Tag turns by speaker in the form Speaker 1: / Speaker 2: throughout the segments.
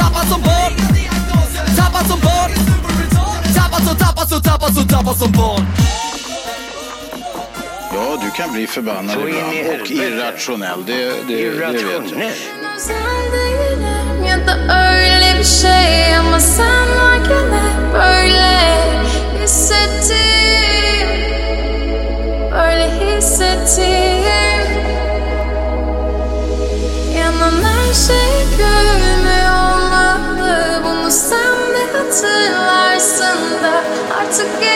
Speaker 1: Tappad som barn Tappad som barn Tappad som, tappad som, tappad som, tappad som barn
Speaker 2: Ja, du kan bli förbannad
Speaker 3: Så in i
Speaker 2: ibland och
Speaker 3: helvete.
Speaker 2: irrationell. Det, det, det vet jag.
Speaker 3: Irrationell.
Speaker 4: Yet the early bir şey ama sen varken hep böyle hissettim Böyle hissettim Yanan her şey gülme olmalı Bunu sen de hatırlarsın da artık geç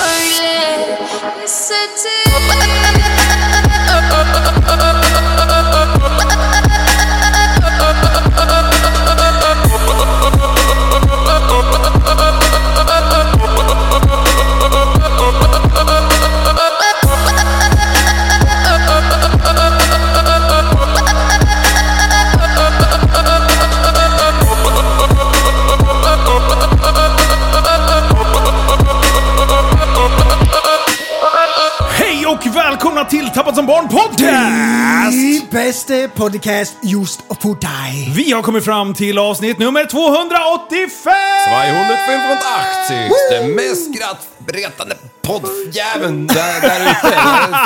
Speaker 4: Öyle hissettim
Speaker 5: Hej och välkomna till Tappad som barn podcast!
Speaker 6: Din bästa podcast just för dig.
Speaker 5: Vi har kommit fram till avsnitt nummer 285!
Speaker 7: 285, det mest skrattretande poddjäveln där, där ute. Vad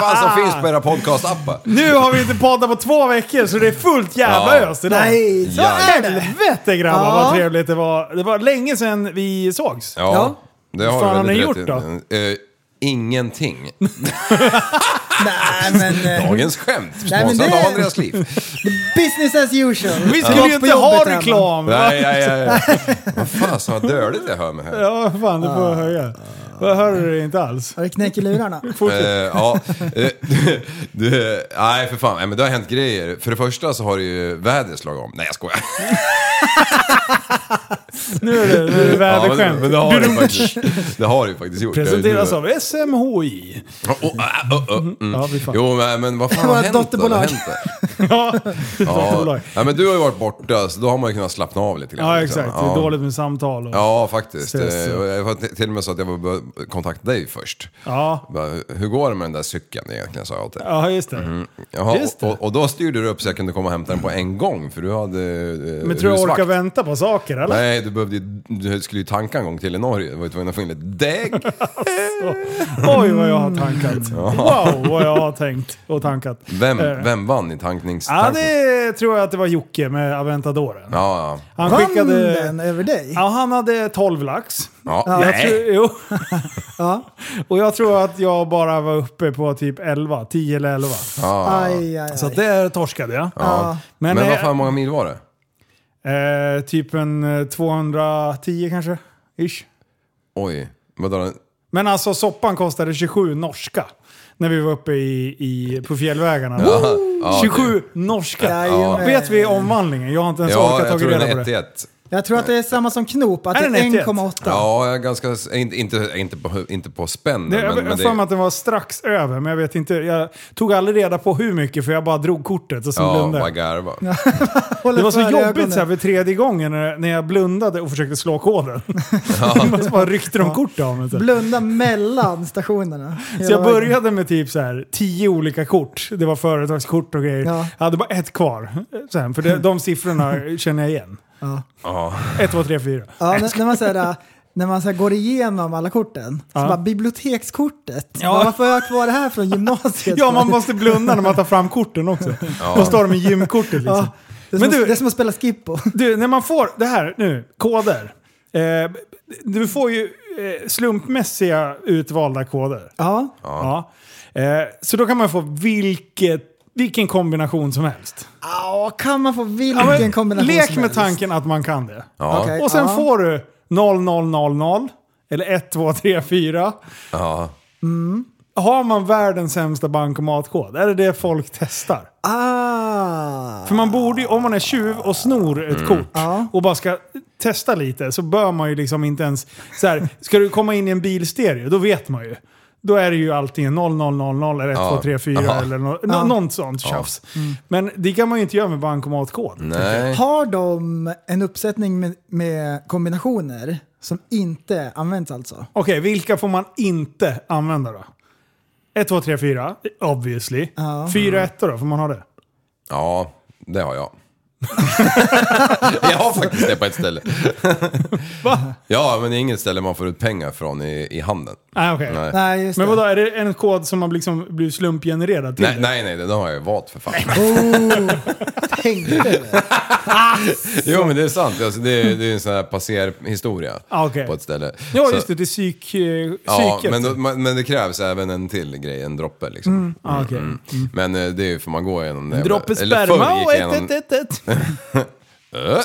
Speaker 7: fan som finns på era podcastappar.
Speaker 5: Nu har vi inte poddat på två veckor så det är fullt jävla
Speaker 7: Ja.
Speaker 5: ös idag.
Speaker 6: Nej, så
Speaker 7: Ja.
Speaker 6: är det.
Speaker 5: Helvete grabbar
Speaker 6: Ja.
Speaker 5: vad trevligt det var. Det var länge sedan vi sågs.
Speaker 6: Ja.
Speaker 7: det har
Speaker 5: Vad fan
Speaker 7: du väldigt
Speaker 5: har ni
Speaker 7: rätt
Speaker 5: gjort
Speaker 7: i. Eh, ingenting.
Speaker 6: Nej, men... eh,
Speaker 7: Dagens skämt,
Speaker 6: Nej, men
Speaker 7: sponsrad
Speaker 6: det-
Speaker 7: av Andreas Liv.
Speaker 6: Business as usual.
Speaker 5: Vi skulle
Speaker 6: Gått
Speaker 5: ju
Speaker 6: på
Speaker 5: inte ha
Speaker 6: jobbet hemma.
Speaker 5: reklam! va?
Speaker 7: Nej, nej, nej, nej. Vad fan, så dödligt jag hör mig här.
Speaker 5: Ja, vad fan du
Speaker 6: Ah.
Speaker 5: får höja. Vad hör du det inte alls?
Speaker 6: Har du knäckt i lurarna?
Speaker 7: Eh, ja, eh, du, nej för fan, nej, men det har hänt grejer. För det första så har det ju vädret slagit om. Nej jag skojar.
Speaker 5: Nu är det, nu är det
Speaker 7: Ja, men,
Speaker 5: väderskämt.
Speaker 7: men det har det ju faktiskt, det har det ju faktiskt gjort.
Speaker 5: Presenteras av SMHI.
Speaker 7: Oh, oh, ah, oh, oh,
Speaker 6: Mm-hmm.
Speaker 7: mm.
Speaker 5: Ja, fy fan.
Speaker 7: Jo men, men vad fan
Speaker 6: Det var
Speaker 7: har
Speaker 6: ett
Speaker 7: hänt då? Det
Speaker 6: dotterbolag.
Speaker 7: har hänt då?
Speaker 5: Ja, dotterbolag.
Speaker 7: Ja. ja men du har ju varit borta så då har man ju kunnat slappna av lite grann.
Speaker 5: Ja,
Speaker 7: liksom.
Speaker 5: exakt. Det är dåligt med samtal. Och,
Speaker 7: Ja, faktiskt.
Speaker 5: Stress.
Speaker 7: Eh, och Jag var till- till och med så att jag var bör- kontakta dig först.
Speaker 5: ja.
Speaker 7: Bara, Hur går det med den där cykeln egentligen, sa jag åt dig.
Speaker 5: ja, just det.
Speaker 7: Mm. Jaha,
Speaker 5: Just det.
Speaker 7: och, och då styrde du upp så jag kunde komma och hämta den på en gång för du hade eh,
Speaker 5: Men tror jag
Speaker 7: husvakt.
Speaker 5: orkar vänta på saker eller?
Speaker 7: Nej, du, behövde, ju- du skulle ju tanka en gång till i Norge. Du var ju tvungen att få in lite däck.
Speaker 5: Oj vad jag har tankat. Wow vad jag har tänkt och tankat.
Speaker 7: Vem,
Speaker 5: Eh,
Speaker 7: vem vann i tanknings...
Speaker 5: Ja
Speaker 7: tankning?
Speaker 5: det tror jag att det var Jocke med Aventadoren.
Speaker 7: Ja, ja.
Speaker 5: Han
Speaker 6: Vann
Speaker 5: skickade...
Speaker 6: den över dig?
Speaker 5: Ja, han hade 12 lax.
Speaker 7: ja.
Speaker 5: Jag
Speaker 7: Nej.
Speaker 5: tror, jo. Och jag tror att jag bara var uppe på typ 11, 10 eller 11.
Speaker 6: Aj, aj, aj.
Speaker 5: Så att där torskade jag.
Speaker 7: Ja.
Speaker 5: Men,
Speaker 7: Men vad
Speaker 5: eh,
Speaker 7: fan, hur många mil var det?
Speaker 5: eh, typ en eh, 210 kanske? Ish.
Speaker 7: Oj. Vadå?
Speaker 5: Men alltså soppan kostade 27 norska. När vi var uppe i, i, på fjällvägarna.
Speaker 7: Ja, ja,
Speaker 5: 27 norska!
Speaker 6: Jajamän.
Speaker 5: Vet vi omvandlingen? Jag har inte ens
Speaker 7: Ja,
Speaker 5: orkat
Speaker 7: jag
Speaker 5: tagit
Speaker 7: tror den
Speaker 5: Alltså, reda på
Speaker 7: är
Speaker 5: det.
Speaker 7: 1-1.
Speaker 6: Jag tror att det är samma som knop, att det
Speaker 5: Är
Speaker 6: är
Speaker 5: den 1-1?
Speaker 6: 1,8.
Speaker 7: Ja, jag är ganska... Inte, inte, inte, på, inte på spänn.
Speaker 5: Det, jag
Speaker 7: men, men
Speaker 5: har för mig att den var strax över, men jag vet inte. Jag tog aldrig reda på hur mycket för jag bara drog kortet och så
Speaker 7: Ja,
Speaker 5: blundade
Speaker 7: bara
Speaker 5: jag.
Speaker 7: garva.
Speaker 6: Håller
Speaker 5: Det var så
Speaker 6: för
Speaker 5: jobbigt
Speaker 6: ögonen.
Speaker 5: så här, för tredje gången när när jag blundade och försökte slå koden. Ja. så bara ryckte de kortet av mig. Så, här.
Speaker 6: Blunda mellan stationerna.
Speaker 5: så jag började med typ så här, tio olika kort. Det var företagskort och grejer.
Speaker 6: Ja.
Speaker 5: Jag hade bara ett kvar. Sen, för det, de siffrorna känner jag igen.
Speaker 7: Ja.
Speaker 5: Ett, två, tre, fyra.
Speaker 6: Ja, när, när man, så här, äh, när man så här, går igenom alla korten,
Speaker 5: Ja.
Speaker 6: så bara bibliotekskortet.
Speaker 5: Ja.
Speaker 6: Bara, Varför har jag kvar det här från gymnasiet?
Speaker 5: Ja, man måste blunda när man tar fram korten också. Då står de med gymkortet liksom.
Speaker 6: Ja, det, är
Speaker 5: Men
Speaker 6: som,
Speaker 5: du-
Speaker 6: det är som att spela Skippo.
Speaker 5: Du, när man får det här nu, koder. Eh, du får ju eh, slumpmässiga utvalda koder.
Speaker 6: Ja,
Speaker 5: Ja. Eh, så då kan man få vilket, vilken kombination som helst.
Speaker 6: Ja, kan man få
Speaker 5: Ja,
Speaker 6: vilken
Speaker 5: men
Speaker 6: kombination
Speaker 5: lek
Speaker 6: som
Speaker 5: med
Speaker 6: helst?
Speaker 5: tanken att man kan det.
Speaker 7: Ja.
Speaker 6: Okej,
Speaker 5: Och sen
Speaker 6: ja.
Speaker 5: får du 0000 eller 1, 2, 3, 4.
Speaker 7: ja.
Speaker 5: har man världens sämsta bankomatkod? Är det det folk testar?
Speaker 6: Ah!
Speaker 5: För man borde ju, om man är tjuv och snor
Speaker 7: Mm.
Speaker 5: ett kort och bara ska testa lite så bör man ju liksom inte ens... Så här, ska du komma in i en bilstereo, då vet man ju. Då är det ju antingen 0000 eller 1234
Speaker 7: Ja. Mm.
Speaker 5: eller no, no, något sånt tjafs. Men det kan man ju inte göra med bankomatkod.
Speaker 7: Nej.
Speaker 6: Har de en uppsättning med, med kombinationer som inte används alltså?
Speaker 5: Okej, vilka får man inte använda då? 1, 2, 3, 4, obviously.
Speaker 6: Ja.
Speaker 5: 4, 1 då, får man ha det?
Speaker 7: Ja, det har jag. jag har faktiskt det på ett ställe.
Speaker 5: Va?
Speaker 7: Ja, men det är inget ställe man får ut pengar från i, i handen.
Speaker 5: Nej, okej.
Speaker 7: Nej.
Speaker 6: Nej, just
Speaker 5: Men
Speaker 6: det.
Speaker 5: vadå, är det en kod som har liksom blivit slumpgenererad till?
Speaker 7: Nej,
Speaker 5: det?
Speaker 7: nej, nej, den har jag ju valt för fan.
Speaker 6: Oh, tänkte du det?
Speaker 7: Jo, men det är sant. Alltså, det, är, det är en sån här passerhistoria
Speaker 5: Ah, okej.
Speaker 7: på ett ställe.
Speaker 5: Ja,
Speaker 7: Så-
Speaker 5: just det. Till psyk, eh, psyket.
Speaker 7: Ja, men, då- man- men det krävs även en till grej, en droppe liksom.
Speaker 5: Ah, okej.
Speaker 7: Men eh, det är ju för man går igenom det.
Speaker 5: Droppe
Speaker 7: Eller förr
Speaker 5: sperma
Speaker 7: gick
Speaker 5: och
Speaker 7: jag
Speaker 5: ett,
Speaker 7: igenom-
Speaker 5: ett, ett, ett.
Speaker 7: Äh?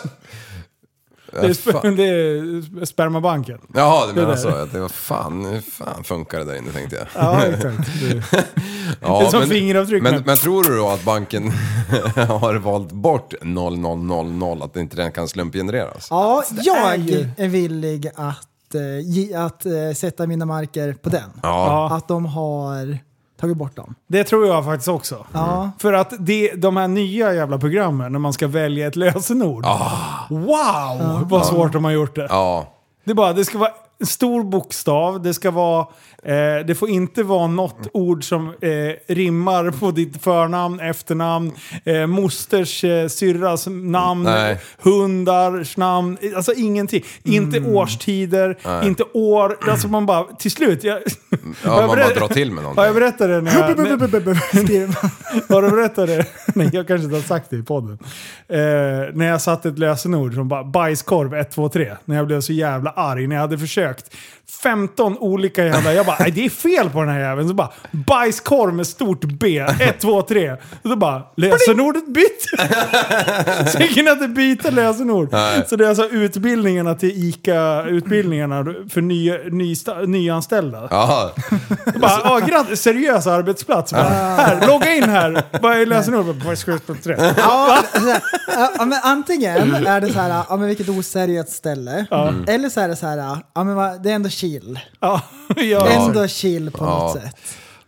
Speaker 5: Det är,
Speaker 7: fan.
Speaker 5: sp- det är spermabanken.
Speaker 7: Jaha, du menar
Speaker 5: där.
Speaker 7: så. Att det var fan, hur fan funkar det där inne tänkte jag.
Speaker 5: Ja, exakt. Det-
Speaker 7: Ja,
Speaker 5: Det är som fingeravtryck,
Speaker 7: Men,
Speaker 5: men-
Speaker 7: men tror du då att banken har valt bort 0000, att inte den kan slumpgenereras?
Speaker 6: Ja,
Speaker 5: är
Speaker 6: jag
Speaker 5: ju-
Speaker 6: är villig att, eh, ge, att eh, sätta mina marker på den.
Speaker 5: Ja.
Speaker 6: Att de har tagit bort dem.
Speaker 5: Det tror jag faktiskt också.
Speaker 6: Ja.
Speaker 5: För att det, de här nya jävla programmen, när man ska välja ett lösenord. Wow! Vad svårt de har gjort det.
Speaker 7: Ah. Ja.
Speaker 5: Det, är bara, det ska vara en stor bokstav, det ska vara... Eh, det får inte vara något ord som eh, rimmar på ditt förnamn, efternamn, eh, mosters, eh, syrras namn,
Speaker 7: Nej.
Speaker 5: hundars namn. Alltså ingenting. Inte
Speaker 7: Mm.
Speaker 5: årstider, inte år. Alltså man bara... Till slut... Jag,
Speaker 7: Ja, man bara drar till med
Speaker 5: Ja, jag
Speaker 7: någonting.
Speaker 5: berättade när jag... när-
Speaker 6: Skriver man.
Speaker 5: har du berättat det? Nej, jag kanske inte har sagt det i podden. Eh, när jag satte ett lösenord som bara bajskorv 123. När jag blev så jävla arg. När jag hade försökt 15 olika jävla... Jag bara, "Nej, det är fel på den här jäveln. Så bara, bajskorv med stort B 123. Och då bara, lösenordet bytt. så jag kunde inte byta lösenord. Så det är alltså utbildningarna till ICA-utbildningarna för ny, nysta- nyanställda.
Speaker 7: Ja.
Speaker 5: Bara, ah, grattis, seriös arbetsplats. Bara, här, logga in här. Vad är lösenordet? Bara, "Skrut på tre."
Speaker 6: Ja, så här, ja, men antingen är det så här, ja, men vilket oseriöst ställe. Eller så är det så här, ja, men vad- det är ändå chill.
Speaker 5: Ja, jag,
Speaker 6: Ändå chill på något
Speaker 7: Ja.
Speaker 6: sätt.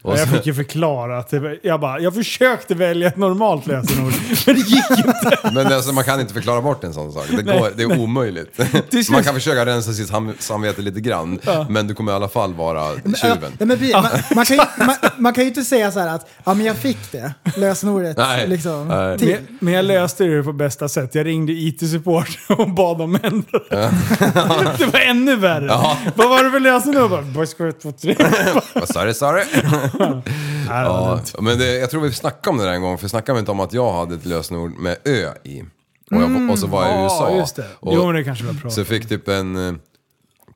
Speaker 7: Och
Speaker 5: jag
Speaker 7: så,
Speaker 5: fick ju förklara. Att det, jag, bara, jag försökte välja ett normalt lösenord, men det gick inte.
Speaker 7: men alltså, man kan inte förklara bort en sån sak. Det, går, det är omöjligt.
Speaker 5: slut-
Speaker 7: Man kan försöka rensa sitt ham- samvete lite grann, men du kommer i alla fall vara tjuven.
Speaker 6: Ja, men, precis. man, man, kan ju, man, man kan ju inte säga så här att ja, men jag fick det, lösenordet.
Speaker 7: Nej.
Speaker 6: Liksom,
Speaker 7: Nej.
Speaker 6: till.
Speaker 5: Men- Men jag löste det på bästa sätt. Jag ringde IT-support och bad dem ändra det. Det var ännu värre. Vad var det för lösenord? Bara, "Bara, skrut på tre."
Speaker 7: Vad sa du, sa du?
Speaker 5: Nej, det var
Speaker 7: Ja,
Speaker 5: dumt.
Speaker 7: men det, jag tror vi snackade om det där en gång, för snackade vi inte om att jag hade ett lösenord med ö i? Och, jag, och så var jag i USA.
Speaker 5: Mm. Ja, just det.
Speaker 7: Och
Speaker 5: Jo, men det kanske var bra.
Speaker 7: så fick typ en eh,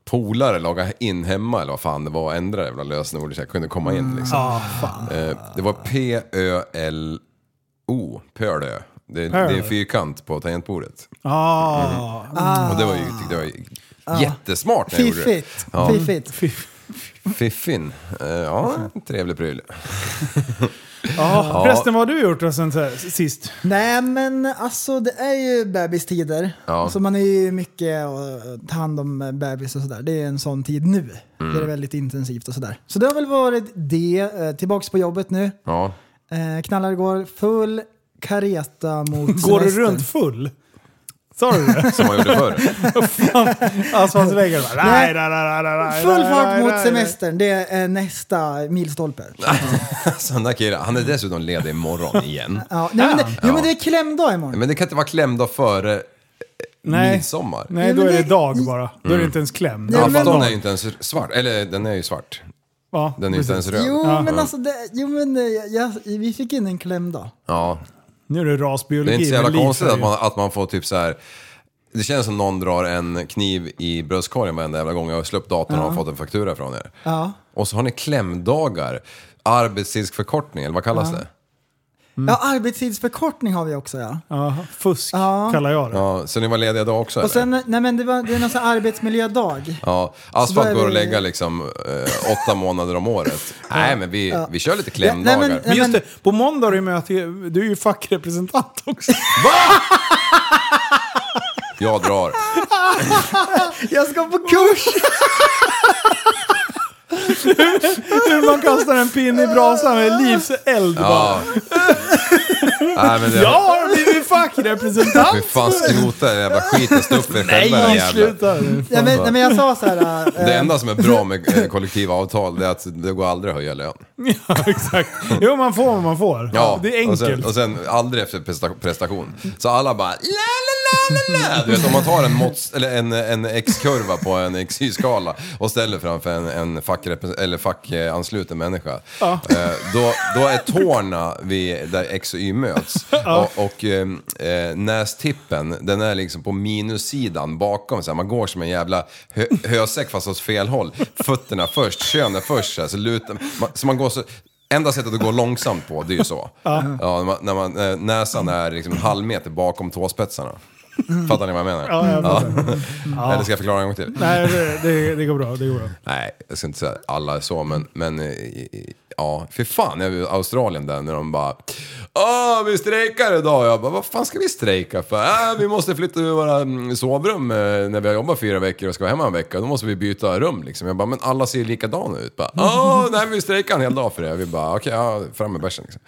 Speaker 7: polare logga in hemma eller vad fan det var och ändra det jävla lösenordet så jag kunde komma in liksom.
Speaker 5: Ah, fan.
Speaker 7: Eh, det var P-Ö-L-O, Pölö. Det, det är en fyrkant på tangentbordet.
Speaker 5: Ah.
Speaker 7: Och det var ju, tyckte jag var ju jättesmart när jag gjorde det.
Speaker 6: Fiffigt.
Speaker 7: Ja.
Speaker 6: Fiffigt.
Speaker 7: Fiffin. Eh, ja, en trevlig pryl.
Speaker 5: Ah. Förresten, vad har du gjort då sen så här, sist?
Speaker 6: Nej men alltså det är ju bebistider.
Speaker 7: Ja.
Speaker 6: Så man är ju mycket och ta hand om bebis och sådär. Det är en sån tid nu.
Speaker 7: Mm.
Speaker 6: Det är väldigt intensivt och sådär. Så det har väl varit det. Eh, Tillbaks på jobbet nu.
Speaker 7: Ja.
Speaker 6: Eh, knallar igår. Full kareta mot
Speaker 5: Går du
Speaker 6: semestern.
Speaker 5: runt full? Sa du det?
Speaker 7: Som man gjorde förr.
Speaker 5: Asfaltsväggar bara... Nej,
Speaker 6: Nej.
Speaker 5: nej, nej, nej, nej,
Speaker 6: Full
Speaker 5: nej,
Speaker 6: fart
Speaker 5: nej,
Speaker 6: mot
Speaker 5: nej.
Speaker 6: semestern. Det är eh, nästa milstolpe.
Speaker 7: Så den där killen, han är
Speaker 6: Mm.
Speaker 7: dessutom ledig imorgon igen.
Speaker 6: Ja, nej, men det, jo men det är klämdag imorgon.
Speaker 7: Men det kan inte vara klämdag före
Speaker 5: Nej.
Speaker 7: midsommar.
Speaker 5: Nej,
Speaker 6: Ja,
Speaker 5: då
Speaker 6: men
Speaker 5: är det
Speaker 6: det-
Speaker 5: dag bara. Då är det inte ens kläm.
Speaker 6: Ja, men-
Speaker 7: Afton är ju inte ens svart. Eller den är ju svart.
Speaker 5: Ja,
Speaker 7: Den är ju inte ens
Speaker 5: precis.
Speaker 7: röd.
Speaker 6: Jo,
Speaker 5: Ja.
Speaker 6: men alltså det, jo, men eh, jag, jag, vi fick in en klämdag.
Speaker 7: Ja.
Speaker 5: Nu är det rasbiologi.
Speaker 7: Det är inte så
Speaker 5: men
Speaker 7: jävla
Speaker 5: liv
Speaker 7: konstigt
Speaker 5: säger
Speaker 7: att man, att man får typ så här. Det känns som någon drar en kniv i bröstkorgen varenda jävla gång jag har släppt datorn och har fått en faktura från er.
Speaker 6: Ja.
Speaker 7: Och så har ni klämdagar, arbetstidsförkortning eller vad kallas det?
Speaker 6: Ja, arbetstidsförkortning har vi också ja.
Speaker 5: Ja, fusk
Speaker 6: Ja.
Speaker 5: kallar jag det.
Speaker 7: Ja, så ni var lediga då också
Speaker 6: Och
Speaker 7: eller?
Speaker 6: sen, nej men det, var, det är någon sån här arbetsmiljödag.
Speaker 7: Ja,
Speaker 6: Så då är
Speaker 7: asfalt går
Speaker 6: vi-
Speaker 7: att lägga liksom eh, åtta månader om året. Nej, men vi, vi kör lite klämdagar.
Speaker 6: Ja, nej, men-
Speaker 5: Men just
Speaker 6: men-
Speaker 5: det, på måndag är det ju möte, du är ju fackrepresentant också.
Speaker 7: Jag drar.
Speaker 6: Jag ska på kurs!
Speaker 5: Hur man kastar en pinne i brasan med livseld bara.
Speaker 7: Ja. Nej, men det,
Speaker 5: Jag har blivit fackrepresentant!
Speaker 7: Fy fan, skrota den jävla skiten. Stå upp för er själva
Speaker 5: Nej,
Speaker 7: jävlar.
Speaker 5: sluta nu.
Speaker 6: Nej men, nej, men jag sa så här. eh,
Speaker 7: Det enda som är bra med eh, kollektiva avtal det är att det går aldrig att höja lön.
Speaker 5: Ja, exakt. Jo, man får vad man får.
Speaker 7: Ja,
Speaker 5: det är enkelt.
Speaker 7: Och sen, och sen aldrig efter presta- prestation. Så alla bara la la la la la. Du vet om man tar en, mått, eller en, en X-kurva på en XY-skala och ställer framför en, en fackrepresen- eller fackansluten människa. eh, Då, då är tårna vid, där X och Y möts. Och, och eh, eh, nästippen, den är liksom på minussidan bakom. Så här. Man går som en jävla hö, hösäck fast åt fel håll. Fötterna först, könet först. Så, här, så, lutar, man, så man går så... Enda sättet att gå långsamt på, det är ju så. Ja. när man, när man, eh, näsan är liksom en halv meter bakom tåspetsarna. Fattar ni vad jag menar?
Speaker 5: Ja, jag
Speaker 7: Eller ska jag förklara en gång till?
Speaker 5: Nej, det, det, det går bra. Det går bra.
Speaker 7: Nej, jag ska inte säga att alla är så, men, men eh, ja, för fan, jag var i Australien där när de bara Åh, vi strejkar idag. Jag bara, vad fan ska vi strejka för? Äh, vi måste flytta ur våra mm, sovrum eh, när vi har jobbat fyra veckor och ska vara hemma en vecka. Då måste vi byta rum liksom. Jag bara, men alla ser ju likadana ut. Bara, Åh, nej, vi strejkar en hel dag för det. Vi bara, okej, ja, fram med bärsen liksom.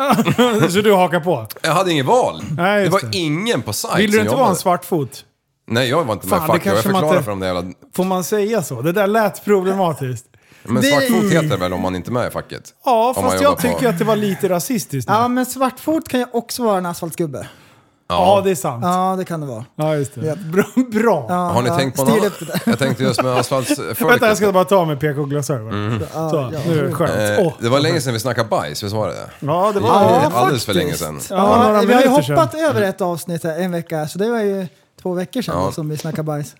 Speaker 5: Så du hakar på?
Speaker 7: Jag hade inget val.
Speaker 5: Nej,
Speaker 7: det
Speaker 5: just
Speaker 7: var
Speaker 5: det.
Speaker 7: ingen på sajt
Speaker 5: Vill du
Speaker 7: som
Speaker 5: inte vara
Speaker 7: jobbade.
Speaker 5: en svartfot?
Speaker 7: Nej, jag var inte
Speaker 5: Fan,
Speaker 7: med.
Speaker 5: det
Speaker 7: Fuck, jag
Speaker 5: kanske man
Speaker 7: förklarade
Speaker 5: inte-
Speaker 7: för dem det jävla...
Speaker 5: Får man säga så? Det där lät problematiskt.
Speaker 7: Men
Speaker 6: Det-
Speaker 7: svartfot heter det väl om man inte är med i facket?
Speaker 5: Ja,
Speaker 7: Om man
Speaker 5: fast
Speaker 7: jobbar
Speaker 5: jag
Speaker 7: på-
Speaker 5: tycker att det var lite rasistiskt. nu.
Speaker 6: Ja men svartfot kan ju också vara en asfaltsgubbe.
Speaker 5: Ja, det är sant.
Speaker 6: Ja det kan det vara.
Speaker 5: Ja, just det.
Speaker 6: Ja.
Speaker 5: Bra. bra.
Speaker 6: Ja,
Speaker 7: Har ni
Speaker 6: ja,
Speaker 7: tänkt på
Speaker 6: styr
Speaker 7: något
Speaker 6: upp det där.
Speaker 7: annat? Jag tänkte just med asfaltsfolket.
Speaker 5: Vänta, jag ska bara ta med PK-glasögonen. Så,
Speaker 6: ja.
Speaker 5: nu är det skönt.
Speaker 7: Mm. Eh,
Speaker 5: Åh.
Speaker 7: det var länge sedan vi snackade bajs, visst var det det?
Speaker 5: Ja, det var
Speaker 7: Det är
Speaker 5: ja.
Speaker 6: Ja,
Speaker 7: alldeles för länge
Speaker 6: faktiskt.
Speaker 7: sedan.
Speaker 5: Ja, några
Speaker 6: Ja, vi har ju
Speaker 5: minuter sedan.
Speaker 6: hoppat över ett avsnitt här, en vecka, så det var ju två veckor sedan
Speaker 7: Ja.
Speaker 6: som vi snackade bajs.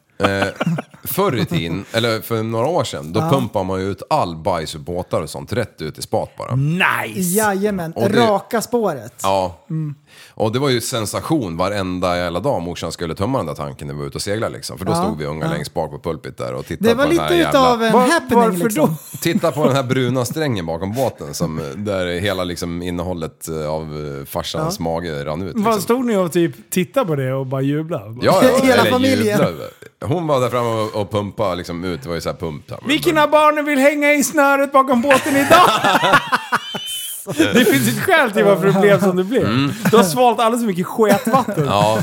Speaker 7: Förr i tiden, eller för några år sedan, då pumpade man ju ut all bajs och båtar och sånt rätt ut i spat bara.
Speaker 5: Mm. Nice!
Speaker 6: Jajamän,
Speaker 7: Och det-
Speaker 6: raka spåret.
Speaker 7: Ja.
Speaker 5: Mm.
Speaker 7: Och det var ju sensation varenda jävla dag morsan skulle tömma den där tanken när vi var ute och seglade liksom. För då stod vi unga längst bak på pulpit där och tittade
Speaker 6: Det var
Speaker 7: på den här
Speaker 6: lite
Speaker 7: jävla...
Speaker 6: utav en
Speaker 5: Var-
Speaker 6: happening
Speaker 5: varför
Speaker 6: liksom.
Speaker 5: då?
Speaker 7: Titta på den här bruna strängen bakom båten som, där hela liksom, innehållet eh, av eh, farsans mage rann ut. Liksom.
Speaker 5: Vad stod ni och typ tittade på det och bara jublade? Bara,
Speaker 7: Ja, ja,
Speaker 6: Hela
Speaker 7: eller
Speaker 6: familjen.
Speaker 7: jublar. Hon var där framme och, och pumpade liksom ut. Det var ju såhär pump. så här.
Speaker 5: Vilken av barnen vill hänga i snöret bakom båten idag? Det finns ett skäl till varför det blev som det blev. Du har svalt alldeles för mycket sketvatten.
Speaker 7: Mm. Ja.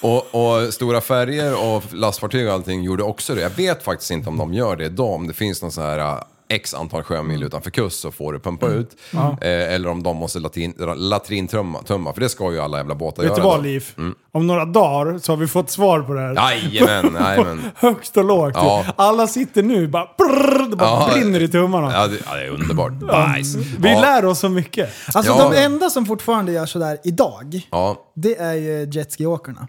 Speaker 7: Och, och stora färger och lastfartyg och allting gjorde också det. Jag vet faktiskt inte om de gör det idag. Om det finns någon sån här äh, X antal sjömil utanför kust så får du pumpa
Speaker 5: Mm.
Speaker 7: ut. Eh, eller om de måste latin, latrintömma, tömma, för det ska ju alla jävla båtar
Speaker 5: Vet du
Speaker 7: göra.
Speaker 5: vad
Speaker 7: då.
Speaker 5: Liv? Om några dagar så har vi fått svar på det här.
Speaker 7: Jajamän, jajamän.
Speaker 5: Högst och lågt.
Speaker 7: Ja.
Speaker 5: Alla sitter nu bara, brrr, det bara brinner i tummarna.
Speaker 7: Ja, det, ja, det är underbart. Bajs.
Speaker 5: Vi
Speaker 7: ja,
Speaker 5: lär oss så mycket.
Speaker 6: Alltså
Speaker 7: Ja.
Speaker 6: de enda som fortfarande gör sådär idag,
Speaker 7: Ja,
Speaker 6: det är ju jetskiåkarna.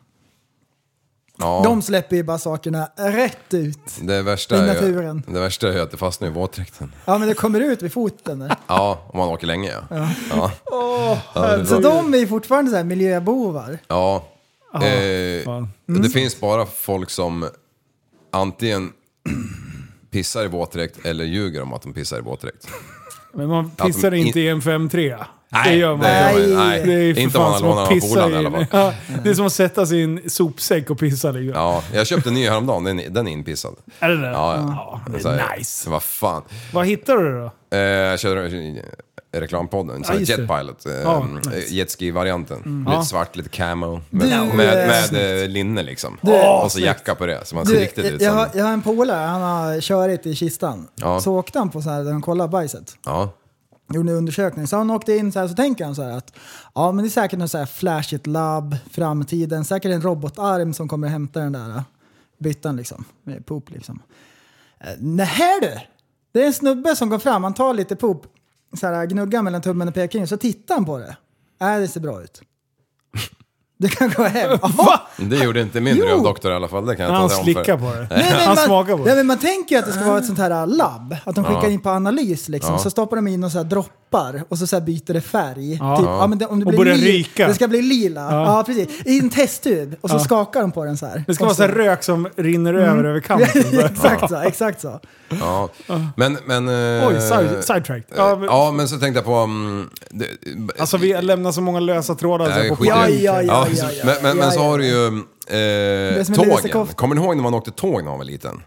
Speaker 7: ja.
Speaker 6: De släpper ju bara sakerna rätt ut.
Speaker 7: det, värsta
Speaker 6: i
Speaker 7: är ju,
Speaker 6: naturen.
Speaker 7: det värsta är ju att det fastnar i våtdräkten.
Speaker 6: Ja men det kommer ut vid foten. där.
Speaker 7: Ja, om man åker länge ja. Ja, ja.
Speaker 6: Så de är ju fortfarande såhär miljöbovar.
Speaker 7: ja. Eh,
Speaker 5: fan.
Speaker 7: Det finns bara folk som antingen pissar i våtdräkt eller ljuger om att de pissar i våtdräkt.
Speaker 5: Men man pissar
Speaker 7: in-
Speaker 5: inte i en 5-3. det gör man
Speaker 7: det
Speaker 5: inte.
Speaker 7: gör man ju-
Speaker 6: Nej.
Speaker 7: nej.
Speaker 5: ju för
Speaker 7: Inte om
Speaker 5: fan
Speaker 7: man
Speaker 5: som att
Speaker 7: lånar någon
Speaker 5: pissa
Speaker 7: polare i
Speaker 5: i-
Speaker 7: alla fall.
Speaker 5: Ja, det är som att sätta sig i en sopsäck och pissa. Liksom.
Speaker 7: Ja, jag köpte en ny häromdagen, den, den är inpissad.
Speaker 5: Är det det?
Speaker 7: Ja, ja.
Speaker 5: det är
Speaker 7: Så här,
Speaker 5: nice.
Speaker 7: Vad fan.
Speaker 5: Vad hittar du då?
Speaker 7: Eh, jag körde eh, reklampodden, så
Speaker 5: Ja,
Speaker 7: här,
Speaker 5: just
Speaker 7: Jet
Speaker 5: det.
Speaker 7: Pilot. Eh,
Speaker 5: Ja, nice.
Speaker 7: Jetski-varianten.
Speaker 5: Ja.
Speaker 7: Lite svart, lite camo. Med,
Speaker 6: eh,
Speaker 7: med, med, eh, linne liksom. och så jacka på det, så man ser
Speaker 6: Du,
Speaker 7: riktigt ut
Speaker 6: jag,
Speaker 7: som...
Speaker 6: har, jag har en polare, han har körit i kistan.
Speaker 7: Ja.
Speaker 6: Så åkte han på så här där de kollar bajset.
Speaker 7: Ja.
Speaker 6: gjorde en undersökning. Så han åkte in så här, så tänker han så här att ja, men det är säkert något så här flashigt labb, framtiden, säkert en robotarm som kommer hämta den där eh, byttan liksom, med poop liksom. Eh, Nähä du! Det är en snubbe som går fram, han tar lite poop, så här, gnuggar mellan tummen och pekfingret, så tittar han på det. Äh, det ser bra ut. Du kan gå hem. Jaha.
Speaker 7: Det gjorde inte min
Speaker 6: Jo.
Speaker 7: rövdoktor i alla fall, det kan jag
Speaker 5: Han
Speaker 7: tala om för.
Speaker 5: slickar på det.
Speaker 6: Nej, men
Speaker 5: Han
Speaker 6: man,
Speaker 5: smakar på
Speaker 6: nej,
Speaker 5: det.
Speaker 6: äh, men man tänker ju att det ska vara ett sånt här labb. Att de skickar in på analys liksom. Så stoppar de in någon så här droppe droppar och så, så här byter det färg.
Speaker 5: Ja.
Speaker 6: Typ,
Speaker 5: Ja.
Speaker 6: ja, men det, om det
Speaker 5: Och
Speaker 6: blir
Speaker 5: börjar
Speaker 6: li-
Speaker 5: ryka.
Speaker 6: Det ska bli lila.
Speaker 5: Ja.
Speaker 6: Ja, precis. I en testtub och så
Speaker 5: Ja.
Speaker 6: skakar de på den så här.
Speaker 5: Det ska
Speaker 6: Och
Speaker 5: vara så här rök som rinner över över kanten.
Speaker 6: exakt så, exakt så.
Speaker 7: Ja. Men, men... eh,
Speaker 5: Oj, side- sidetrack. Ja,
Speaker 7: Ja
Speaker 5: men-
Speaker 7: men, så tänkte jag på... mm, det,
Speaker 5: Alltså vi lämnar så många lösa trådar. så
Speaker 7: Nej,
Speaker 5: här på
Speaker 7: skit i det.
Speaker 6: Ja, ja, ja, ja, ja.
Speaker 7: Men, men,
Speaker 6: Ja,
Speaker 7: men så
Speaker 6: ja,
Speaker 7: har du ju eh,
Speaker 6: är som en
Speaker 7: tågen.
Speaker 6: lusekofta.
Speaker 7: Kommer ni ihåg när man åkte tåg när man var liten?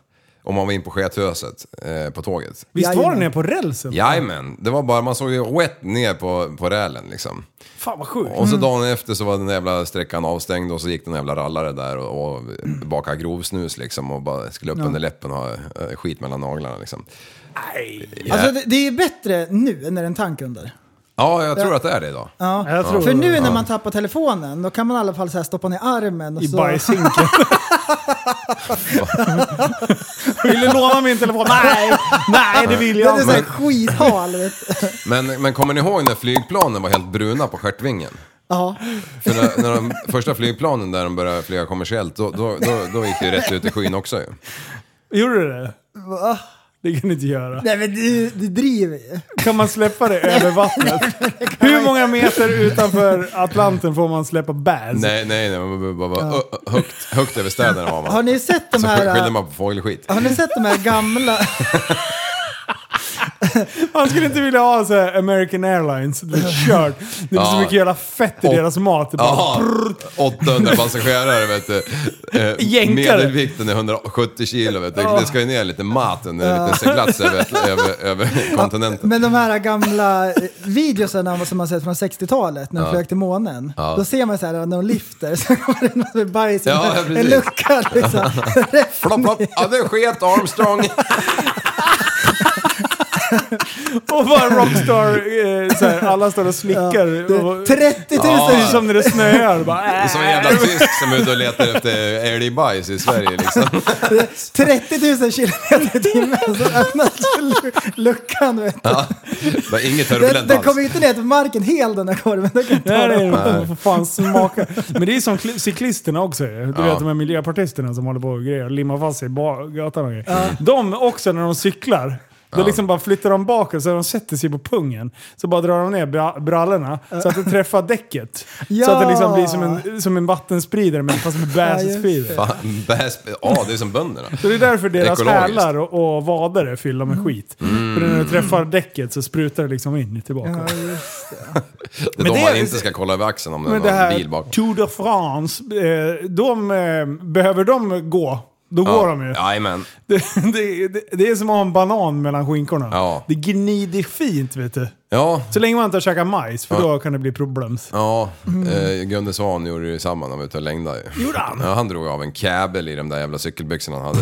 Speaker 7: Om man var in på Sketöset eh, på tåget.
Speaker 5: Visst var den
Speaker 6: Jajamän.
Speaker 5: ner på rälsen?
Speaker 7: Jajamän, det var bara, man såg ju wet ner på, på rälen liksom.
Speaker 5: Fan vad sjukt.
Speaker 6: Mm.
Speaker 7: Och så dagen efter så var den jävla sträckan avstängd och så gick den jävla rallare där och, och bakade grovsnus liksom och bara skulle upp under läppen och ha eh, skit mellan naglarna liksom. Nej.
Speaker 6: Alltså, det, det är bättre nu när det är en tank under.
Speaker 7: Ja, jag tror att det är det idag.
Speaker 6: Ja.
Speaker 5: Jag tror
Speaker 6: För
Speaker 5: det.
Speaker 6: nu när man tappar telefonen, då kan man i alla fall så här stoppa ner armen och
Speaker 5: I
Speaker 6: så...
Speaker 5: bajshinken. vill du låna min telefon? Nej, nej det vill
Speaker 6: Den
Speaker 5: jag
Speaker 6: är så här
Speaker 5: inte.
Speaker 6: skithal, vet du.
Speaker 7: Men, men kommer ni ihåg när flygplanen var helt bruna på stjärtvingen?
Speaker 6: Ja.
Speaker 7: För när, när de första flygplanen där de började flyga kommersiellt, då, då, då, då gick det ju rätt ut i skyn också ju.
Speaker 5: Gjorde du det? Det kan du inte göra.
Speaker 6: Nej men du, du driver ju.
Speaker 5: Kan man släppa det över vattnet? Hur många meter utanför Atlanten får man släppa bärs?
Speaker 7: Nej, nej, nej, man bara, bara, ö- ö- högt, högt över städerna var man.
Speaker 6: Har ni sett de
Speaker 5: Alltså,
Speaker 7: så
Speaker 6: här... äh,
Speaker 7: skyllde man på fågelskit.
Speaker 6: Har ni sett de här gamla...
Speaker 5: Han skulle inte vilja ha så här American Airlines. Det är kört. Det är så
Speaker 7: Ja.
Speaker 5: mycket jävla fett i
Speaker 7: Och-
Speaker 5: deras mat. Det är bara
Speaker 7: Ja, 800 passagerare vet du. Eh,
Speaker 5: Jänkare.
Speaker 7: medelvikten är 170 kilo vet du. Det ska ju ner lite mat, en liten seglats över, över, över kontinenten.
Speaker 6: Men de här gamla eh, videoserna som man sett från 60-talet när de flög till månen. Då ser man så här när de lyfter så kommer det något med bajs i
Speaker 7: Ja,
Speaker 6: en
Speaker 7: precis.
Speaker 6: lucka liksom. Rätt
Speaker 7: Flopp, flopp. Ja, det sket Armstrong.
Speaker 5: Och bara rockstar, eh, såhär, alla står och slickar.
Speaker 6: ner.
Speaker 5: och,
Speaker 6: 30 000!
Speaker 5: det är som när det snöar. Bara,
Speaker 7: Det är
Speaker 5: äh.
Speaker 7: som en jävla tysk som är ute och letar efter älgbajs i Sverige liksom.
Speaker 6: 30 000 kilometer i timmen så öppnas lu- luckan vet du.
Speaker 7: Ja. Bara Inget
Speaker 6: Den,
Speaker 7: turbulent
Speaker 6: den
Speaker 7: alls.
Speaker 6: kommer ju inte ner till marken hel den där korven. Den kan
Speaker 5: Nej,
Speaker 6: ta
Speaker 5: det
Speaker 6: den.
Speaker 5: är för fan smaka. Men det är som kli- cyklisterna också. Du vet de här miljöpartisterna som håller på och grejer, limmar fast sig i ba- gatan och grejer. De också när de cyklar. Då liksom bara flyttar de bakåt så de sätter sig på pungen. Så bara drar de ner bra- brallorna så att det träffar däcket. Så att det liksom blir som en, som en vattenspridare men fast med bärsspridare.
Speaker 7: Fan, bäs- Ja, det är som bönderna.
Speaker 5: Så det är därför deras
Speaker 7: Ekologiskt.
Speaker 5: hälar och, och vader är fyllda med skit. För när du träffar däcket så sprutar det liksom in tillbaka.
Speaker 6: Ja,
Speaker 7: Det är
Speaker 5: Men
Speaker 7: de
Speaker 5: det-
Speaker 7: man inte ska kolla över axeln om det är
Speaker 5: Men det
Speaker 7: någon
Speaker 5: här
Speaker 7: bil bakom.
Speaker 5: Tour de France, eh, de, eh, behöver de gå, då går de ju.
Speaker 7: Jajamän.
Speaker 5: Det, det, det, det är som att ha en banan mellan skinkorna.
Speaker 7: Ja.
Speaker 5: Det gnider fint vet du.
Speaker 7: Ja.
Speaker 5: Så länge man inte har käkat majs, för då kan det bli problems.
Speaker 7: Ja, eh, Gunde Svan gjorde ju samma när han var ute och längdade ju. Gjorde han? Ja, han drog av en käbel i de där jävla cykelbyxorna han hade.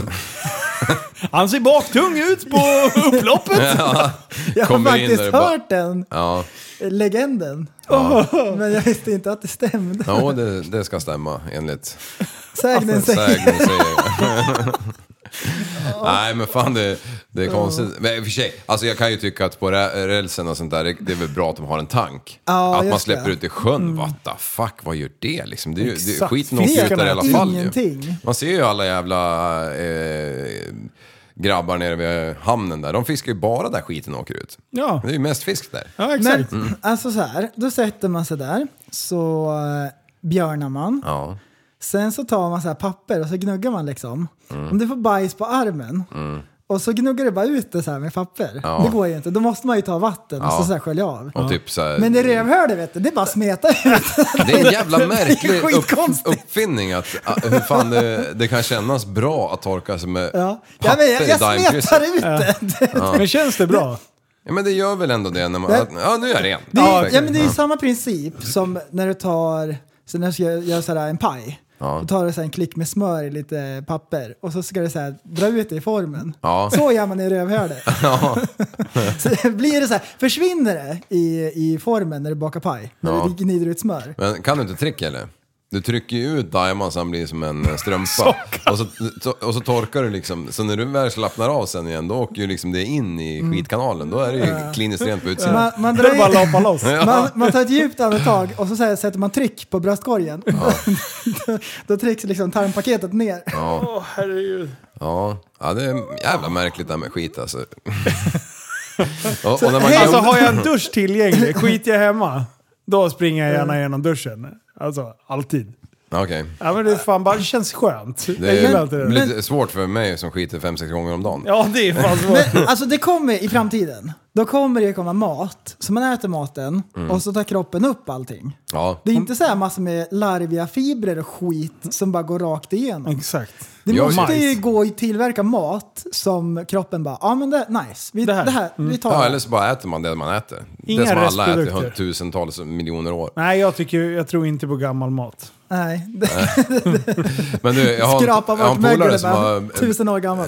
Speaker 5: Han ser baktung ut på upploppet!
Speaker 7: ja,
Speaker 6: Jag har
Speaker 7: kommer in
Speaker 6: faktiskt
Speaker 7: där och bara...
Speaker 6: hört den
Speaker 7: Ja,
Speaker 6: legenden. Men jag visste inte att det stämde.
Speaker 7: ja det, det ska stämma enligt
Speaker 6: Sägnen säger.
Speaker 7: sägnen säger. Nej men fan det, det är konstigt. Men i och för sig, alltså jag kan ju tycka att på rä- rälsen och sånt där, det- det är väl bra att de har en tank.
Speaker 6: Ja,
Speaker 7: att man
Speaker 6: just
Speaker 7: släpper
Speaker 6: det. Mm.
Speaker 7: ut i sjön, what the fuck, vad gör det liksom? Det är ju, det,
Speaker 5: Exakt.
Speaker 7: skiten åker ut
Speaker 5: Fiskarna
Speaker 7: där i alla
Speaker 5: äter
Speaker 7: fall ju.
Speaker 6: ingenting.
Speaker 7: Man ser ju alla jävla eh, grabbar nere vid hamnen där, de fiskar ju bara där skiten åker ut.
Speaker 5: Ja,
Speaker 7: Det är ju mest fisk där.
Speaker 5: ja
Speaker 6: Men
Speaker 5: exakt.
Speaker 7: Mm.
Speaker 6: alltså så här, då sätter man sig där, så eh, björnar man.
Speaker 7: Ja.
Speaker 6: Sen så tar man så här papper och så gnuggar man liksom.
Speaker 7: Mm.
Speaker 6: Om du får bajs på armen och så gnuggar du bara ut det så här med papper.
Speaker 7: Ja.
Speaker 6: Det går ju inte, då måste man ju ta vatten och
Speaker 7: Ja.
Speaker 6: så, så här skölja av.
Speaker 7: Och typ så här,
Speaker 6: Men det rövhålet vet du, det är bara smeta ut.
Speaker 7: Det är en jävla märklig upp,
Speaker 6: skitkonstigt.
Speaker 7: uppfinning att ah, hur fan det, det kan kännas bra att torka sig med
Speaker 6: Ja. Ja,
Speaker 7: papper
Speaker 6: men jag, jag
Speaker 7: i daimkrysset.
Speaker 6: smetar ut det.
Speaker 5: Men känns det bra?
Speaker 7: Ja men det gör väl ändå det när man...
Speaker 6: Det-
Speaker 7: att, ja nu är jag ren.
Speaker 6: Det är,
Speaker 7: Perfekt.
Speaker 6: ja, men det är ju samma princip som när du tar, så när du ska göra sådär en paj.
Speaker 7: Ja.
Speaker 6: Då tar du så här en klick med smör i lite papper och så ska du så här dra ut det i formen.
Speaker 7: Ja.
Speaker 6: Så gör man i rövhålet. så blir det så här, försvinner det i, i formen när du bakar paj? När
Speaker 7: Ja.
Speaker 6: du gnider ut smör?
Speaker 7: Men kan du inte trick eller? Du trycker ju ut diamond så han blir som en eh, strumpa. och, så, to- och så torkar du liksom. Så när du väl slappnar av sen igen då åker ju liksom det in i
Speaker 5: Mm.
Speaker 7: skitkanalen. Då är det ju kliniskt rent på utsidan.
Speaker 6: Man, man,
Speaker 5: Det
Speaker 6: drar
Speaker 5: är bara
Speaker 6: in,
Speaker 5: att lapa loss.
Speaker 6: man, man tar ett djupt andetag och så, så här, sätter man tryck på bröstkorgen. då, då trycks liksom tarmpaketet ner.
Speaker 5: Åh herregud.
Speaker 7: Ja. ja, det är jävla märkligt det här med skit alltså. Och, och när man
Speaker 5: Alltså
Speaker 7: glömde,
Speaker 5: har jag en dusch tillgänglig, skiter jag hemma, då springer jag gärna igenom duschen. Alltså, alltid.
Speaker 7: Okej.
Speaker 5: Ja men det är fan bara, det känns skönt.
Speaker 7: Det
Speaker 5: jag gillar inte
Speaker 7: är
Speaker 5: det.
Speaker 7: lite svårt för mig som skiter 5-6 gånger om dagen.
Speaker 5: Ja det är fan svårt.
Speaker 6: Men, alltså det kommer i framtiden. Då kommer det komma mat. Så man äter maten och så tar kroppen upp allting.
Speaker 7: Ja.
Speaker 6: Det är inte så här massor med larviga fibrer och skit som bara går rakt igenom.
Speaker 5: Exakt.
Speaker 6: Det
Speaker 7: Jag-
Speaker 6: måste
Speaker 5: Majs.
Speaker 6: ju gå att tillverka mat som kroppen bara, ja ah, men det nice, vi, det här, vi tar
Speaker 7: Ja,
Speaker 6: det."
Speaker 7: eller så bara äter man det man äter.
Speaker 5: Inga
Speaker 7: det som alla äter i
Speaker 5: restprodukter.
Speaker 7: hundratusentals miljoner år.
Speaker 5: Nej jag, tycker, jag tror inte på gammal mat.
Speaker 6: Nej, det,
Speaker 7: Men du, jag har, en-
Speaker 6: Skrapa
Speaker 7: jag har
Speaker 6: bort
Speaker 7: en polare
Speaker 6: mögel
Speaker 7: som har
Speaker 6: tusen år gammal.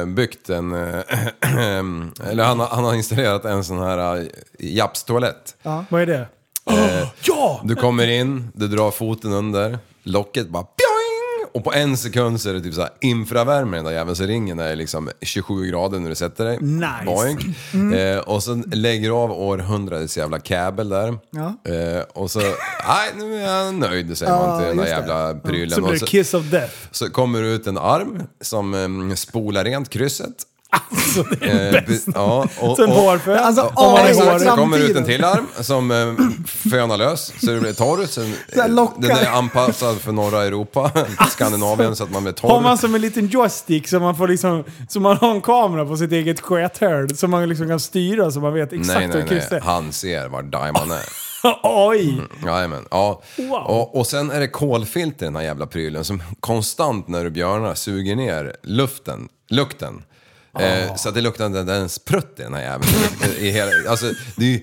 Speaker 7: eh, byggt en... eh, eller han, har- han har installerat en sån här eh, japstoalett. Eh,
Speaker 5: Vad är det? Åh, ja!
Speaker 7: Du kommer in, du drar foten under, locket bara pjoing! Och på en sekund så är det typ såhär infravärme i den där jäveln, så ringen är liksom 27 grader när du sätter dig.
Speaker 5: Nice.
Speaker 7: Boing.
Speaker 6: Mm.
Speaker 7: Eh, och så lägger du av århundradets jävla kabel där.
Speaker 6: Ja.
Speaker 7: Eh, och så, nej nu är jag nöjd säger man till den där
Speaker 6: just det.
Speaker 7: jävla prylen.
Speaker 5: Så blir
Speaker 7: och
Speaker 5: det kiss of death.
Speaker 7: så kommer det ut en arm som eh, spolar rent krysset.
Speaker 5: Alltså det är
Speaker 7: Eh,
Speaker 5: det bästa.
Speaker 7: be- ja, och,
Speaker 5: Sen
Speaker 7: och,
Speaker 5: varför?
Speaker 6: Alltså,
Speaker 5: om man är
Speaker 6: AI
Speaker 5: hårig.
Speaker 7: så
Speaker 6: framtiden.
Speaker 7: kommer det ut en till arm som eh, fönar lös så det blir torr. Sen,
Speaker 6: Så här lockar.
Speaker 7: den är anpassad för norra Europa, Skandinavien, så att man blir torr.
Speaker 5: Har man som en liten joystick så man får liksom, så man har en kamera på sitt eget skethörd som man liksom kan styra så man vet
Speaker 7: nej,
Speaker 5: exakt hur
Speaker 7: nej,
Speaker 5: kryss
Speaker 7: nej.
Speaker 5: är.
Speaker 7: Han ser var Diamond är.
Speaker 5: Oj!
Speaker 7: Mm. Jajamän, ja.
Speaker 5: Wow.
Speaker 7: Och, och sen är det kolfilter i den här jävla prylen som konstant när du björnar suger ner luften, lukten.
Speaker 5: Ah.
Speaker 7: Eh, så att det luktar inte ens prutt i den här jäveln. I hela, alltså, det är, ju-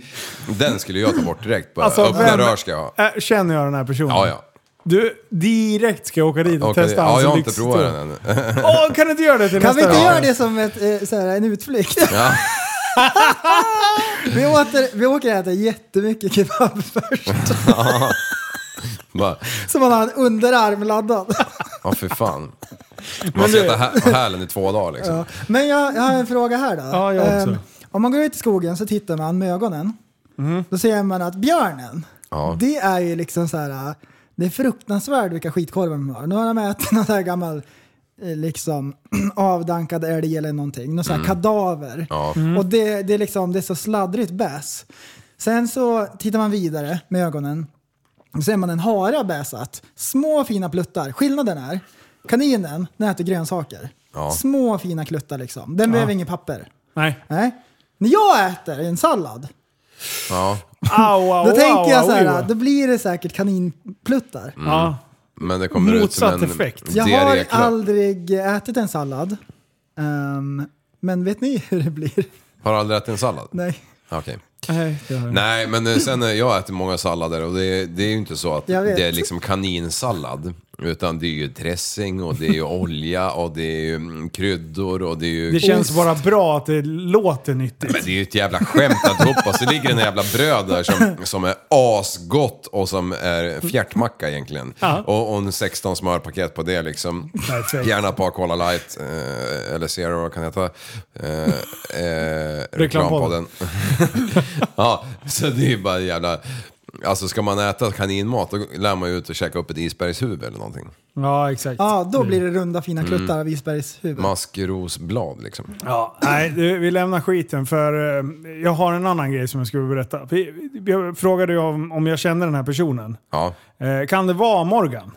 Speaker 7: den skulle jag ta bort direkt. Bara,
Speaker 5: Alltså,
Speaker 7: öppna
Speaker 5: vem-
Speaker 7: rör ska jag ha.
Speaker 5: Äh, Känner jag den här personen?
Speaker 7: Ja, ja.
Speaker 5: Du, direkt ska jag åka dit och
Speaker 7: Okej,
Speaker 5: testa
Speaker 7: ja,
Speaker 5: hans
Speaker 7: jag har inte
Speaker 5: lyxhistoria.
Speaker 7: provat den ännu.
Speaker 5: Åh, kan du inte göra det till
Speaker 6: Kan vi
Speaker 5: nästa
Speaker 6: inte
Speaker 5: gång?
Speaker 6: göra det som ett, eh, så här, en utflykt?
Speaker 7: Ja.
Speaker 6: vi, åter, vi åker och äter jättemycket kebab först.
Speaker 7: Bara,
Speaker 6: Så man har en underarm laddad.
Speaker 7: ja, för fan. Man ska äta hä- ha hälen i två dagar liksom.
Speaker 6: Ja. Men jag, jag har en fråga här då.
Speaker 5: Ja, jag också.
Speaker 6: Ehm, om man går ut i skogen så tittar man med ögonen. Då ser man att björnen,
Speaker 7: Ja.
Speaker 6: det är ju liksom så här, äh, det är fruktansvärt vilka skitkorvar de har. Nu har de ätit någon så här gammal eh, liksom avdankad älg eller någonting, någon sån här kadaver.
Speaker 7: Mm. Ja.
Speaker 6: Och det, det, är liksom, det är så sladdrigt bäs. Sen så tittar man vidare med ögonen. Då ser man en hare bäsat. Små fina pluttar. Skillnaden är, kaninen den äter grönsaker.
Speaker 7: Ja.
Speaker 6: Små fina kluttar liksom. Den behöver inget papper.
Speaker 5: Nej.
Speaker 6: Nej. När jag äter en sallad,
Speaker 7: Ja.
Speaker 5: Au, au,
Speaker 6: då tänker
Speaker 5: au,
Speaker 6: jag
Speaker 5: au,
Speaker 6: så här,
Speaker 5: au.
Speaker 6: då blir det säkert kaninpluttar.
Speaker 7: Mm.
Speaker 5: Ja.
Speaker 7: Men det kommer ut som
Speaker 5: Motsatt
Speaker 7: en
Speaker 5: effekt.
Speaker 6: Jag har
Speaker 7: diarréklubb.
Speaker 6: aldrig ätit en sallad. Ehm, men vet ni hur det blir?
Speaker 7: Har du aldrig ätit en sallad?
Speaker 6: Nej.
Speaker 7: Okej.
Speaker 5: Nej, det har jag inte.
Speaker 7: Nej, men eh, sen eh, jag äter många sallader och det, det är ju inte så att
Speaker 6: Jag vet.
Speaker 7: det är liksom kaninsallad. Utan det är ju dressing och det är ju olja och det är ju mm, kryddor och det är ju...
Speaker 5: Det känns bara bra att det låter nyttigt.
Speaker 7: Men det är ju ett jävla skämt alltihopa. Så ligger det en jävla bröd där som, som är asgott och som är fjärtmacka egentligen.
Speaker 5: Ja.
Speaker 7: Och, och en 16 smörpaket på det liksom.
Speaker 5: Perfekt.
Speaker 7: Gärna ett par Cola Light, eh, eller Zero vad kan det heta? Eh, eh,
Speaker 5: Reklampodden.
Speaker 7: reklampodden. ja, så det är ju bara jävla... Alltså ska man äta kaninmat då lär man ju ut och käka upp ett isbergshuvud eller någonting.
Speaker 5: Ja, exakt.
Speaker 6: Ja, då blir det runda fina
Speaker 7: Mm.
Speaker 6: kluttar av isbergshuvud.
Speaker 7: Maskrosblad liksom.
Speaker 5: Ja, nej, du, vi lämnar skiten för eh, jag har en annan grej som jag skulle berätta. Vi- Jag frågade ju om, om jag kände den här personen.
Speaker 7: Ja.
Speaker 5: Eh, kan det vara Morgan?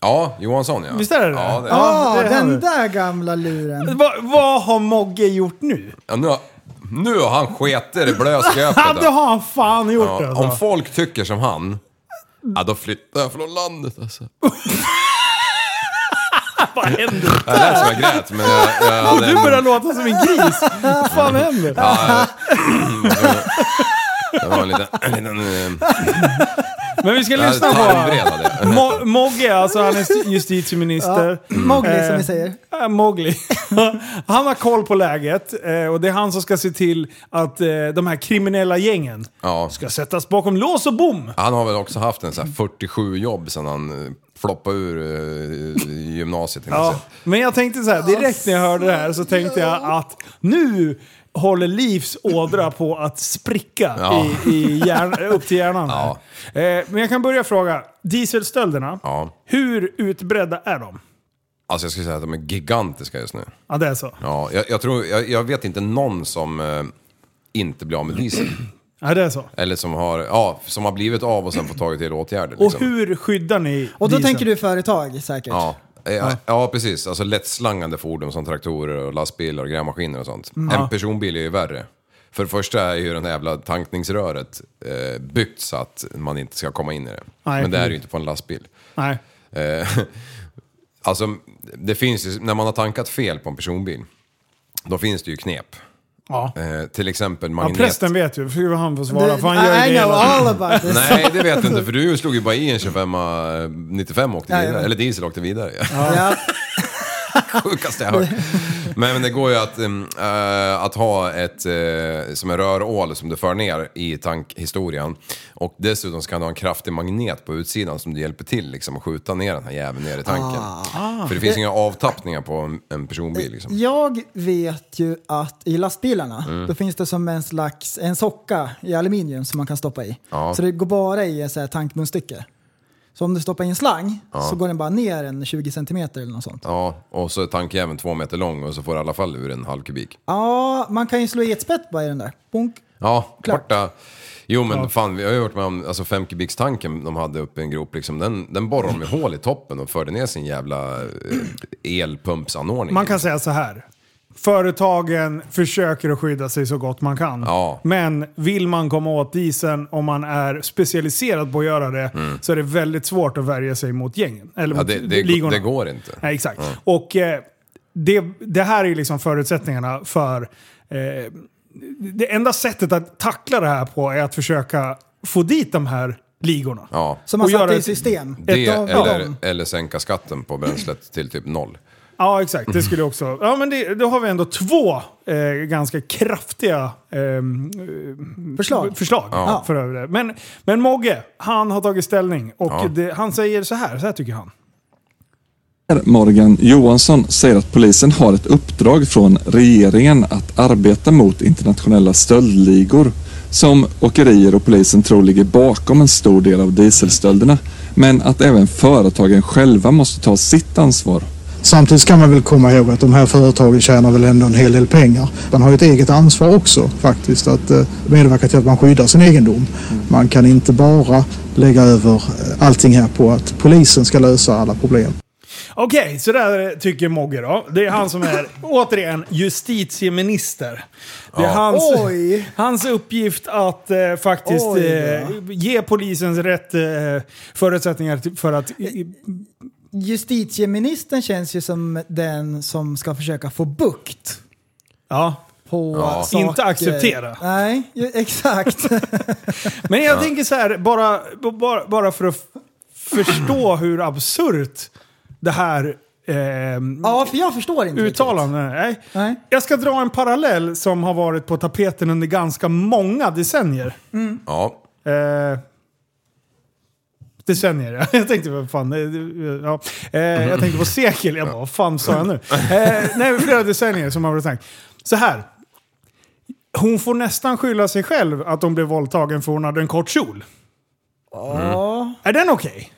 Speaker 7: ja, Johansson ja.
Speaker 5: Visst är det det?
Speaker 7: Ja, det är.
Speaker 6: Ja,
Speaker 5: det har du.
Speaker 6: den där gamla luren.
Speaker 5: Va, vad har Mogge gjort nu?
Speaker 7: Ja, nu, har, nu har han sketer i
Speaker 5: Ja,
Speaker 7: blöskräpet.
Speaker 5: det har han fan gjort
Speaker 7: Ja,
Speaker 5: alltså.
Speaker 7: om folk tycker som han, ja, då flyttar jag från landet alltså.
Speaker 5: Vad händer?
Speaker 7: Jag lät som jag grät, men jag, jag hade
Speaker 5: Du
Speaker 7: en-
Speaker 5: börjar låta som en gris. Vad fan händer?
Speaker 7: Det var en liten... En liten eh,
Speaker 5: Men vi ska
Speaker 7: jag hade
Speaker 5: lyssna på...
Speaker 7: tarmvred hade jag.
Speaker 5: Mo- Mogge, alltså han är st- justitieminister.
Speaker 6: Mowgli som
Speaker 5: Eh,
Speaker 6: vi säger.
Speaker 5: Äh, Mowgli. han har koll på läget eh, och det är han som ska se till att eh, de här kriminella gängen
Speaker 7: Ja.
Speaker 5: ska sättas bakom lås och bom.
Speaker 7: Han har väl också haft en sån här 47 jobb sedan han eh, floppade ur eh, gymnasiet. Ja.
Speaker 5: Ja. Men jag tänkte så här, direkt när jag hörde det här så tänkte jag att nu håller Livs ådra på att spricka
Speaker 7: Ja.
Speaker 5: i, i hjärn, upp till hjärnan. här.
Speaker 7: Ja.
Speaker 5: Eh, men jag kan börja fråga, dieselstölderna,
Speaker 7: Ja.
Speaker 5: hur utbredda är de?
Speaker 7: Alltså jag skulle säga att de är gigantiska just nu.
Speaker 5: Ja, det är så.
Speaker 7: Ja, jag, jag, tror, jag, jag vet inte någon som eh, inte blir av med diesel.
Speaker 5: Ja, det är så.
Speaker 7: Eller som har, ja, som har blivit av och sen fått tagit till åtgärder.
Speaker 5: Och
Speaker 7: liksom.
Speaker 5: hur skyddar ni
Speaker 6: Och då
Speaker 5: dieseln?
Speaker 6: tänker du företag säkert?
Speaker 7: Ja. Eh, Ja. precis. Alltså lättslangande fordon som traktorer och lastbilar och grävmaskiner och sånt.
Speaker 5: Mm.
Speaker 7: En personbil är ju värre. För det första är ju den här jävla tankningsröret eh, byggt så att man inte ska komma in i det.
Speaker 5: Nej,
Speaker 7: Men det är ju
Speaker 5: precis.
Speaker 7: inte på en lastbil.
Speaker 5: Nej.
Speaker 7: Eh, alltså, det finns ju, när man har tankat fel på en personbil, då finns det ju knep.
Speaker 5: Ja.
Speaker 7: Eh, till exempel
Speaker 5: ja,
Speaker 7: magnet.
Speaker 5: prästen vet ju. För han får svara.
Speaker 6: Du,
Speaker 5: För han gör ju
Speaker 6: I
Speaker 5: det
Speaker 6: know
Speaker 5: hela
Speaker 6: all
Speaker 5: tiden.
Speaker 6: about this.
Speaker 7: Nej, det vet jag inte, för du slog ju bara i en 25 eh, 95 och åkte
Speaker 6: Ja,
Speaker 7: vidare.
Speaker 6: ja.
Speaker 7: Eller diesel åkte vidare.
Speaker 6: Ja.
Speaker 7: sjukaste jag hört. Men, men det går ju att, em, eh, att ha ett eh, som en rörål som du för ner i tankhistorien. Och dessutom ska du ha en kraftig magnet på utsidan som du hjälper till liksom, att skjuta ner den här jäveln ner i tanken.
Speaker 6: Ah.
Speaker 7: För det finns inga avtappningar på en, en personbil.
Speaker 6: Eh,
Speaker 7: Liksom.
Speaker 6: Jag vet ju att i lastbilarna,
Speaker 7: Mm.
Speaker 6: då finns det som en slags en socka i aluminium som man kan stoppa i.
Speaker 7: Ja.
Speaker 6: Så det går bara i ett så här tankmunstycke. Så om du stoppar i en slang så går den bara ner en 20 centimeter eller något sånt. Ja.
Speaker 7: Ja, och så är tankjäveln två meter lång och så får du i alla fall ur en halv kubik.
Speaker 6: man kan ju slå i ett spett bara i den där. Bonk.
Speaker 7: Ja,
Speaker 6: Klart.
Speaker 7: borta. Jo men fan, vi har ju varit med om alltså femkubikstanken de hade uppe i en grop liksom. Den, den borrade de i hål i toppen och förde ner sin jävla eh, elpumpsanordning.
Speaker 5: Man kan säga så här. Företagen försöker att skydda sig så gott man kan.
Speaker 7: Ja.
Speaker 5: Men vill man komma åt dieseln om man är specialiserad på att göra det så är det väldigt svårt att värja sig mot gängen. Eller
Speaker 7: Mm. Ja,
Speaker 5: mot
Speaker 7: det, det,
Speaker 5: ligorna.
Speaker 7: det går Mm. inte.
Speaker 5: Nej, exakt. Och eh, det, det här är ju liksom förutsättningarna för... Eh, det enda sättet att tackla det här på är att försöka få dit de här ligorna.
Speaker 7: Ja.
Speaker 6: Som man
Speaker 5: Och göra
Speaker 6: satte i
Speaker 5: ett-
Speaker 6: system.
Speaker 7: Det
Speaker 6: Ett av
Speaker 7: eller,
Speaker 6: dem.
Speaker 7: eller sänka skatten på bränslet till typ noll.
Speaker 5: Ja, exakt. Det skulle också... Ja, men det, då har vi ändå två eh, ganska kraftiga ehm,
Speaker 6: Förslag.
Speaker 5: förslag
Speaker 6: Ja.
Speaker 5: för över det. Men, men Mogge, han har tagit ställning och
Speaker 7: Ja.
Speaker 5: det, han säger så här, så här tycker han.
Speaker 8: Morgan Johansson säger att polisen har ett uppdrag från regeringen att arbeta mot internationella stöldligor som åkerier och polisen tror ligger bakom en stor del av dieselstölderna. Men att även företagen själva måste ta sitt ansvar.
Speaker 9: Samtidigt ska man väl komma ihåg att de här företagen tjänar väl ändå en hel del pengar. Man har ju ett eget ansvar också faktiskt att eh, medverka till att man skyddar sin egendom. Man kan inte bara lägga över eh, allting här på att polisen ska lösa alla problem.
Speaker 5: Okej, så där tycker Mogge då. Det är han som är, återigen, justitieminister. Det är hans,
Speaker 6: Oj.
Speaker 5: hans uppgift att eh, faktiskt
Speaker 6: Oj då.
Speaker 5: eh, ge polisens rätt eh, förutsättningar till- för att... i- i-
Speaker 6: Justitieministern känns ju som den som ska försöka få bukt
Speaker 5: Ja.
Speaker 6: på
Speaker 7: Ja.
Speaker 6: saker.
Speaker 5: Inte acceptera.
Speaker 6: Nej, ju- exakt.
Speaker 5: Men jag tänker så här, bara, bara, bara för att f- förstå hur absurt det här ehm,
Speaker 6: ja, för jag förstår inte riktigt.
Speaker 5: uttalandet är. Nej.
Speaker 6: Nej.
Speaker 5: Jag ska dra en parallell som har varit på tapeten under ganska många decennier.
Speaker 7: Ja.
Speaker 5: Eh, decennier, ja. Jag tänkte vad fan, eh, ja. eh, Jag tänkte på sekel, jag bara vad fan sa jag nu? Eh, nej, flera decennier som har varit tänkt. Så här. Hon får nästan skylla sig själv att hon blev våldtagen för hon hade en kort kjol.
Speaker 6: Ja,
Speaker 5: Är den okej?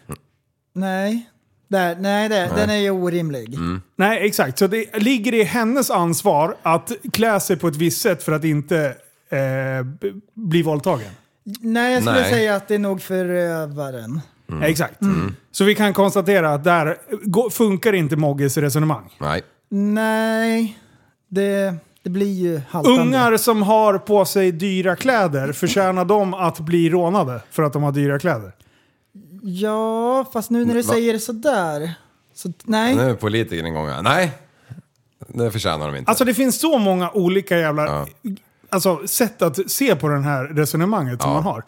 Speaker 6: nej. Där, nej, Mm. där, den är ju orimlig.
Speaker 5: Nej, exakt. Så det ligger i hennes ansvar att klä sig på ett visst sätt för att inte eh, b- bli våldtagen.
Speaker 6: Nej, jag skulle
Speaker 7: Nej.
Speaker 6: säga att det är nog förövaren.
Speaker 7: Mm.
Speaker 5: Exakt. Så vi kan konstatera att där gå- funkar inte Mogges resonemang.
Speaker 7: Nej.
Speaker 6: Nej, det, det blir ju haltande.
Speaker 5: Ungar som har på sig dyra kläder, förtjänar de att bli rånade för att de har dyra kläder?
Speaker 6: Ja, fast nu när du
Speaker 7: Va?
Speaker 6: säger det sådär. Så, nej.
Speaker 7: Nu är politiker en gång. här. Nej. Det förtjänar de inte.
Speaker 5: Alltså det finns så många olika jävla
Speaker 7: Ja.
Speaker 5: alltså, sätt att se på det här resonemanget som man har.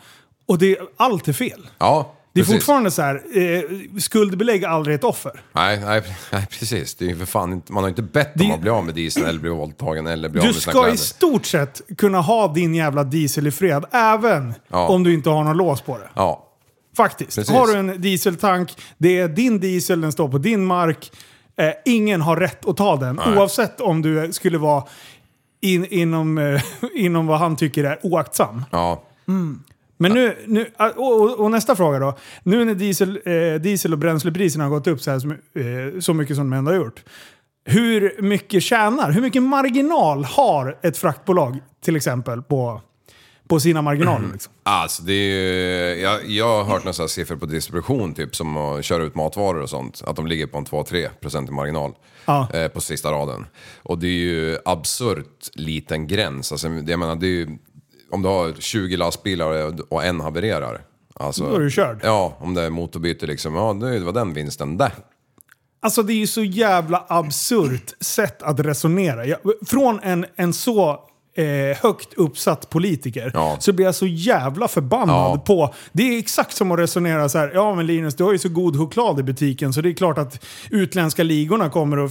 Speaker 5: Och det, allt är fel.
Speaker 7: ja.
Speaker 5: Det är
Speaker 7: precis.
Speaker 5: fortfarande så här, eh, skuldbelägg aldrig ett offer.
Speaker 7: Nej, nej, nej, precis. Det är ju för fan inte, man har inte bett om
Speaker 5: Det-
Speaker 7: att bli av med diesel eller bli våldtagen eller bli av
Speaker 5: Du
Speaker 7: med sina kläder.
Speaker 5: ska i stort sett kunna ha din jävla diesel i fred, även
Speaker 7: Ja.
Speaker 5: om du inte har någon lås på det.
Speaker 7: Ja.
Speaker 5: Faktiskt.
Speaker 7: Precis.
Speaker 5: Har du en dieseltank, det är din diesel, den står på din mark. Eh, ingen har rätt att ta den,
Speaker 7: Nej.
Speaker 5: oavsett om du skulle vara in, inom, eh, inom vad han tycker är oaktsam.
Speaker 7: Ja.
Speaker 5: Men nu, nu eh, och, och, och nästa fråga då. Nu när diesel, eh, diesel och bränslepriserna har gått upp så, här, som, eh, så mycket som de ändå har gjort. Hur mycket tjänar, hur mycket marginal har ett fraktbolag till exempel på, på sina marginaler? Liksom?
Speaker 7: Alltså, det är ju, jag, jag har hört några så här siffror på distribution, typ som att köra ut matvaror och sånt. Att de ligger på en 2-3% i marginal
Speaker 5: Ja.
Speaker 7: eh, på sista raden. Och det är ju absurt liten gräns. Alltså, jag menar, det är ju, om du har 20 lastbilar och- och en havererar. Alltså,
Speaker 5: Då är du körd.
Speaker 7: Ja, om det är motorbyte liksom. Ja, det var den vinsten där.
Speaker 5: Alltså det är ju så jävla absurt sätt att resonera. Jag, från en, en så eh, högt uppsatt politiker
Speaker 7: Ja.
Speaker 5: så blir jag så jävla förbannad
Speaker 7: Ja.
Speaker 5: på... Det är exakt som att resonera så här. Ja men Linus, du har ju så god choklad i butiken så det är klart att utländska ligorna kommer och,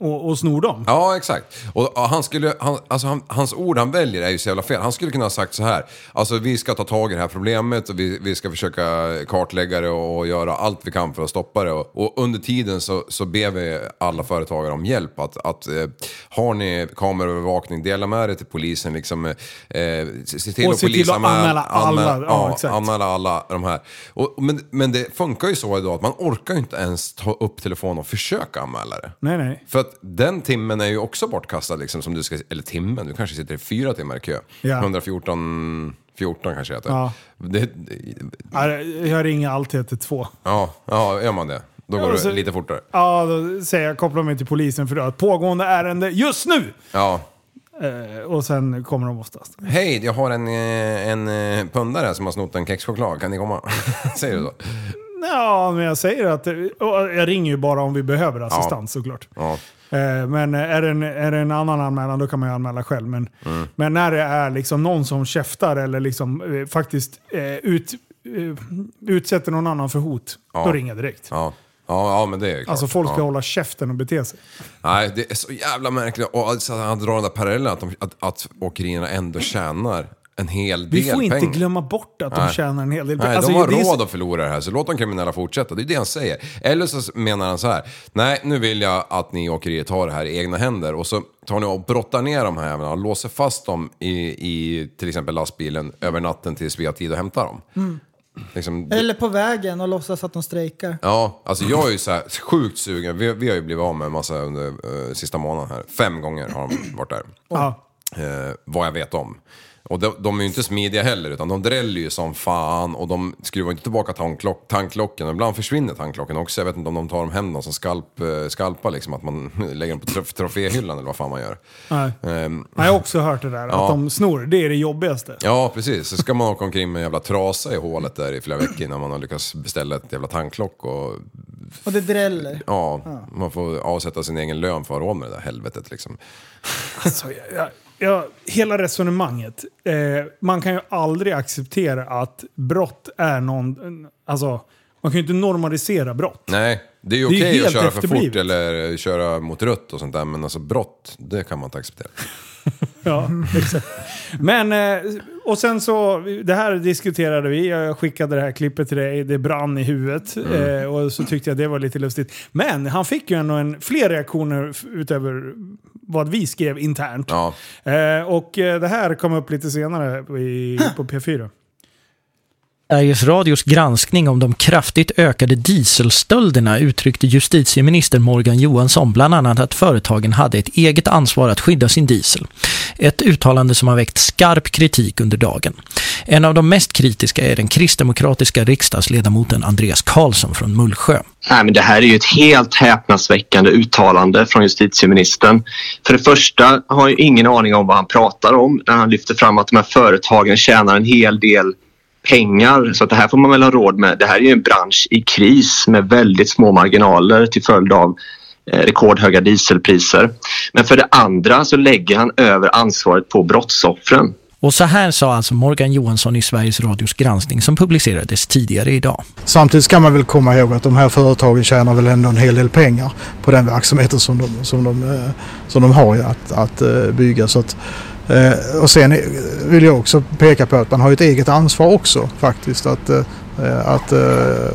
Speaker 5: och, och snor dem.
Speaker 7: Ja, exakt. Och ja, han skulle, han, alltså, han, hans ord han väljer är ju så jävla fel. Han skulle kunna ha sagt så här. Alltså vi ska ta tag i det här problemet och vi, vi ska försöka kartlägga det och, och göra allt vi kan för att stoppa det. Och, och under tiden så, så ber vi alla företagare om hjälp. Att, att eh, har ni kameraövervakning, dela med det till polisen. Liksom, eh, se se till
Speaker 5: Och
Speaker 7: att
Speaker 5: se till att
Speaker 7: polisanmäla-
Speaker 5: anmäla alla. Ja, exakt.
Speaker 7: anmäla alla de här. Och, men, men det funkar ju så idag att man orkar ju inte ens ta upp telefonen och försöka anmäla det.
Speaker 5: Nej nej.
Speaker 7: För att den timmen är ju också bortkastad liksom, som du ska, eller timmen, du kanske sitter i fyra timmar i kö.
Speaker 5: Ja.
Speaker 7: 114, 14 kanske heter.
Speaker 5: Ja.
Speaker 7: Det,
Speaker 5: Ja, Jag ringer alltid 112.
Speaker 7: ja, ja, gör man det, då går
Speaker 5: och så-
Speaker 7: det lite fortare.
Speaker 5: Ja, då säger jag koppla mig till polisen för det har ett pågående ärende just nu!
Speaker 7: Ja.
Speaker 5: Eh, och sen kommer de oftast.
Speaker 7: Hej, jag har en, eh, en eh, pundare som har snott en kexchoklad, kan ni komma? Säger du då?
Speaker 5: Ja, men jag säger att... och Jag ringer ju bara om vi behöver assistans såklart.
Speaker 7: Ja.
Speaker 5: Eh, Men är det, en, är det en annan anmälan då kan man ju anmäla själv. Men,
Speaker 7: Mm.
Speaker 5: men när det är liksom någon som käftar eller liksom, eh, faktiskt eh, ut, eh, utsätter någon annan för hot, då ringer jag direkt.
Speaker 7: Ja. Ja, ja, men det är ju klart.
Speaker 5: Alltså folk ska
Speaker 7: ja.
Speaker 5: hålla käften och bete sig.
Speaker 7: Nej, det är så jävla märkligt. Och alltså, han drar den där parallellen att, de, att, att åkerierna ändå tjänar en hel del
Speaker 5: Vi
Speaker 7: pengar.
Speaker 5: får inte glömma bort att de
Speaker 7: Nej.
Speaker 5: tjänar en hel del
Speaker 7: Nej,
Speaker 5: Alltså,
Speaker 7: de har
Speaker 5: det är så-
Speaker 7: råd att förlora det här, så låt de kriminella fortsätta. Det är det han säger. Eller så menar han så här. Nej, nu vill jag att ni åkerier tar det här i egna händer. Och så tar ni och brottar ner de här jävlarna och låser fast dem i, i till exempel lastbilen över natten tills vi har tid att hämta dem.
Speaker 5: Mm.
Speaker 7: Liksom,
Speaker 6: Eller på vägen och låtsas att de strejkar.
Speaker 7: Ja, alltså jag är ju så här sjukt sugen. Vi, vi har ju blivit av med en massa under eh, sista månaden här. Fem gånger har de varit där.
Speaker 5: Ja.
Speaker 7: Eh, vad jag vet om. Och de, de är ju inte smidiga heller, utan de dräller ju som fan och de skruvar inte tillbaka tanklock, tanklocken. Och ibland försvinner tanklocken också. Jag vet inte om de tar dem hem någon som skalp, eh, skalpar liksom, att man lägger dem på trof- troféhyllan eller vad fan man gör.
Speaker 5: Nej.
Speaker 7: Ehm,
Speaker 5: Jag har också hört det där, att
Speaker 7: Ja.
Speaker 5: de snor. Det är det jobbigaste.
Speaker 7: Ja, precis. Så ska man åka omkring med en jävla trasa i hålet där i flera veckor när man har lyckats beställa ett jävla tanklock och
Speaker 6: Och det dräller.
Speaker 7: Ja, man får avsätta sin egen lön för att ha råd med det där helvetet liksom.
Speaker 5: Alltså, jag, jag, jag, hela resonemanget. Eh, man kan ju aldrig acceptera att brott är någon... Alltså, man kan ju inte normalisera brott.
Speaker 7: Nej, det är ju
Speaker 5: Det är ju
Speaker 7: okej
Speaker 5: helt
Speaker 7: att köra för
Speaker 5: efterblivet.
Speaker 7: fort eller köra mot rött och sånt där, men alltså brott, det kan man inte acceptera.
Speaker 5: Ja, exakt. Men, eh, och sen så, det här diskuterade vi. Jag skickade det här klippet till dig. Det brann i huvudet. Eh, och så tyckte jag det var lite lustigt. Men han fick ju ändå en, fler reaktioner f- utöver vad vi skrev internt.
Speaker 7: Ja,
Speaker 5: Eh, och eh, det här kom upp lite senare i, på P4.
Speaker 10: Sveriges Radios granskning om de kraftigt ökade dieselstölderna uttryckte justitieminister Morgan Johansson bland annat att företagen hade ett eget ansvar att skydda sin diesel. Ett uttalande som har väckt skarp kritik under dagen. En av de mest kritiska är den kristdemokratiska riksdagsledamoten Andreas Karlsson från Mullsjö.
Speaker 11: Nej, men det här är ju ett helt häpnadsväckande uttalande från justitieministern. För det första har jag ingen aning om vad han pratar om när han lyfter fram att de här företagen tjänar en hel del pengar. Så att det här får man väl ha råd med. Det här är ju en bransch i kris med väldigt små marginaler till följd av eh, rekordhöga dieselpriser. Men för det andra så lägger han över ansvaret på brottsoffren.
Speaker 10: Och så här sa alltså Morgan Johansson i Sveriges Radios granskning som publicerades tidigare idag.
Speaker 9: Samtidigt ska man väl komma ihåg att de här företagen tjänar väl ändå en hel del pengar på den verksamheten som de, som de, eh, som de har ju att, att eh, bygga. Så att, eh, och sen eh, vill jag också peka på att man har ju ett eget ansvar också faktiskt att, eh, att eh,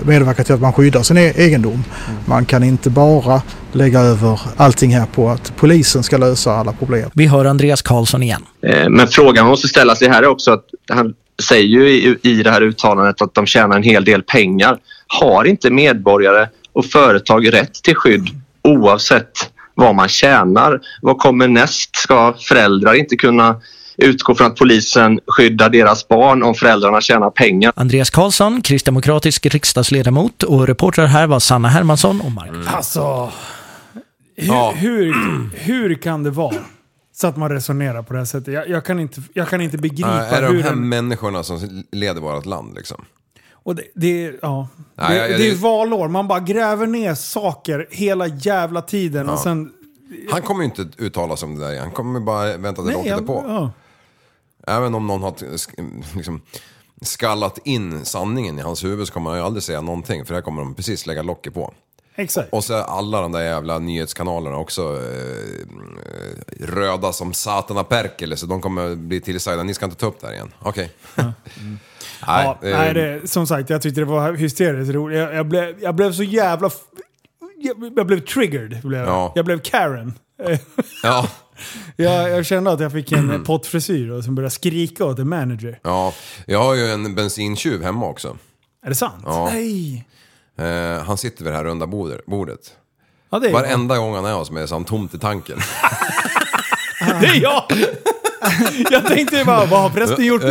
Speaker 9: medverka till att man skyddar sin e- egendom. Man kan inte bara lägga över allting här på att polisen ska lösa alla problem.
Speaker 10: Vi hör Andreas Karlsson igen.
Speaker 11: Eh, Men frågan man måste ställa sig här är också att han säger ju i, i det här uttalandet att de tjänar en hel del pengar. Har inte medborgare och företag rätt till skydd oavsett vad man tjänar? Vad kommer näst? Ska föräldrar inte kunna utgå från att polisen skyddar deras barn om föräldrarna tjänar pengar?
Speaker 10: Andreas Karlsson, kristdemokratisk riksdagsledamot och reportrar här var Sanna Hermansson och Mark.
Speaker 5: Alltså, hur,
Speaker 10: Ja.
Speaker 5: hur, hur kan det vara så att man resonerar på det här sättet? Jag, jag, kan, inte, jag kan inte begripa
Speaker 7: Nej, eh, är det de
Speaker 5: hur...
Speaker 7: här
Speaker 5: en-
Speaker 7: människorna som leder vårt land liksom?
Speaker 5: Och det, det, är- ja.
Speaker 7: Nej,
Speaker 5: det,
Speaker 7: jag- jag-
Speaker 5: det är valår, man bara gräver ner saker hela jävla tiden
Speaker 7: Ja.
Speaker 5: och sen...
Speaker 7: Han kommer ju inte uttala sig om det där Han kommer bara vänta till långt
Speaker 5: jag-
Speaker 7: efter på.
Speaker 5: ja.
Speaker 7: Även om någon har t- sk- liksom, skallat in sanningen i hans huvud så kommer han ju aldrig säga någonting för där kommer de precis lägga locket på.
Speaker 5: Exakt.
Speaker 7: Och så är alla de där jävla nyhetskanalerna också eh, röda som satana perkele så de kommer bli tillsagda, ni ska inte ta upp det här igen. Okej. nej,
Speaker 5: Ja,
Speaker 7: eh,
Speaker 5: nej, det, som sagt, jag tyckte det var hysteriskt roligt. Jag, jag, blev, jag blev så jävla... f- Jag, jag blev triggered. Blev, jag.
Speaker 7: Ja.
Speaker 5: jag blev Karen.
Speaker 7: ja.
Speaker 5: jag, jag kände att jag fick
Speaker 7: Mm.
Speaker 5: en pottfrisyr och sen började skrika åt en manager.
Speaker 7: Ja, jag har ju en bensintjuv hemma också.
Speaker 5: Är det sant?
Speaker 7: Ja.
Speaker 5: Nej!
Speaker 7: Eh, han sitter vid det här runda bordet- bordet.
Speaker 5: Ja, det är
Speaker 7: Varenda gång han är hos mig så är han tomt i tanken.
Speaker 5: Det är jag! Jag tänkte ju bara, vad har prästen gjort nu?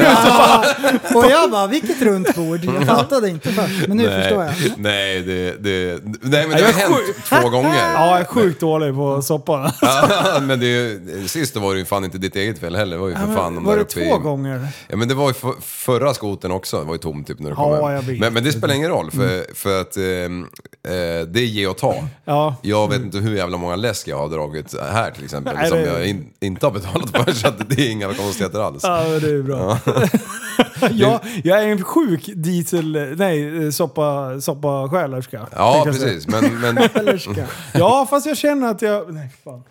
Speaker 6: Och jag bara, vilket runt bord? Jag fattade inte först, men nu förstår jag.
Speaker 7: Nej, det, det, nej
Speaker 5: Jag
Speaker 7: men det
Speaker 5: är
Speaker 7: har hänt
Speaker 5: sjuk.
Speaker 7: två gånger.
Speaker 5: Ja, jag är sjukt dålig på soppa.
Speaker 7: Ja, men det, är ju- sist var det ju fan inte ditt eget fel heller. Det var ju för fan de
Speaker 5: Var
Speaker 7: där
Speaker 5: det
Speaker 7: uppe i-
Speaker 5: två gånger?
Speaker 7: Ja men det var ju för, förra skoten också, det var ju tom typ när du kom
Speaker 5: Ja,
Speaker 7: hem.
Speaker 5: jag vet. Mm.
Speaker 7: Men, men det spelar ingen roll för, för att ehm, eh, det är ge och ta.
Speaker 5: Ja.
Speaker 7: Jag vet inte hur jävla många läsk jag har dragit här till exempel
Speaker 5: Mm. Nej,
Speaker 7: som
Speaker 5: det-
Speaker 7: jag in, inte har betalat för så att det är inga konstigheter alls.
Speaker 5: Ja, men det är bra. jag, jag är en sjuk diesel... Nej, soppa, soppa själerska.
Speaker 7: Ja precis, men, men,
Speaker 6: Mm.
Speaker 5: Ja, fast jag känner att jag... Nej, fan.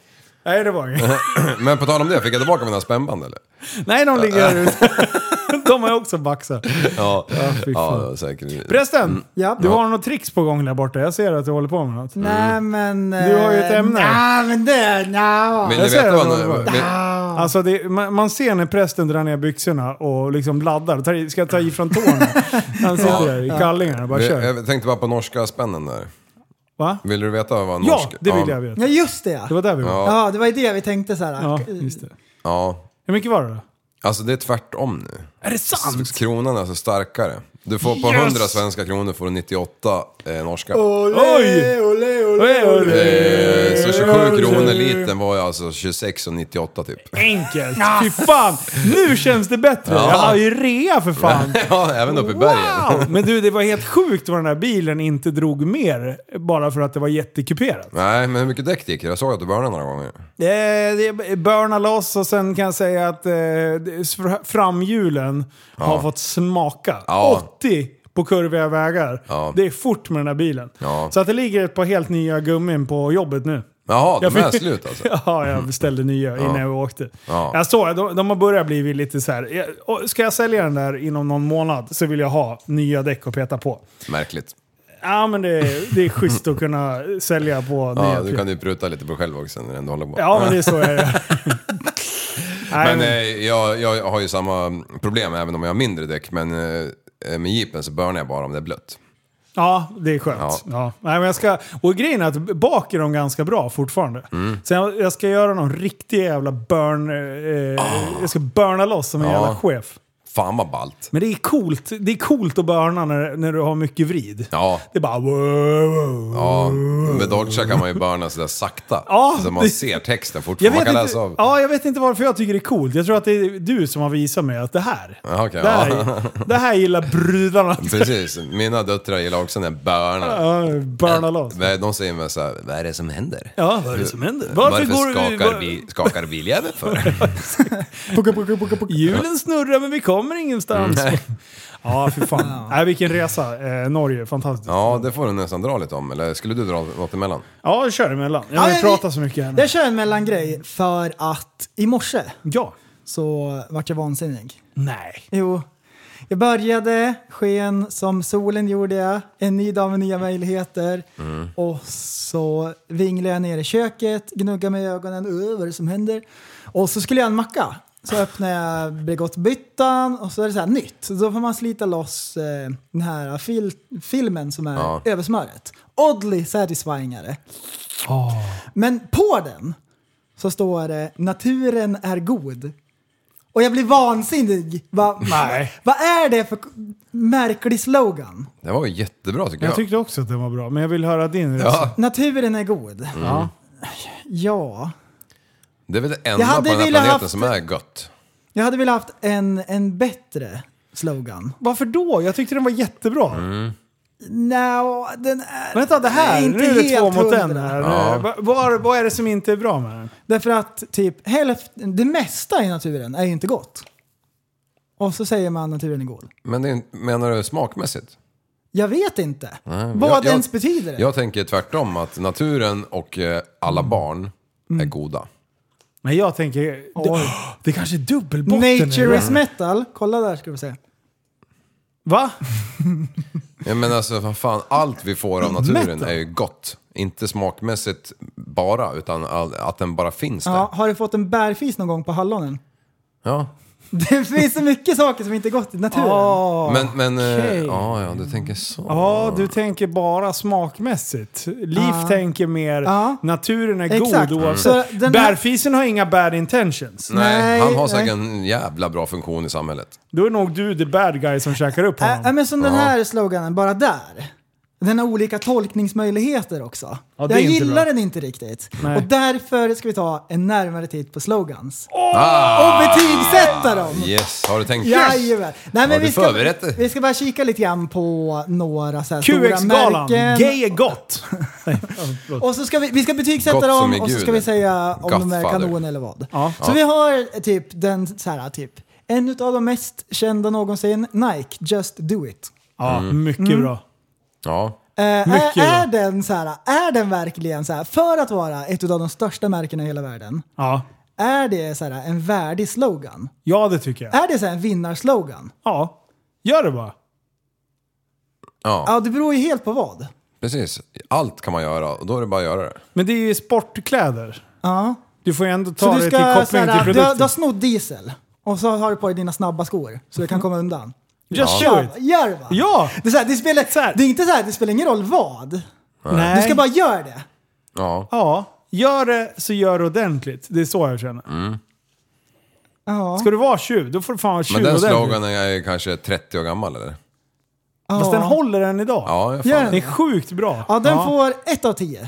Speaker 5: Nej, det var inget.
Speaker 7: men på tal om det, fick jag tillbaka mina spännband eller?
Speaker 5: Nej, de ligger här ute. De har också baxat.
Speaker 7: Ja, ja, Mm.
Speaker 5: fy fan.
Speaker 7: säkert.
Speaker 5: Prästen,
Speaker 6: Ja.
Speaker 5: du har något tricks på gång där borta. Jag ser att du håller på med något.
Speaker 6: Nej men... eh,
Speaker 5: Du har ju ett ämne.
Speaker 6: Nej men det... nja.
Speaker 7: Vill ni
Speaker 5: Jag ser
Speaker 7: veta
Speaker 5: det,
Speaker 7: vad
Speaker 5: det var
Speaker 7: nu?
Speaker 5: bra.
Speaker 7: Vill,
Speaker 5: Alltså det, man, man ser när prästen drar ner byxorna och liksom laddar. Tar, i- ska ta i från tårna. Han sitter där i kallingarna och bara
Speaker 7: vill,
Speaker 5: kör.
Speaker 7: jag tänkte bara på norska spännen där.
Speaker 5: Va?
Speaker 7: Vill du veta vad norsk...
Speaker 5: Ja, det vill jag veta.
Speaker 6: Ja just det
Speaker 5: Det
Speaker 6: ja.
Speaker 5: var där vi var.
Speaker 6: Ja, det var ju det vi tänkte så här.
Speaker 5: Ja, just det.
Speaker 7: Ja,
Speaker 5: Hur mycket var det då?
Speaker 7: alltså det är tvärtom nu.
Speaker 5: Är det sant?
Speaker 7: Så Kronan är alltså starkare. Du får på 100 svenska kronor får du 98 eh, norska.
Speaker 5: Oj! Olé, olé,
Speaker 7: Eh, så 27 kronor litern var ju alltså 26,98 typ.
Speaker 5: Enkelt! Fy fan! Nu känns det bättre! Jag har ju rea för fan!
Speaker 7: ja, även uppe i bergen.
Speaker 5: Wow! Men du, det var helt sjukt vad den här bilen inte drog mer bara för att det var jättekuperat.
Speaker 7: Nej, men hur mycket däck det gick Jag såg att du burnade några
Speaker 5: Eh,
Speaker 7: gånger.
Speaker 5: det burna loss och sen kan jag säga att eh, fr- framhjulen har fått smaka.
Speaker 7: Ja.
Speaker 5: 80 på kurviga vägar.
Speaker 7: Ja.
Speaker 5: Det är fort med den här bilen.
Speaker 7: Ja.
Speaker 5: Så att det ligger ett par helt nya gummin på jobbet nu.
Speaker 7: Jaha, de
Speaker 5: Jag
Speaker 7: är
Speaker 5: fick-
Speaker 7: slut alltså?
Speaker 5: Ja, jag beställde nya innan jag åkte.
Speaker 7: Ja.
Speaker 5: Jag såg, de, de har börjat bli lite så här. eh, och Ska jag sälja den där inom någon månad så vill jag ha nya däck att peta på.
Speaker 7: Märkligt.
Speaker 5: Ja, men det, är- det är schysst att kunna sälja på nya.
Speaker 7: Ja, du kan ju pruta lite på själv också när du ändå håller på.
Speaker 5: ja men det är så jag gör. Nej,
Speaker 7: Men eh, jag, jag har ju samma problem även om jag har mindre däck. Men eh, med jeepen så burnar jag bara om det är blött.
Speaker 5: Ja, det är skönt. Ja.
Speaker 7: Ja.
Speaker 5: Nej, men jag ska, och grejen är att bak är de ganska bra fortfarande.
Speaker 7: Mm.
Speaker 5: Så jag, jag ska göra någon riktig jävla burn... Eh, Jag ska burna loss som en
Speaker 7: Ah. Ja.
Speaker 5: jävla chef.
Speaker 7: Fan vad ballt.
Speaker 5: Men det är coolt, det är coolt att burna när, när du har mycket vrid.
Speaker 7: Ja,
Speaker 5: Det är bara... Wow.
Speaker 7: Ja, med Dolce kan man ju burna sådär sakta.
Speaker 5: Ja,
Speaker 7: så man
Speaker 5: det-
Speaker 7: ser texten fortfarande.
Speaker 5: Jag
Speaker 7: Man
Speaker 5: vet,
Speaker 7: kan läsa
Speaker 5: inte,
Speaker 7: av.
Speaker 5: ja, jag vet inte varför jag tycker det är coolt. Jag tror att det är du som har visat mig att det här,
Speaker 7: Ja, okej,
Speaker 5: det, här
Speaker 7: ja.
Speaker 5: det här gillar brudarna.
Speaker 7: Precis, mina döttrar gillar också den här burna.
Speaker 5: Ja, Burna loss.
Speaker 7: De säger väl såhär, vad är det som händer?
Speaker 5: Ja, vad är det som händer?
Speaker 7: Varför,
Speaker 5: går-
Speaker 7: skakar,
Speaker 5: var-
Speaker 7: vi, skakar biljäveln för?
Speaker 5: Hjulen snurrar men vi kommer ingenstans. Ja, fy fan. Nej, vilken resa. Eh, Norge, fantastiskt. Ja,
Speaker 7: Ja, det får du nästan dra lite om. Eller skulle du dra något emellan?
Speaker 5: jag kör emellan. Jag vill
Speaker 6: Ja,
Speaker 5: prata
Speaker 6: vi-
Speaker 5: så mycket här nu.
Speaker 6: Jag kör en mellangrej för att i morse
Speaker 5: Ja.
Speaker 6: så vart jag vansinnig.
Speaker 5: Nej.
Speaker 6: Jo. Jag började, sken som solen gjorde jag, en ny dag med nya möjligheter. Och så vinglade jag ner i köket, gnuggade med ögonen, öh, vad är det som händer? Och så skulle jag ha en macka. Så öppnar jag Bregottbyttan och så är det så här nytt. Så då får man slita loss eh, den här fil filmen som är
Speaker 7: Ja.
Speaker 6: över smöret. Oddly satisfying är det. Men på den så står det “Naturen är god”. Och jag blir vansinnig. Va,
Speaker 5: Nej.
Speaker 6: Vad är det för k- märklig slogan?
Speaker 7: Det var ju jättebra tycker jag.
Speaker 5: Jag tyckte också att den var bra, men jag vill höra din resa.
Speaker 7: Ja,
Speaker 6: Naturen är god.
Speaker 5: Mm. Ja.
Speaker 6: Ja.
Speaker 7: det är väl det
Speaker 6: Jag
Speaker 7: enda på
Speaker 6: hade
Speaker 7: den här
Speaker 6: velat
Speaker 7: planeten
Speaker 6: haft-
Speaker 7: som är gött.
Speaker 6: Jag hade velat haft en, en bättre slogan.
Speaker 5: Varför då? Jag tyckte den var jättebra.
Speaker 7: Mm.
Speaker 6: No, den är
Speaker 5: Vänta, det här.
Speaker 6: inte
Speaker 5: nu är det
Speaker 6: helt
Speaker 5: två mot en
Speaker 6: hundra.
Speaker 5: här. Eh,
Speaker 7: Ja.
Speaker 5: Va- Vad, vad är det som inte är bra med den?
Speaker 6: Därför att typ hälften, det mesta i naturen är ju inte gott. Och så säger man naturen är god.
Speaker 7: Men det är, inte- menar du smakmässigt?
Speaker 6: Jag vet inte.
Speaker 7: Nej,
Speaker 6: Vad
Speaker 7: jag- jag-
Speaker 6: ens betyder det?
Speaker 7: Jag tänker tvärtom att naturen och eh, alla barn
Speaker 5: Mm.
Speaker 7: är goda.
Speaker 5: Men jag tänker... Det, det kanske är dubbelbotten. i
Speaker 6: Nature
Speaker 5: det.
Speaker 6: is metal. Kolla där ska vi se.
Speaker 5: Va?
Speaker 7: Ja, men alltså vad fan, allt vi får av naturen
Speaker 5: Metal.
Speaker 7: är ju gott. Inte smakmässigt bara, utan all, att den bara finns där.
Speaker 6: Ja,
Speaker 7: Ja.
Speaker 6: har du fått en bärfis någon gång på hallonen? Det finns så mycket saker som inte är gott i naturen.
Speaker 7: Men, men, eh,
Speaker 5: okej.
Speaker 7: ja, ja, du tänker så.
Speaker 5: Ja, du tänker bara smakmässigt. Liv
Speaker 6: Ja.
Speaker 5: tänker mer
Speaker 6: Ja.
Speaker 5: naturen är
Speaker 6: Exakt.
Speaker 5: god
Speaker 6: Mm.
Speaker 5: oavsett.
Speaker 6: Så den här-
Speaker 5: Bärfisen har inga bad intentions.
Speaker 7: Nej,
Speaker 6: Nej,
Speaker 7: han har säkert
Speaker 6: nej.
Speaker 7: en jävla bra funktion i samhället.
Speaker 5: Då är nog du the bad guy som käkar upp
Speaker 6: Äh, äh,
Speaker 5: honom.
Speaker 6: men som den här sloganen, bara där. Den har olika tolkningsmöjligheter också.
Speaker 5: Ja, det är
Speaker 6: jag
Speaker 5: inte
Speaker 6: gillar
Speaker 5: bra.
Speaker 6: den inte riktigt.
Speaker 5: Nej.
Speaker 6: Och därför ska vi ta en närmare titt på slogans.
Speaker 7: Ah,
Speaker 6: Och betygsätta dem!
Speaker 7: yes, har du tänkt?
Speaker 6: Jajamän! Nej,
Speaker 7: Har
Speaker 6: men
Speaker 7: du
Speaker 6: vi, ska,
Speaker 7: förberett dig?
Speaker 6: vi ska bara kika lite grann på några så här stora
Speaker 5: QX-galan.
Speaker 6: märken.
Speaker 5: Gay är gott. Nej, ja, förlåt.
Speaker 6: Och så ska vi, vi ska betygsätta
Speaker 7: Gott som
Speaker 6: dem
Speaker 7: i
Speaker 6: och så
Speaker 7: Gud.
Speaker 6: ska vi säga om de är
Speaker 7: Godfather.
Speaker 6: kanon eller vad.
Speaker 5: Ja.
Speaker 6: Så vi har typ den så här typ. En av de mest kända någonsin, Nike, Just Do It.
Speaker 5: ja,
Speaker 7: Mm.
Speaker 5: mycket
Speaker 6: Mm.
Speaker 5: bra.
Speaker 7: Ja.
Speaker 6: Eh,
Speaker 5: Mycket
Speaker 6: är,
Speaker 5: bra.
Speaker 6: är, den så här, är den verkligen så här, för att vara ett av de största märkena i hela världen,
Speaker 5: Ja.
Speaker 6: är det så här, en värdig slogan?
Speaker 5: ja, det tycker jag.
Speaker 6: Är det så här, en vinnarslogan?
Speaker 5: Ja, gör det bara.
Speaker 7: ja,
Speaker 6: Ja, det beror ju helt på vad.
Speaker 7: precis. Allt kan man göra och då är det bara att göra det.
Speaker 5: Men det är ju sportkläder.
Speaker 6: Ja.
Speaker 5: Du får ju ändå
Speaker 6: Så
Speaker 5: ta
Speaker 6: du
Speaker 5: det
Speaker 6: ska,
Speaker 5: till
Speaker 6: så
Speaker 5: koppling till
Speaker 6: här, du, har-
Speaker 5: produkten.
Speaker 6: du har snott diesel och så har du på dig dina snabba skor så du kan komma undan.
Speaker 5: Just
Speaker 6: Gör,
Speaker 5: do it.
Speaker 6: gör det va?
Speaker 5: Ja!
Speaker 6: Det, är så här, det, spelar,
Speaker 5: Så här.
Speaker 6: det är inte så här, det spelar ingen roll vad.
Speaker 5: Nej.
Speaker 6: Du ska bara göra det.
Speaker 7: Ja.
Speaker 5: Ja, gör det så gör det ordentligt. Det är så jag känner.
Speaker 7: Mm.
Speaker 6: Ja.
Speaker 5: Ska du vara tjuv, då får du fan vara tjuv
Speaker 7: Men den
Speaker 5: ordentligt.
Speaker 7: sloganen är ju kanske 30 år gammal eller?
Speaker 5: Fast den håller än idag.
Speaker 7: Ja, jag
Speaker 6: Gör
Speaker 7: fan.
Speaker 5: Den är sjukt bra.
Speaker 6: Ja, den får ett av tio.
Speaker 5: Eh.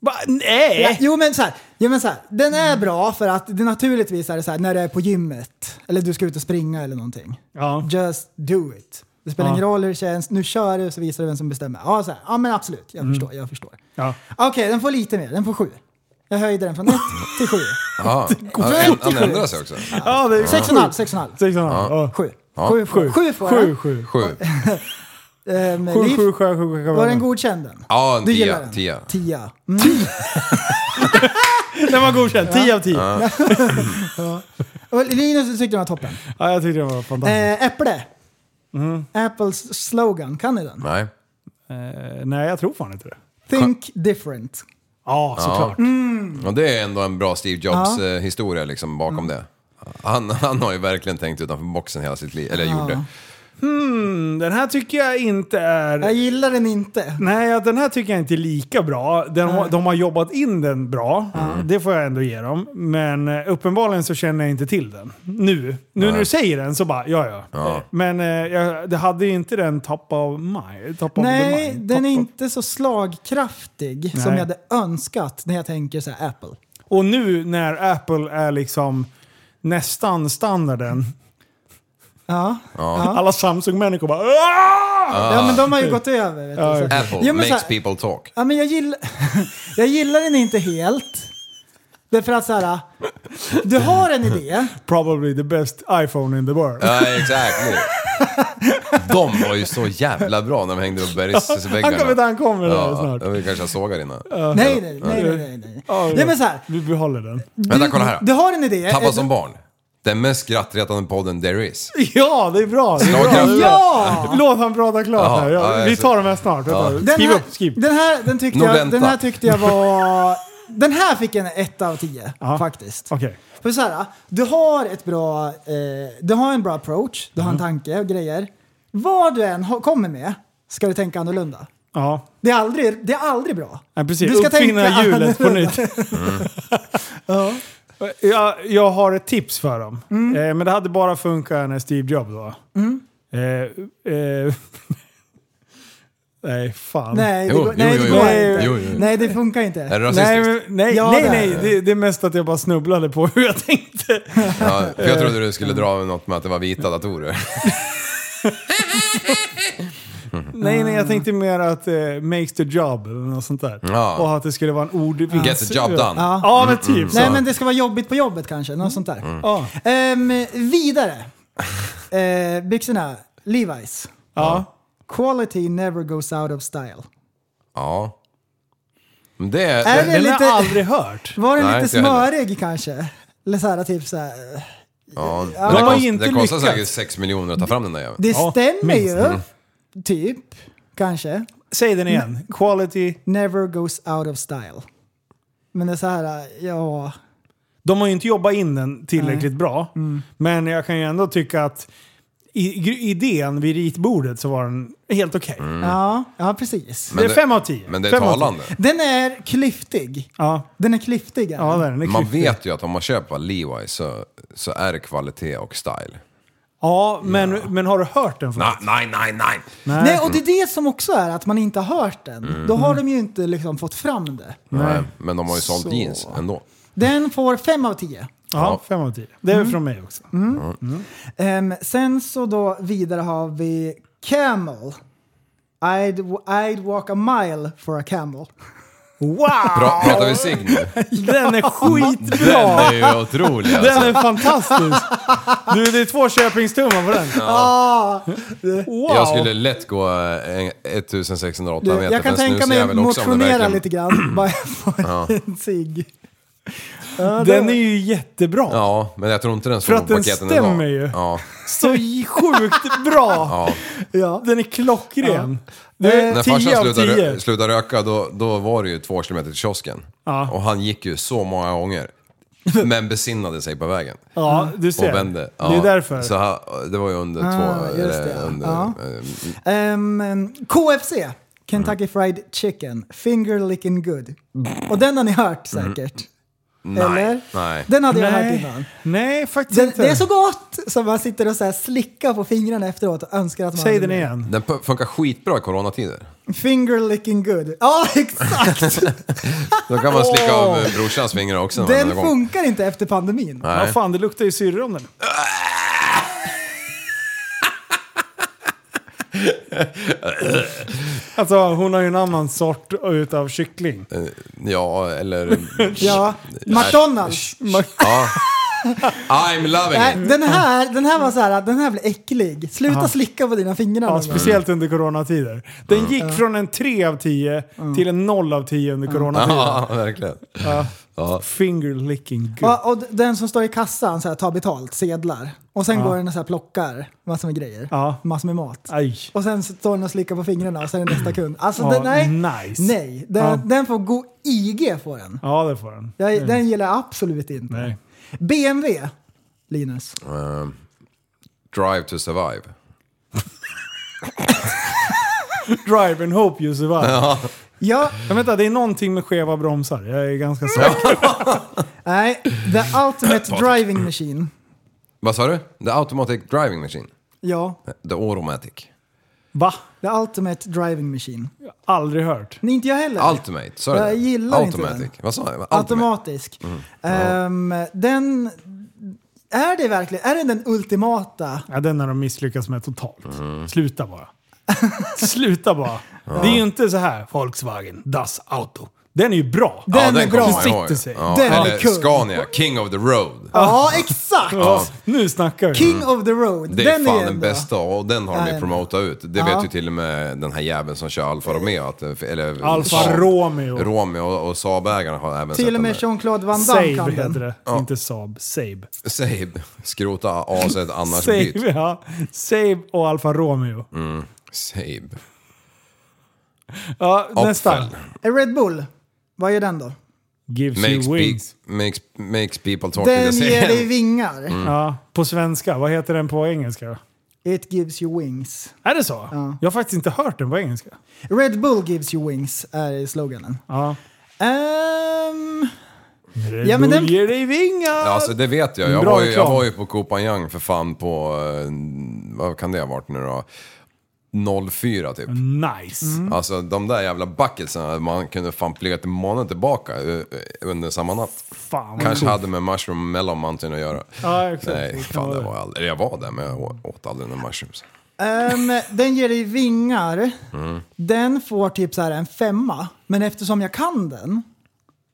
Speaker 5: Va?
Speaker 6: Ja,
Speaker 5: Nej!
Speaker 6: jo men så här, jo, men så här, den är bra för att det naturligtvis är det så här när du är på gymmet eller du ska ut och springa eller någonting.
Speaker 5: Ja.
Speaker 6: Just do it. Det spelar
Speaker 5: Ja.
Speaker 6: ingen roll hur det känns, nu kör du och så visar du vem som bestämmer. Ja, så här, ja men absolut,
Speaker 5: Mm.
Speaker 6: jag förstår, jag förstår.
Speaker 5: Ja.
Speaker 6: Okej, den får lite mer, den får sju. Jag höjde den från ett till sju.
Speaker 7: Ja. Han, han, han ändrar sig också.
Speaker 5: ja, det är
Speaker 6: Sex och en halv, sex och en halv.
Speaker 5: Sex och en halv. Ja.
Speaker 6: Sju.
Speaker 7: Ja.
Speaker 6: Sju, sju. Sju får
Speaker 5: Sju,
Speaker 6: den.
Speaker 5: sju.
Speaker 7: Sju.
Speaker 6: Ehm,
Speaker 5: Sju,
Speaker 6: Liv,
Speaker 5: sju, sju, sju, sju.
Speaker 6: Var den godkänd den?
Speaker 7: Ja, en
Speaker 6: Du
Speaker 7: tia,
Speaker 6: gillar den?
Speaker 7: tia.
Speaker 6: Tia. Mm.
Speaker 5: Den var godkänd. 10 av 10. Ja.
Speaker 6: Och Linus du tyckte den var toppen.
Speaker 5: jag tyckte den var fantastisk.
Speaker 6: Eh, äpple.
Speaker 7: Mm.
Speaker 6: Apples slogan, kan ni den?
Speaker 7: Nej.
Speaker 5: Eh, nej, jag tror fan inte det.
Speaker 6: Think different.
Speaker 5: Ja, såklart.
Speaker 7: Och det är ändå en bra Steve Jobs-historia liksom bakom
Speaker 5: Mm.
Speaker 7: det. Han, han har ju verkligen tänkt utanför boxen hela sitt liv, eller gjorde.
Speaker 5: Mm, den här tycker jag inte
Speaker 6: Jag
Speaker 5: är...
Speaker 6: gillar den inte.
Speaker 5: Nej, ja, den här tycker jag inte är lika bra. Den, har- De har jobbat in den bra. Det får jag ändå ge dem. Men eh, uppenbarligen så känner jag inte till den. Nu. Nu när du säger den så bara, ja ja.
Speaker 7: Ja.
Speaker 5: Men eh, jag, det hade ju inte den top of mind. Top of the
Speaker 6: Nej,
Speaker 5: mind.
Speaker 6: den är
Speaker 5: Top of-
Speaker 6: inte så slagkraftig som
Speaker 5: Nej.
Speaker 6: jag hade önskat när jag tänker så här Apple.
Speaker 5: Och nu när Apple är liksom nästan standarden.
Speaker 6: Ja,
Speaker 5: Alla Samsung-människor bara "Aah!"
Speaker 6: ja men de har ju gått över. Vet du, så.
Speaker 7: Apple
Speaker 6: Jo, men så
Speaker 7: Ah. makes
Speaker 6: här-
Speaker 7: people talk.
Speaker 6: Ja, men jag, gill... jag gillar den inte helt. Därför att så här, du har en idé.
Speaker 5: Probably the best iPhone in the world.
Speaker 7: Ja, exakt. De var ju så jävla bra när de hängde upp bergsväggarna.
Speaker 5: Han kommer- han kommer där snart.
Speaker 7: Vi kanske jag sågar innan.
Speaker 6: Nej, nej, nej, nej, nej. nej.
Speaker 5: Ja,
Speaker 6: Ja, men så här,
Speaker 5: Vi behåller den.
Speaker 7: Vänta, Ah, kolla här.
Speaker 6: du har en idé. Eh,
Speaker 7: Tappa som barn. Den mest skrattretande podden there is.
Speaker 5: Ja, det är bra. Det är bra.
Speaker 7: Slagkraft.
Speaker 6: Ja!
Speaker 5: Låt han prata klart
Speaker 7: Jaha,
Speaker 5: här. Ja,
Speaker 7: ja, jag
Speaker 5: vi
Speaker 7: ser.
Speaker 5: tar de här snart. Vänta.
Speaker 6: Den
Speaker 5: Skriv
Speaker 6: här,
Speaker 5: upp, skriv.
Speaker 6: Den här, den tyckte
Speaker 7: Nog
Speaker 6: jag,
Speaker 7: vänta.
Speaker 6: den här tyckte jag var den här fick en 1 av 10 faktiskt.
Speaker 5: Okej.
Speaker 6: För så här, du har ett bra, eh, du har en bra approach, du har
Speaker 5: Mm.
Speaker 6: en tanke och grejer. Vad du än ha- kommer med ska du tänka annorlunda.
Speaker 5: Ja.
Speaker 6: Det är aldrig, det är aldrig bra.
Speaker 5: Ja, precis.
Speaker 6: Du ska
Speaker 5: Uppfinna
Speaker 6: tänka
Speaker 5: hjulet på
Speaker 6: annorlunda.
Speaker 5: nytt. Jag, jag har ett tips för dem. Eh, men det hade bara funkat när Steve Jobs var. Eh, eh, nej, fan.
Speaker 6: Nej, det,
Speaker 7: Jo,
Speaker 6: går,
Speaker 7: jo,
Speaker 6: nej,
Speaker 7: jo,
Speaker 6: det
Speaker 7: jo.
Speaker 6: går
Speaker 7: Nej.
Speaker 6: inte.
Speaker 7: Jo, jo, jo.
Speaker 6: Nej, det funkar
Speaker 7: Är
Speaker 6: inte.
Speaker 7: det rasistiskt?
Speaker 5: Nej, men- nej,
Speaker 6: Ja,
Speaker 5: nej,
Speaker 6: det är
Speaker 5: nej.
Speaker 6: det.
Speaker 5: Det, det är mest att jag bara snubblade på hur jag tänkte.
Speaker 7: Ja, för jag trodde du skulle dra något med att det var vita datorer.
Speaker 5: Nej, nej, jag
Speaker 6: Ah.
Speaker 5: tänkte mer att eh, makes the job eller något sånt där.
Speaker 7: Ja.
Speaker 5: Och att det skulle vara en ordvits.
Speaker 7: Get the job done.
Speaker 6: Ja.
Speaker 5: Ja, men typ så.
Speaker 6: Mm, Nej, men det ska vara jobbigt på jobbet kanske.
Speaker 5: Mm.
Speaker 6: Något sånt där.
Speaker 7: Mm.
Speaker 5: Ja.
Speaker 6: Ehm, vidare. Eh, byxorna. Levi's.
Speaker 5: Ja.
Speaker 6: Quality never goes out of style.
Speaker 7: Ja. Men det är...
Speaker 6: Är
Speaker 7: det-
Speaker 6: det
Speaker 5: Den har
Speaker 6: lite-
Speaker 5: jag aldrig hört.
Speaker 6: Var den
Speaker 7: Nej,
Speaker 6: lite
Speaker 7: inte jag heller.
Speaker 6: smörig kanske? Eller så här, typ så här.
Speaker 7: Ja, men
Speaker 6: var
Speaker 7: det, kost,
Speaker 5: inte
Speaker 7: det kostar
Speaker 5: lyckat.
Speaker 7: säkert 6 miljoner att ta fram den där jäveln.
Speaker 6: Det
Speaker 5: Ja,
Speaker 6: stämmer
Speaker 5: minst.
Speaker 6: ju. Typ. Kanske.
Speaker 5: Säg den igen. Quality.
Speaker 6: Never goes out of style. Men det är så här, ja.
Speaker 5: De har ju inte jobbat in den tillräckligt bra.
Speaker 6: Mm.
Speaker 5: Men jag kan ju ändå tycka att i, gr- idén vid ritbordet så var den helt okej.
Speaker 6: Ja, ja precis.
Speaker 5: Det är
Speaker 7: det-
Speaker 5: fem av tio.
Speaker 7: Mm. Men det är
Speaker 5: Fem av tio.
Speaker 7: talande.
Speaker 6: Den är klyftig.
Speaker 5: Ja,
Speaker 6: Den är klyftig. är
Speaker 5: ja
Speaker 6: den.
Speaker 5: där, den är
Speaker 7: Man
Speaker 5: klyftig.
Speaker 7: vet ju att om man köper Levi så, så är det kvalitet och style.
Speaker 5: Ja, men, men har du hört den?
Speaker 7: Nej, nej, nej, nej!
Speaker 5: Nej. Mm.
Speaker 6: Nej, och det är det som också är att man inte har hört den. Då har de ju inte liksom fått fram det.
Speaker 7: nej. Men de har ju sålt jeans ändå.
Speaker 6: Den får 5 av 10.
Speaker 5: Ja, fem av tio. Det är
Speaker 6: Mm.
Speaker 5: väl från mig också.
Speaker 6: Ehm, sen så då vidare har vi Camel. I'd, I'd walk a mile for a camel.
Speaker 7: Pra, pratar vi Sig nu?
Speaker 5: Den
Speaker 6: Mm.
Speaker 5: är
Speaker 7: Den
Speaker 5: skitbra!
Speaker 7: är ju otrolig
Speaker 5: Den
Speaker 7: alltså.
Speaker 5: är fantastisk! Du, det är två Köpingstummar på den. Wow!
Speaker 7: Jag skulle lätt gå eh, en- 1608
Speaker 6: Du,
Speaker 7: meter
Speaker 6: jag kan
Speaker 7: för en
Speaker 6: tänka mig
Speaker 7: snusjävel också om det
Speaker 6: motionera
Speaker 7: verkligen...
Speaker 6: lite grann. Bara jag får en cigg.
Speaker 5: Den är ju jättebra.
Speaker 7: Ja, men jag tror inte den
Speaker 5: För
Speaker 7: slog
Speaker 5: att den
Speaker 7: paketen
Speaker 5: stämmer
Speaker 7: idag.
Speaker 5: ju.
Speaker 7: Ja.
Speaker 5: Så sjukt bra!
Speaker 7: Ja.
Speaker 6: Ja.
Speaker 5: Den är klockren. Det
Speaker 7: När
Speaker 5: är 10
Speaker 7: farsan
Speaker 5: av
Speaker 7: slutade,
Speaker 5: 10.
Speaker 7: rö- slutade röka då, då var det ju två kilometer till kiosken.
Speaker 5: Ja.
Speaker 7: Och han gick ju så många gånger. Men besinnade sig på vägen.
Speaker 5: Ja, du
Speaker 7: Och
Speaker 5: ser.
Speaker 7: vände. Ja.
Speaker 5: Det är därför.
Speaker 7: Så han, det var ju under två...
Speaker 6: Ah, just
Speaker 7: eller
Speaker 6: det.
Speaker 7: Under,
Speaker 6: Ja.
Speaker 7: eh,
Speaker 6: Ehm, KFC.
Speaker 7: Mm.
Speaker 6: Kentucky Fried Chicken. Finger licking good. Och den har ni hört säkert. Eller?
Speaker 7: Mm. nej. nej.
Speaker 6: Den hade jag hört
Speaker 5: Nej,
Speaker 6: innan.
Speaker 5: nej faktiskt
Speaker 6: Den,
Speaker 5: inte.
Speaker 6: det är så gott som man sitter och så här slickar på fingrarna efteråt och önskar att man
Speaker 5: Säg
Speaker 6: hade
Speaker 5: den
Speaker 6: det.
Speaker 5: igen.
Speaker 7: Den pu- funkar skitbra i coronatider.
Speaker 6: Finger licking good. Ja, exakt!
Speaker 7: Då kan man slicka av eh, brorsans fingrar också. när man
Speaker 6: den
Speaker 7: är igång.
Speaker 6: funkar inte efter pandemin.
Speaker 5: Ja,
Speaker 7: Nej.
Speaker 5: fan, det luktar ju syrra om den.
Speaker 7: Eh,
Speaker 5: Alltså hon har ju en annan sort utav kyckling.
Speaker 7: Ja, eller...
Speaker 6: Ja, McDonalds.
Speaker 7: ja. I'm loving
Speaker 6: Nej,
Speaker 7: it.
Speaker 5: Mm.
Speaker 6: den, här, den här var så här, den här blir äcklig. Sluta slicka på dina fingrar.
Speaker 5: Ja,
Speaker 6: någon gång.
Speaker 5: speciellt under coronatider. Den gick från en 3 av 10 till en 0 av 10 under coronatiden.
Speaker 7: Ja, verkligen.
Speaker 5: Finger licking good.
Speaker 6: Ja, och d- den som står i kassan så här, tar betalt, sedlar. Och sen går den och så här, plockar massor med grejer.
Speaker 5: Ja.
Speaker 6: Massor med mat.
Speaker 5: Aj.
Speaker 6: Och sen så står den och slickar på fingrarna och sen är det nästa kund. Alltså
Speaker 5: Ja,
Speaker 6: den, nej.
Speaker 5: nice.
Speaker 6: Nej. Den,
Speaker 5: Ja.
Speaker 6: den får god IG får den.
Speaker 5: Ja, det får den.
Speaker 6: Jag, Den gillar jag absolut inte.
Speaker 5: Nej.
Speaker 6: BMW, Linus.
Speaker 7: Ehm, drive to survive.
Speaker 5: Drive and hope you survive.
Speaker 6: Ja,
Speaker 5: Men vänta, det är någonting med skeva bromsar. Jag är ganska säker.
Speaker 6: nej. The Ultimate Driving Machine.
Speaker 7: Vad sa du? The automatic driving machine.
Speaker 6: Ja,
Speaker 7: The automatic.
Speaker 5: Va?
Speaker 6: The Ultimate Driving Machine.
Speaker 5: Aldrig hört.
Speaker 6: Nej, inte jag heller.
Speaker 7: Ultimate, sa du
Speaker 6: Jag
Speaker 7: det?
Speaker 6: gillar inte
Speaker 7: automatic.
Speaker 6: den.
Speaker 7: Vad sa jag? Ultimate.
Speaker 6: Automatisk.
Speaker 7: Mm.
Speaker 6: Ehm, den... Är det verkligen är det den ultimata?
Speaker 5: Ja, den har de misslyckats med totalt.
Speaker 7: Mm.
Speaker 5: Sluta bara. Sluta bara. Det är ju inte så här Volkswagen, Das Auto. Den är ju bra.
Speaker 7: Ja,
Speaker 6: Den är
Speaker 7: kommer
Speaker 6: bra.
Speaker 7: man ihåg.
Speaker 5: Sitter sig.
Speaker 7: Ja,
Speaker 6: Den är
Speaker 7: eller
Speaker 6: kung.
Speaker 7: Scania, King of the Road.
Speaker 6: Ja, exakt!
Speaker 5: Ja. Nu snackar vi.
Speaker 6: King of the Road.
Speaker 7: Mm. Det är
Speaker 6: den
Speaker 7: fan
Speaker 6: är
Speaker 7: den
Speaker 6: ändå-
Speaker 7: bästa och den har de
Speaker 6: Ja, Eh,
Speaker 7: ju promotat ut. Det vet ju till och med den här jäveln som kör Alfa Romeo. Att, eh, eller,
Speaker 5: Alfa
Speaker 7: Saab.
Speaker 5: Romeo.
Speaker 7: Romeo och, och Saab-ägarna har även
Speaker 6: Till
Speaker 7: sett
Speaker 6: och med
Speaker 7: den. där.
Speaker 6: Jean-Claude Van Damme
Speaker 5: Saab
Speaker 6: kan den.
Speaker 5: heter det. Inte Saab. Saab.
Speaker 7: Save. Skrota aset annars byt.
Speaker 5: Saab, ja. Saab och Alfa Romeo.
Speaker 7: Mm. Save.
Speaker 5: Ja, nästa.
Speaker 7: Opfel.
Speaker 6: Eh, Red Bull, vad är den då?
Speaker 5: Gives
Speaker 7: Makes,
Speaker 5: you
Speaker 7: pe-
Speaker 5: wings.
Speaker 7: makes, makes people talk
Speaker 6: Den
Speaker 7: to
Speaker 6: ger dig vingar.
Speaker 7: Mm.
Speaker 5: Ja, på svenska. Vad heter den på engelska?
Speaker 6: It gives you wings.
Speaker 5: Är det så? Jag har faktiskt inte hört den på engelska.
Speaker 6: Mm. Red Bull gives you wings är sloganen.
Speaker 5: Ja.
Speaker 6: Ehm,
Speaker 5: Red
Speaker 6: Ja, men
Speaker 5: Bull
Speaker 6: den-
Speaker 5: ger dig vingar!
Speaker 7: Ja, alltså det vet jag. Jag
Speaker 5: Bra
Speaker 7: var, ju, jag
Speaker 5: reklam.
Speaker 7: var ju på Kopanjang för fan på, eh, vad kan det ha varit nu då? 04 typ.
Speaker 5: Nice.
Speaker 6: Mm.
Speaker 7: Alltså de där jävla bucketsarna, man kunde fan plugga till månaden tillbaka eh, eh, under samma natt.
Speaker 5: Fan vad
Speaker 7: Kanske
Speaker 5: coolt.
Speaker 7: hade med mushroom melon mountain att göra.
Speaker 5: Ja, exakt.
Speaker 7: Nej,
Speaker 5: Det kan
Speaker 7: fan
Speaker 5: vara
Speaker 7: det
Speaker 5: det.
Speaker 7: var jag aldrig. Jag var där men jag å- åt aldrig några mushrooms.
Speaker 6: ehm, den ger dig vingar. Den får typ så här en femma. Men eftersom jag kan den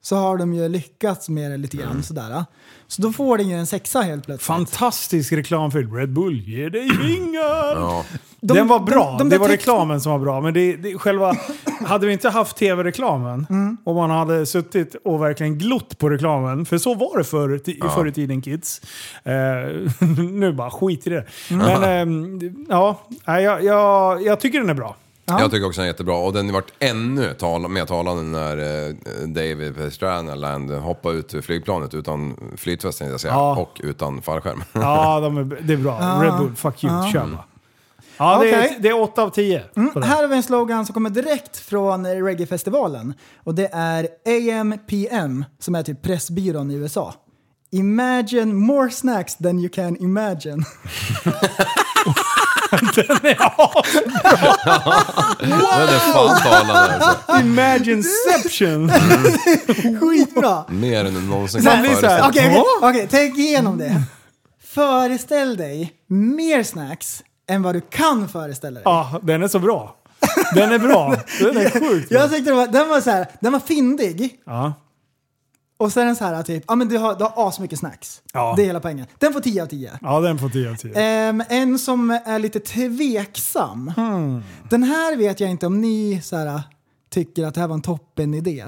Speaker 6: så har de ju lyckats med det lite grann sådär. Så då får den ju en sexa helt plötsligt.
Speaker 5: Fantastisk reklamfilm. Red Bull ger dig vingar!
Speaker 7: Ja.
Speaker 6: De-
Speaker 5: den var bra.
Speaker 6: de- de där
Speaker 5: det var
Speaker 6: text-
Speaker 5: reklamen som var bra. Men det, det, själva, hade vi inte haft tv-reklamen och man hade suttit och verkligen glott på reklamen. För så var det förr, ti- förr i tiden kids. Eh, nu bara skit i det. Men ehm, ja, nej, jag, jag, jag tycker den är bra.
Speaker 7: Jag tycker också den är jättebra och den vart ännu tal- mer talande när eh, David Pastranaland hoppade ut ur flygplanet utan flytväst tänkte jag säga,
Speaker 5: Ja.
Speaker 7: och utan fallskärm.
Speaker 5: Ja, de är, det är bra. Red Bull, fuck you. Kör bara. Ja, det,
Speaker 6: Okej. Mm.
Speaker 5: är, det är 8 av 10. på den.
Speaker 6: Här har vi en slogan som kommer direkt från reggaefestivalen. Och det är AMPM, som är typ Pressbyrån i USA. Imagine more snacks than you can imagine.
Speaker 7: Den är fan talande alltså.
Speaker 5: Imagineception!
Speaker 6: Skitbra!
Speaker 7: Mer än någonsin
Speaker 5: Sen blir det så här,
Speaker 6: Okej,
Speaker 7: föreställt.
Speaker 6: okej,
Speaker 5: Ja.
Speaker 6: okej, tänk igenom det. Föreställ dig mer snacks än vad du kan föreställa dig.
Speaker 5: ja, den är så bra. Den är bra. Den är sjukt bra.
Speaker 6: Jag tyckte den var, den var, så här, den var fyndig
Speaker 5: Ja.
Speaker 6: och så är den så här typ, ja men du har, du har asmycket snacks.
Speaker 5: Ja.
Speaker 6: Det är hela poängen. Den får 10 av 10.
Speaker 5: ja, den får 10 av 10.
Speaker 6: Ehm, en som är lite tveksam.
Speaker 5: Hmm.
Speaker 6: Den här vet jag inte om ni så här, tycker att det här var en toppen idé.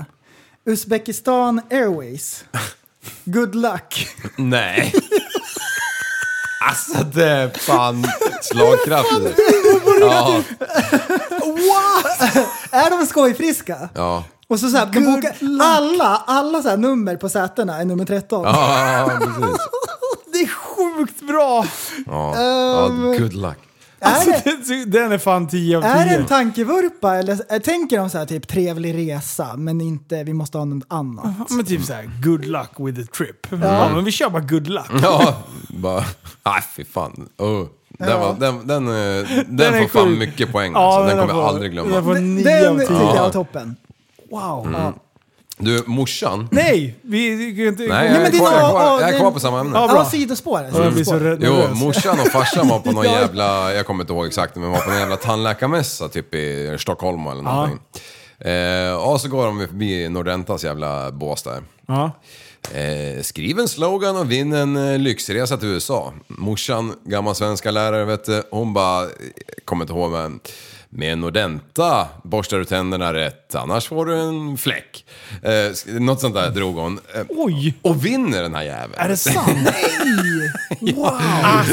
Speaker 6: Uzbekistan Airways. Good luck.
Speaker 7: Nej. Alltså det är fan slagkraft. Ja,
Speaker 6: är de skojfriska?
Speaker 7: ja.
Speaker 6: Och så, så här, de bokar alla, alla så här, nummer på sätena är nummer 13.
Speaker 7: Ja, precis.
Speaker 6: Det är sjukt bra!
Speaker 7: Ja. Ja,
Speaker 5: Ehm.
Speaker 7: good luck.
Speaker 5: Alltså,
Speaker 6: Är det,
Speaker 5: den, den är fan 10 av 10.
Speaker 6: är det en tankevurpa eller äh, tänker de så här typ trevlig resa men inte vi måste ha något annat?
Speaker 5: Ja, men typ såhär, good luck with the trip. Ja, men vi kör bara good luck.
Speaker 7: Ja, bara... Nej, fy fan. Oh. Den, var, den, den, eh, den,
Speaker 5: är
Speaker 7: får fan
Speaker 5: sjuk.
Speaker 7: mycket poäng.
Speaker 5: Ja,
Speaker 7: alltså. Den
Speaker 5: den
Speaker 7: kommer
Speaker 5: får-
Speaker 7: jag aldrig
Speaker 5: den
Speaker 7: glömma. Mm.
Speaker 5: får-
Speaker 6: Den
Speaker 5: nio
Speaker 6: tycker
Speaker 5: av tio.
Speaker 6: jag var
Speaker 7: Ja.
Speaker 6: toppen.
Speaker 5: Wow.
Speaker 7: Du, morsan.
Speaker 5: Nej, vi... vi kan inte,
Speaker 7: Nej, jag är
Speaker 6: men det är
Speaker 7: kvar, jag är
Speaker 6: någon-
Speaker 7: kvar, jag
Speaker 6: det
Speaker 7: är
Speaker 6: är
Speaker 7: kvar
Speaker 6: en-
Speaker 7: på samma ämne.
Speaker 5: Ja, bra.
Speaker 6: Ja, sidospåret.
Speaker 5: jag blir så rädd.
Speaker 7: Jo,
Speaker 5: nervös.
Speaker 7: morsan och farsan var på någon jävla, jag kommer inte ihåg exakt, men var på någon jävla tandläkarmässa typ i Stockholm eller någonting. Eh, och så går de förbi Nordentas jävla bås där.
Speaker 5: Ja.
Speaker 7: Eh, skriv en slogan och vinn en eh, lyxresa till USA. Morsan, gammal svenska lärare vet du, hon bara, eh, kommer inte ihåg men, med en Nordenta borstar du tänderna rätt, annars får du en fläck. Eh, sk- något sånt där drog hon. Eh,
Speaker 5: Oj!
Speaker 7: och vinner den här jäveln.
Speaker 5: Är det sant?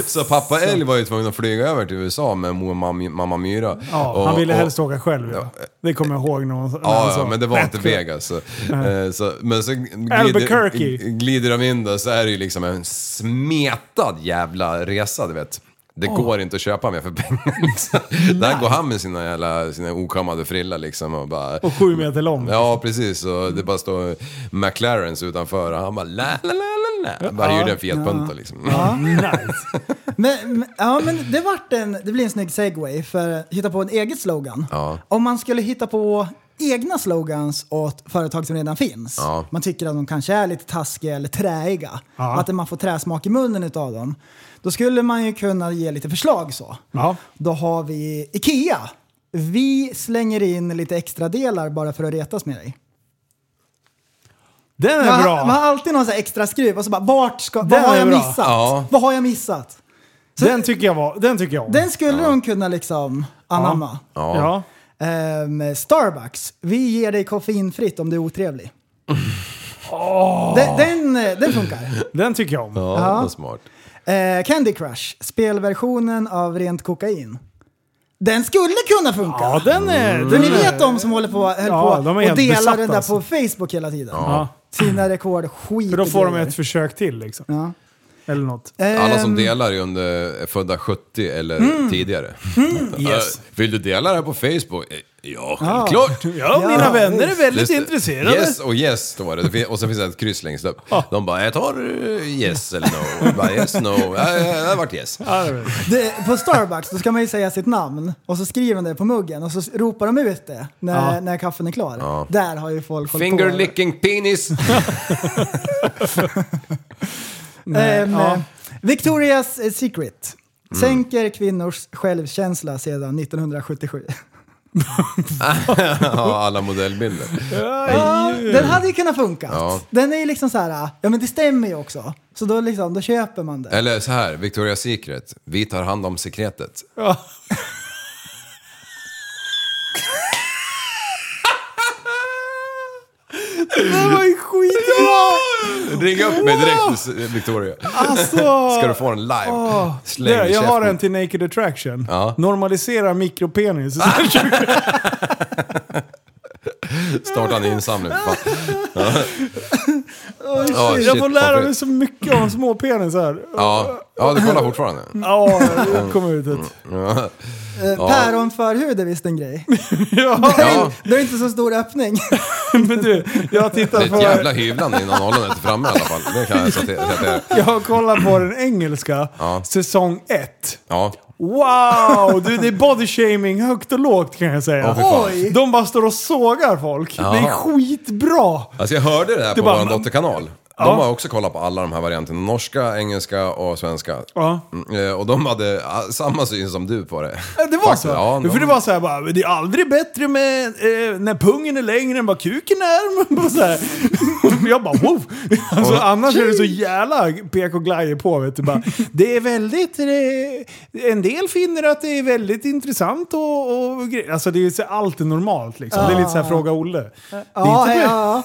Speaker 7: Så pappa Älg var ju tvungen att flyga över till USA med mor- mam- mamma Myra.
Speaker 5: Ja, han ville helst åka själv. Ja. Det kommer jag ihåg när hon- när han
Speaker 7: Ja,
Speaker 5: sa.
Speaker 7: ja, men det var inte
Speaker 5: Rätt kul.
Speaker 7: Vegas. Så, eh, så, men så
Speaker 5: Albuquerque.
Speaker 7: glider, glider de in där så är det ju liksom en smetad jävla resa, du vet. Det går inte att köpa mer för pengar liksom. Där går han med sina jävla, sina okammade frilla liksom och bara...
Speaker 5: Och sju meter lång.
Speaker 7: Ja, precis. Och det bara står McLarens utanför och han bara la la la la la. Bara hyrde en Fiat Punto liksom.
Speaker 5: Nice.
Speaker 6: Men, men- ja, men det, vart en, det blir en snygg segway för att hitta på en egen slogan.
Speaker 7: Ja.
Speaker 6: Om man skulle hitta på egna slogans åt företag som redan finns.
Speaker 7: Ja.
Speaker 6: Man tycker att de kanske är lite taskiga eller träiga.
Speaker 5: Ja.
Speaker 6: Att man får träsmak i munnen utav dem. Då skulle man ju kunna ge lite förslag så.
Speaker 5: Ja.
Speaker 6: Då har vi IKEA. Vi slänger in lite extra delar bara för att retas med dig.
Speaker 5: Den
Speaker 6: Man,
Speaker 5: är bra.
Speaker 6: man har alltid någon så här extra skruv och så bara vart ska, vad
Speaker 5: Den
Speaker 6: har
Speaker 5: är
Speaker 6: jag
Speaker 5: bra.
Speaker 6: missat?
Speaker 7: Ja.
Speaker 6: Vad har jag missat?
Speaker 5: Den tycker jag, var, den tycker jag om.
Speaker 6: Den skulle de kunna liksom anamma.
Speaker 5: ja. Ja.
Speaker 6: Ehm, Starbucks, vi ger dig koffeinfritt om du är otrevlig. Den, den, eh, den funkar.
Speaker 5: Den tycker jag om.
Speaker 7: Ja, det var smart.
Speaker 6: Eh, Candy Crush, spelversionen av rent kokain. Den skulle kunna funka.
Speaker 5: Ja, den är...
Speaker 6: För
Speaker 5: Den
Speaker 6: ni
Speaker 5: är
Speaker 6: vet de som håller på, höll
Speaker 5: Ja,
Speaker 6: på
Speaker 5: de är
Speaker 6: och
Speaker 5: helt
Speaker 6: delar
Speaker 5: besatta
Speaker 6: den där
Speaker 5: alltså.
Speaker 6: på Facebook hela tiden.
Speaker 5: Ja.
Speaker 6: sina rekord skit
Speaker 5: För då får
Speaker 6: i
Speaker 5: de
Speaker 6: grejer.
Speaker 5: ett försök till liksom.
Speaker 6: Ja.
Speaker 5: Eller något.
Speaker 7: Alla som
Speaker 6: Ehm,
Speaker 7: delar är under, är födda 70 eller tidigare.
Speaker 5: yes.
Speaker 7: Äh, Vill du dela det här på Facebook? Eh, Ja, självklart!
Speaker 5: Ja, mina vänner är väldigt
Speaker 7: Just-
Speaker 5: intresserade.
Speaker 7: Yes och yes står det. det. fin- Och så finns det ett kryss längst upp. De bara, jag tar eh, yes eller no. Jag bara, yes, no. Ja, ja, Det har varit yes.
Speaker 5: Ja, det vet jag.
Speaker 6: Ehm, Det, på Starbucks då ska man ju säga sitt namn och så skriver man det på muggen och så ropar de ut det när,
Speaker 5: Ja.
Speaker 6: när kaffen är klar. Där har ju folk hållit
Speaker 7: Finger
Speaker 6: på.
Speaker 7: licking penis.
Speaker 6: Ehm,
Speaker 5: ja.
Speaker 6: eh, Victoria's Secret.
Speaker 7: Mm.
Speaker 6: Sänker kvinnors självkänsla sedan 1977.
Speaker 7: ja, alla modellbilder.
Speaker 6: Ja, den hade ju kunnat funka.
Speaker 7: Ja.
Speaker 6: Den är ju liksom så här, ja men det stämmer ju också. Så då, liksom, då köper man det.
Speaker 7: Eller så här, Victoria's Secret. Vi tar hand om sekretet.
Speaker 5: Ja.
Speaker 6: Det var ju skitbra!
Speaker 7: Ring upp mig direkt Victoria.
Speaker 5: Alltså,
Speaker 7: Ska du få den live? Släng
Speaker 5: det,
Speaker 7: i
Speaker 5: Ah. jag har
Speaker 7: käften.
Speaker 5: en till Naked Attraction.
Speaker 7: Ja. Ah,
Speaker 5: Normalisera mikropenis.
Speaker 7: Starta en insamling för fan.
Speaker 5: Oj,
Speaker 7: Ja, Ah,
Speaker 5: shit.
Speaker 7: oh, shit,
Speaker 5: jag får lära
Speaker 7: varför-
Speaker 5: mig så mycket om små penisar.
Speaker 7: Ja, ja du kollar fortfarande?
Speaker 5: Ja,
Speaker 7: Mm.
Speaker 5: det kom ut ett.
Speaker 7: Ja.
Speaker 6: Eh, Päronförhud är visst en grej.
Speaker 5: Ja,
Speaker 7: Mm. Ja.
Speaker 6: Det är inte så stor öppning.
Speaker 5: men du, jag
Speaker 7: Det är
Speaker 5: tittar
Speaker 7: ett
Speaker 5: på...
Speaker 7: jävla hyvlande innan nollan är framme i alla fall. Det kan jag säga. till- säga till.
Speaker 5: Jag kollar på den engelska,
Speaker 7: Ja.
Speaker 5: säsong 1.
Speaker 7: Ja.
Speaker 5: Wow! Du, det är body shaming högt och lågt kan jag säga.
Speaker 7: Åh, fy fan.
Speaker 6: Oj.
Speaker 5: De bara står och sågar folk.
Speaker 7: Ja.
Speaker 5: Det är skitbra!
Speaker 7: Alltså jag hörde det här
Speaker 5: Det
Speaker 7: på
Speaker 5: bara-
Speaker 7: vår dotterkanal. De har också kollat på alla de här varianterna. Norska, engelska och svenska.
Speaker 5: Ja.
Speaker 7: Mm, eh, Och de hade eh, samma syn som du på det.
Speaker 5: Ja, Det var
Speaker 7: Faktiskt,
Speaker 5: så?
Speaker 7: Ja, de-
Speaker 5: För det var så här bara, det är aldrig bättre med, eh, när pungen är längre än vad kuken är. Och så här. Jag bara wow! Alltså, annars är det så jävla pek och glajer på vet du. Bara, det är väldigt, eh, en del finner att det är väldigt intressant och, och gre- Alltså det är så, allt är normalt liksom. Det är lite så här fråga Olle.
Speaker 6: Ja,
Speaker 5: inte-
Speaker 6: ja.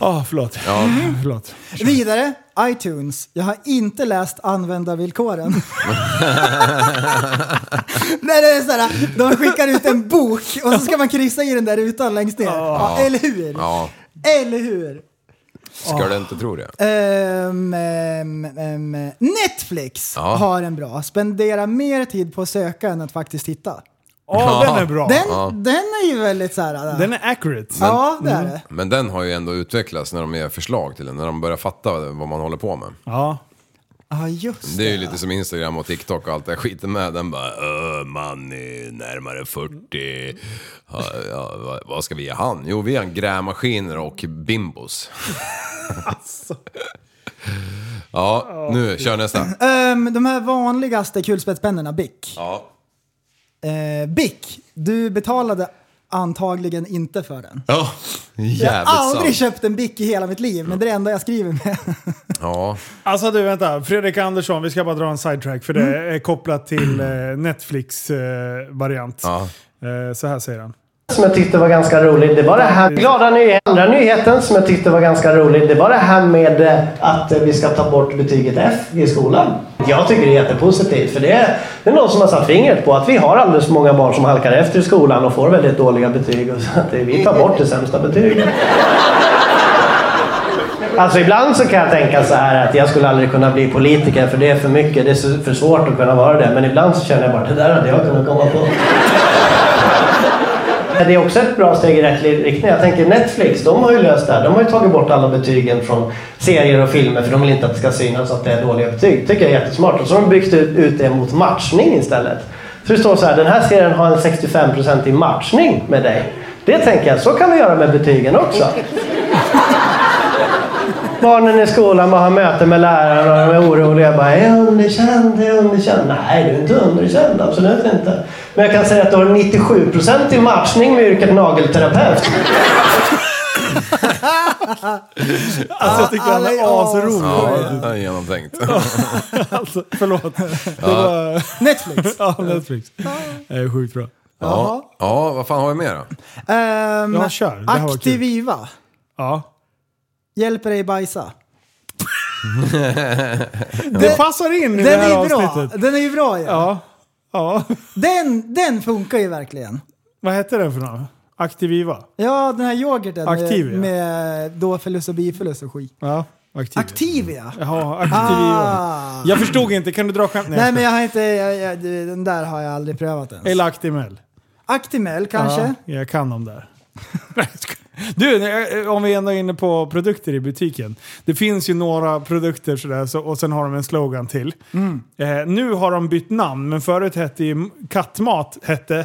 Speaker 5: Ah, förlåt. förlåt.
Speaker 6: Vidare, iTunes. Jag har inte läst användarvillkoren. Nej, det är så här, de skickar ut en bok och så ska man kryssa i den där rutan längst ner. Ja, eller hur?
Speaker 7: Ja,
Speaker 6: Eller hur?
Speaker 7: ska du inte tro det?
Speaker 6: Ehm, ehm, ehm, Netflix
Speaker 7: Ja.
Speaker 6: har en bra. Spendera mer tid på att söka än att faktiskt titta.
Speaker 5: Ja, den är bra.
Speaker 6: Den, den är ju väldigt så här...
Speaker 5: Den är accurate.
Speaker 6: ja, det är det.
Speaker 7: Men den har ju ändå utvecklats när de ger förslag till den, när de börjar fatta vad man håller på med.
Speaker 5: Ja.
Speaker 6: Ja, just
Speaker 7: Det är ju lite som Instagram och TikTok och allt det här skiten med. Den bara, "Öh, man är närmare 40. Ja, ja, vad- vad ska vi ge han? Jo, vi har en grävmaskiner och bimbos.
Speaker 5: Alltså.
Speaker 7: Ja, nu kör nästa.
Speaker 6: Ehm, de här vanligaste kulspetspennorna, Bic.
Speaker 7: Ja.
Speaker 6: Eh, Bic, du betalade antagligen inte för den.
Speaker 7: Ja,
Speaker 6: Jag har
Speaker 7: jävligt
Speaker 6: aldrig
Speaker 7: sant.
Speaker 6: köpt en Bic i hela mitt liv, men det är det enda jag skriver med.
Speaker 7: Ja,
Speaker 5: Alltså du, vänta. Fredrik Andersson, vi ska bara dra en sidetrack för det
Speaker 6: Mm.
Speaker 5: är kopplat till eh, Netflix-variant.
Speaker 7: ja.
Speaker 5: Eh, så här säger han.
Speaker 12: som jag tyckte var ganska rolig, det var det här glada nyheten. Andra nyheten som jag tyckte var ganska rolig, det var det här med eh, att eh, vi ska ta bort betyget F i skolan. Jag tycker det är jättepositivt för det är, det är någon som har satt fingret på att vi har alldeles för många barn som halkar efter i skolan och får väldigt dåliga betyg. Och så att eh, vi tar bort det sämsta betyget. Alltså ibland så kan jag tänka så här att jag skulle aldrig kunna bli politiker för det är för mycket, det är så- för svårt att kunna vara det. Men ibland så känner jag bara, det där hade jag kunnat komma på. Men Det är också ett bra steg i rätt riktning. Jag tänker Netflix, de har ju löst det här. De har ju tagit bort alla betygen från serier och filmer för de vill inte att det ska synas att det är dåliga betyg. tycker jag är jättesmart. Och så har de byggt ut ut det mot matchning istället. Så det står så här, den här serien har en 65% i matchning med dig. Det tänker jag, så kan vi göra med betygen också. Barnen i skolan bara har möte med läraren och de är oroliga. Jag bara, är jag underkänd? Är jag underkänd? Nej, du är inte underkänd. Absolut inte. Men jag kan säga att du har 97% i matchning med yrket nagelterapeut.
Speaker 5: Alltså jag tyckte han
Speaker 6: Ah, alla
Speaker 5: är
Speaker 6: är
Speaker 5: asrolig.
Speaker 7: ja det är genomtänkt.
Speaker 5: Alltså, förlåt. Det var...
Speaker 6: Netflix.
Speaker 5: ja, Netflix. Det är sjukt bra.
Speaker 7: Ja, ja vad fan har vi mer då?
Speaker 6: Ehm,
Speaker 5: Ja, kör. Det här var kul.
Speaker 6: Aktiviva.
Speaker 5: Ja.
Speaker 6: Hjälper dig bajsa.
Speaker 5: Det passar in i det
Speaker 6: Den
Speaker 5: här
Speaker 6: är ju bra.
Speaker 5: avsnittet.
Speaker 6: Den är ju bra ju.
Speaker 5: Ja. ja.
Speaker 6: Den, den funkar ju verkligen.
Speaker 5: Vad hette den för något? Aktiviva.
Speaker 6: Ja, den här yoghurten
Speaker 5: Aktivia.
Speaker 6: med, med då förlust och biförlust och skit.
Speaker 5: Ja, Aktivia.
Speaker 6: Aktivia?
Speaker 5: Jaha, Aktiviva.
Speaker 6: Ah.
Speaker 5: Jag förstod inte, kan du dra skämt?
Speaker 6: Nej, men jag har inte, jag, jag, den där har jag aldrig prövat än.
Speaker 5: Eller Actimel.
Speaker 6: Actimel kanske?
Speaker 5: Ja, jag kan dem där. Du, när jag- om vi ändå är inne på produkter i butiken. Det finns ju några produkter sådär, så, och sen har de en slogan till. Eh, nu har de bytt namn, men förut hette ju kattmat hette...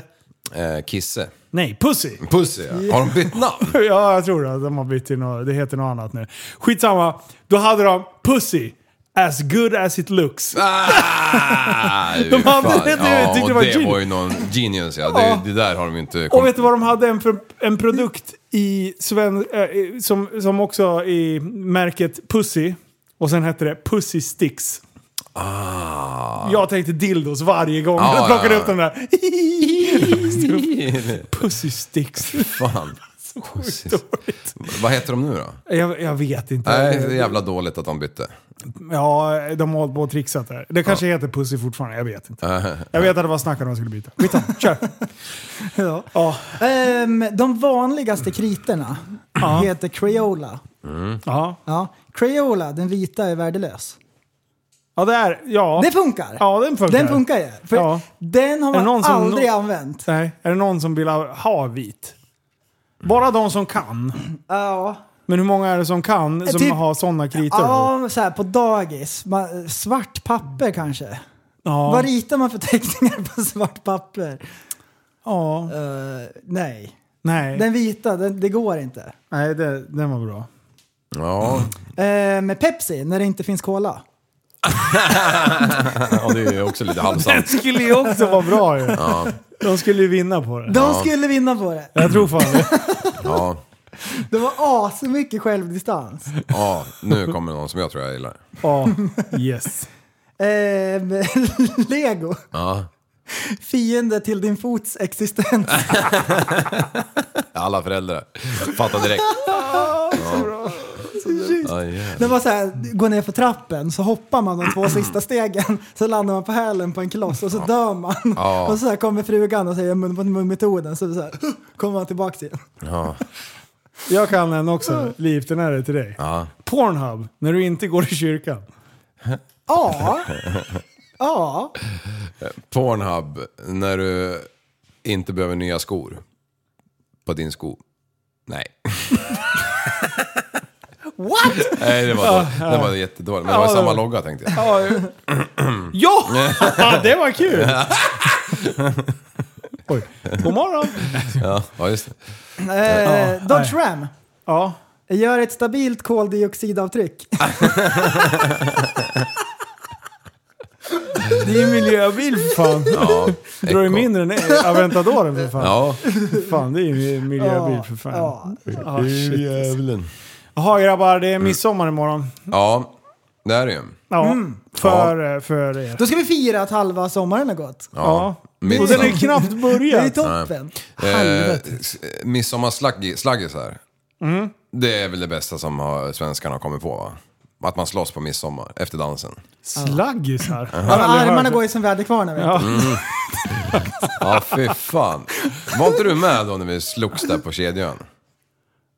Speaker 7: Eh, kisse.
Speaker 5: Nej, Pussy!
Speaker 7: Pussy, ja. Har de bytt namn?
Speaker 5: ja, jag tror det. De har bytt till något, det heter något annat nu. Skitsamma. Då hade de Pussy, as good as it looks.
Speaker 7: Ah,
Speaker 5: De hade
Speaker 7: fan.
Speaker 5: det, jag
Speaker 7: ja,
Speaker 5: tyckte
Speaker 7: och
Speaker 5: det var
Speaker 7: det
Speaker 5: genius.
Speaker 7: var ju någon genius ja.
Speaker 5: Ja.
Speaker 7: Det, det där har de ju inte...
Speaker 5: Och vet du vad de hade? En, pro- en produkt i Sven, eh, i- som, som också i märket Pussy. Och sen hette det Pussy Sticks.
Speaker 7: Ah.
Speaker 5: Jag tänkte dildos varje gång
Speaker 7: Ja,
Speaker 5: jag plockade
Speaker 7: ja,
Speaker 5: upp den där. Pussy Sticks.
Speaker 7: Fan. Pussy. Vad heter de nu då?
Speaker 5: jag, jag vet inte.
Speaker 7: Nej, det är jävla dåligt att de bytte.
Speaker 5: Ja, de har hållit på och trixat där. Det kanske heter Pussy fortfarande, jag vet inte. Jag vet att det var snack om de skulle byta. Skitsamma, kör!
Speaker 6: Ja.
Speaker 5: Ja.
Speaker 6: Ehm, de vanligaste kriterna
Speaker 5: Ja.
Speaker 6: heter Crayola.
Speaker 7: Mm.
Speaker 5: Ja.
Speaker 6: Ja. Crayola, den vita, är värdelös.
Speaker 5: Ja, det är... Ja.
Speaker 6: Det funkar!
Speaker 5: Ja, den funkar.
Speaker 6: Den funkar ju. För
Speaker 5: Ja.
Speaker 6: Den har
Speaker 5: Är det någon
Speaker 6: man
Speaker 5: som-
Speaker 6: aldrig använt.
Speaker 5: Nej, är det någon som vill ha- ha vit? Bara de som kan.
Speaker 6: Ja.
Speaker 5: Men hur många är det som kan som
Speaker 6: Typ-
Speaker 5: har sådana kritor?
Speaker 6: Ja, så här på dagis. Man, svart papper kanske.
Speaker 5: Ja.
Speaker 6: Vad ritar man för teckningar på svart papper? Eh,
Speaker 5: Ja.
Speaker 6: nej.
Speaker 5: Nej.
Speaker 6: Den vita, den, det går inte.
Speaker 5: Nej, det, den var bra.
Speaker 7: Ja.
Speaker 6: Eh, med Pepsi, när det inte finns cola.
Speaker 7: ja, det är ju också lite
Speaker 5: Den
Speaker 7: halvsant.
Speaker 5: skulle ju också vara bra ju.
Speaker 7: Ja.
Speaker 5: De skulle ju vinna på det.
Speaker 6: De skulle vinna på det.
Speaker 5: Jag tror fan det.
Speaker 7: Ja.
Speaker 6: Det var asmycket självdistans.
Speaker 7: ja, nu kommer någon som jag tror jag gillar.
Speaker 5: Ja, yes.
Speaker 6: Eh, med Lego,
Speaker 7: Ja.
Speaker 6: fiende till din fots existens.
Speaker 7: Alla föräldrar. Fattar direkt. Ja. Ja, yeah.
Speaker 6: Det var så här, gå ner för trappen så hoppar man de två sista stegen så landar man på hälen på en kloss och så dör man.
Speaker 7: Ja.
Speaker 6: Och så här kommer frugan och säger mun mot mun metoden så, det är så här, kommer man tillbaka till
Speaker 7: Ja.
Speaker 5: Jag kan en också. Liv, den här är till dig.
Speaker 7: Ja.
Speaker 5: Pornhub, när du inte går i kyrkan.
Speaker 6: Ja, ja.
Speaker 7: Pornhub, när du inte behöver nya skor. På din sko. Nej.
Speaker 6: What?
Speaker 7: Nej, det var,
Speaker 5: Ja,
Speaker 7: dåligt. det var jättedåligt. Men det var
Speaker 5: Ja,
Speaker 7: ju
Speaker 5: det
Speaker 7: samma
Speaker 5: var-
Speaker 7: logga tänkte jag.
Speaker 5: Ja, ja! det var kul! Oj. God morgon!
Speaker 7: Ja, ja just det.
Speaker 6: Eh, Dodge Ram,
Speaker 5: Ja.
Speaker 6: gör ett stabilt koldioxidavtryck.
Speaker 5: Det är en miljöbil för fan.
Speaker 7: Ja,
Speaker 5: Drar ju
Speaker 7: Echo.
Speaker 5: mindre än Aventadoren för fan.
Speaker 7: Ja.
Speaker 5: Fan, det är ju en miljöbil för fan.
Speaker 6: Ja.
Speaker 5: Ah, shit. Jaha grabbar, det är
Speaker 7: Mm.
Speaker 5: midsommar imorgon.
Speaker 7: Ja, det är det ju.
Speaker 5: Ja, för, eh, för er.
Speaker 6: Då ska vi fira att halva sommaren har gått.
Speaker 5: Ja. Och den
Speaker 7: midsommar.
Speaker 5: är knappt
Speaker 6: Det är
Speaker 5: börjat.
Speaker 6: toppen.
Speaker 7: Eh,
Speaker 6: Halvet.
Speaker 7: s- Midsommarslaggisar. Det är väl det bästa som har, svenskarna har kommit på va? Att man slåss på midsommar efter dansen.
Speaker 5: Slaggisar.
Speaker 6: Ja, men armarna går ju som väderkvarnar. vet du.
Speaker 7: Ja, fy fan. Var inte du med då när vi slogs där på Kedjeön?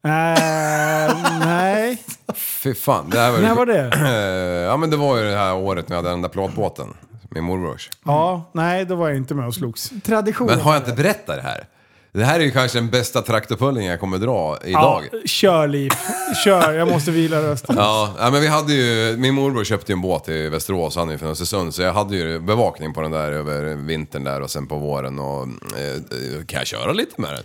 Speaker 5: Eh, nej.
Speaker 7: Fy fan. Det här var, ju-
Speaker 5: När var det?
Speaker 7: Eh, ja, men det var ju det här året när jag hade den där plåtbåten. Min morbrors.
Speaker 5: Ja, nej, då var jag inte med och slogs.
Speaker 6: Tradition.
Speaker 7: Men har jag inte berättat det här? Det här är ju kanske den bästa traktorpullen jag kommer dra idag.
Speaker 5: Ja, kör Liv. Kör, jag måste vila rösten.
Speaker 7: Ja, ja, men vi hade ju, min morbror köpte ju en båt i Västerås, han är ju från Östersund, så jag hade ju bevakning på den där över vintern där och sen på våren och eh, kan jag köra lite med den?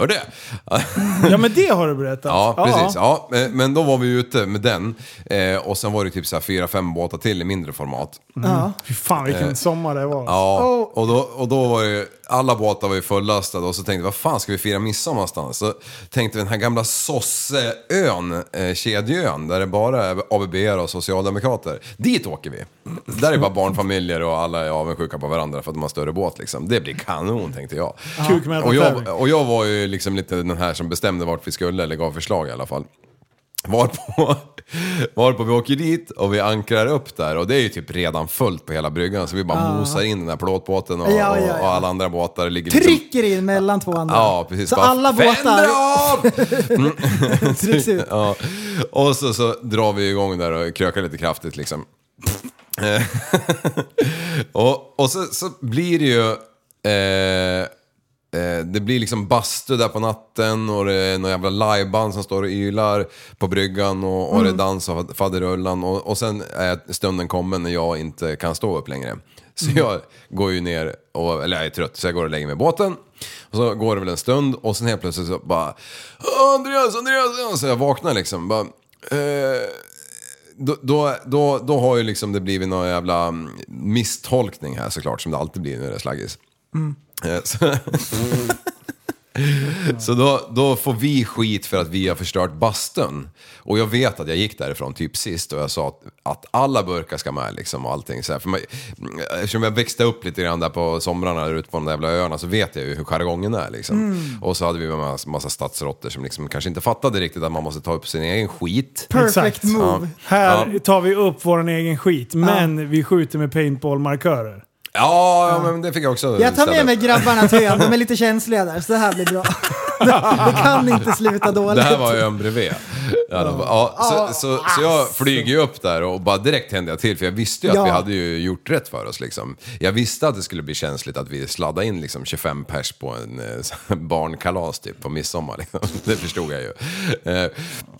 Speaker 7: Gör det!
Speaker 5: Ja, men det har du berättat.
Speaker 7: Ja, precis. Ja, eh, men då var vi ute med den eh, och sen var det typ så här fyra, fem båtar till i mindre format.
Speaker 6: Ja.
Speaker 5: Mm. Fy fan vilken sommar det var.
Speaker 7: Eh. Ja, och då, och då var ju, alla båtar var ju fullastade och så tänkte vi, vad fan ska vi fira midsommar någonstans? Så tänkte vi den här gamla sosseön, eh, Kedjeön, där det bara är ABB och socialdemokrater. Dit åker vi. Där är bara barnfamiljer och alla är avundsjuka på varandra för att de har större båt liksom. Det blir kanon tänkte jag.
Speaker 5: Kukmätartävling.
Speaker 7: Och jag, och jag var ju liksom lite den här som bestämde vart vi skulle, eller gav förslag i alla fall. Varpå, varpå vi åker dit och vi ankrar upp där och det är ju typ redan fullt på hela bryggan så vi bara
Speaker 6: Ja.
Speaker 7: mosar in den här plåtbåten och,
Speaker 6: Ja, ja, ja.
Speaker 7: och, och alla andra båtar ligger liksom-
Speaker 6: Trycker in mellan två andra.
Speaker 7: Ja, precis.
Speaker 6: Så
Speaker 7: Bara,
Speaker 6: alla
Speaker 7: "Fem
Speaker 6: båtar...
Speaker 7: Trycks ut. ja. Och så, så drar vi igång där och krökar lite kraftigt liksom. Eh, och och så, så blir det ju... Eh, eh, det blir liksom bastu där på natten och det är några jävla liveband som står och ylar på bryggan och, och det är
Speaker 13: Mm.
Speaker 7: dans och faderullan. Och, och sen är stunden kommen när jag inte kan stå upp längre. Så
Speaker 13: Mm.
Speaker 7: jag går ju ner, och, eller jag är trött, så jag går och lägger mig i båten. Och så går det väl en stund och sen helt plötsligt så bara... Andreas, Andreas! Så jag vaknar liksom. Bara, eh, då, då, då, då har ju liksom det blivit någon jävla mm, misstolkning här såklart, som det alltid blir när det är slaggis.
Speaker 13: Mm.
Speaker 7: Eh, Så, så då, då får vi skit för att vi har förstört bastun. Och jag vet att jag gick därifrån typ sist och jag sa att, att alla burkar ska med liksom och allting. Så här. För man, eftersom jag växte upp lite grann där på somrarna där ute på de där jävla öarna så vet jag ju hur jargongen är liksom.
Speaker 13: Mm.
Speaker 7: Och så hade vi en massa, massa stadsrotter som liksom kanske inte fattade riktigt att man måste ta upp sin egen skit.
Speaker 5: Exakt. Här tar vi upp vår egen skit, men vi skjuter med paintball-markörer.
Speaker 7: Ja, ja, men det fick jag också.
Speaker 6: Jag tar
Speaker 7: ställa
Speaker 6: med
Speaker 7: upp.
Speaker 6: mig grabbarna till ön, de är lite känsliga där, så det här blir bra. Det kan inte sluta dåligt.
Speaker 7: Det här var ju en bredvid. Ja, de bara, ja, så, så, så jag flyger ju upp där och bara direkt hände jag till för jag visste ju att
Speaker 6: Ja.
Speaker 7: vi hade ju gjort rätt för oss liksom. Jag visste att det skulle bli känsligt att vi sladdade in liksom 25 pers på en eh, så här barnkalas typ på midsommar. Liksom. Det förstod jag ju. Eh,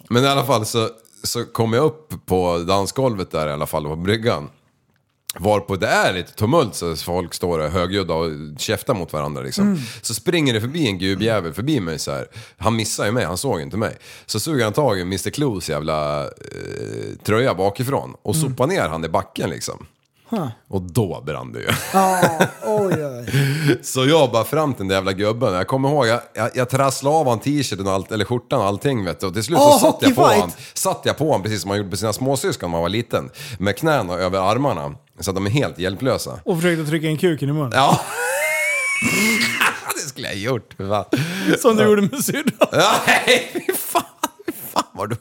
Speaker 7: Men i alla fall så, så kom jag upp på dansgolvet där i alla fall på bryggan. Varpå det är lite tumult så folk står där högljudda och käftar mot varandra liksom.
Speaker 13: Mm.
Speaker 7: Så springer det förbi en gubbjävel förbi mig så här. Han missar ju mig, han såg inte mig. Så suger han tag i Mr. Clues jävla eh, tröja bakifrån och
Speaker 13: Mm.
Speaker 7: sopar ner han i backen liksom.
Speaker 6: Huh.
Speaker 7: Och då brann det ju.
Speaker 6: Ja, oj, oj.
Speaker 7: Så jag bara fram till den där jävla gubben. Jag kommer ihåg, jag, jag, jag trasslade av han t-shirten och allt, eller skjortan och allting vet du. Och till slut så
Speaker 13: Åh,
Speaker 7: satt jag på
Speaker 13: hockeyfight!
Speaker 7: han. Satt jag på han precis som man gjorde på sina småsyskon när man var liten. Med knäna över armarna. Så att de är helt hjälplösa.
Speaker 5: Och försökte trycka in kuken i munnen.
Speaker 7: Ja. Det skulle jag ha gjort. för Fan.
Speaker 5: Som du gjorde med syrran.
Speaker 7: Nej, fy fan. fy fan vad du...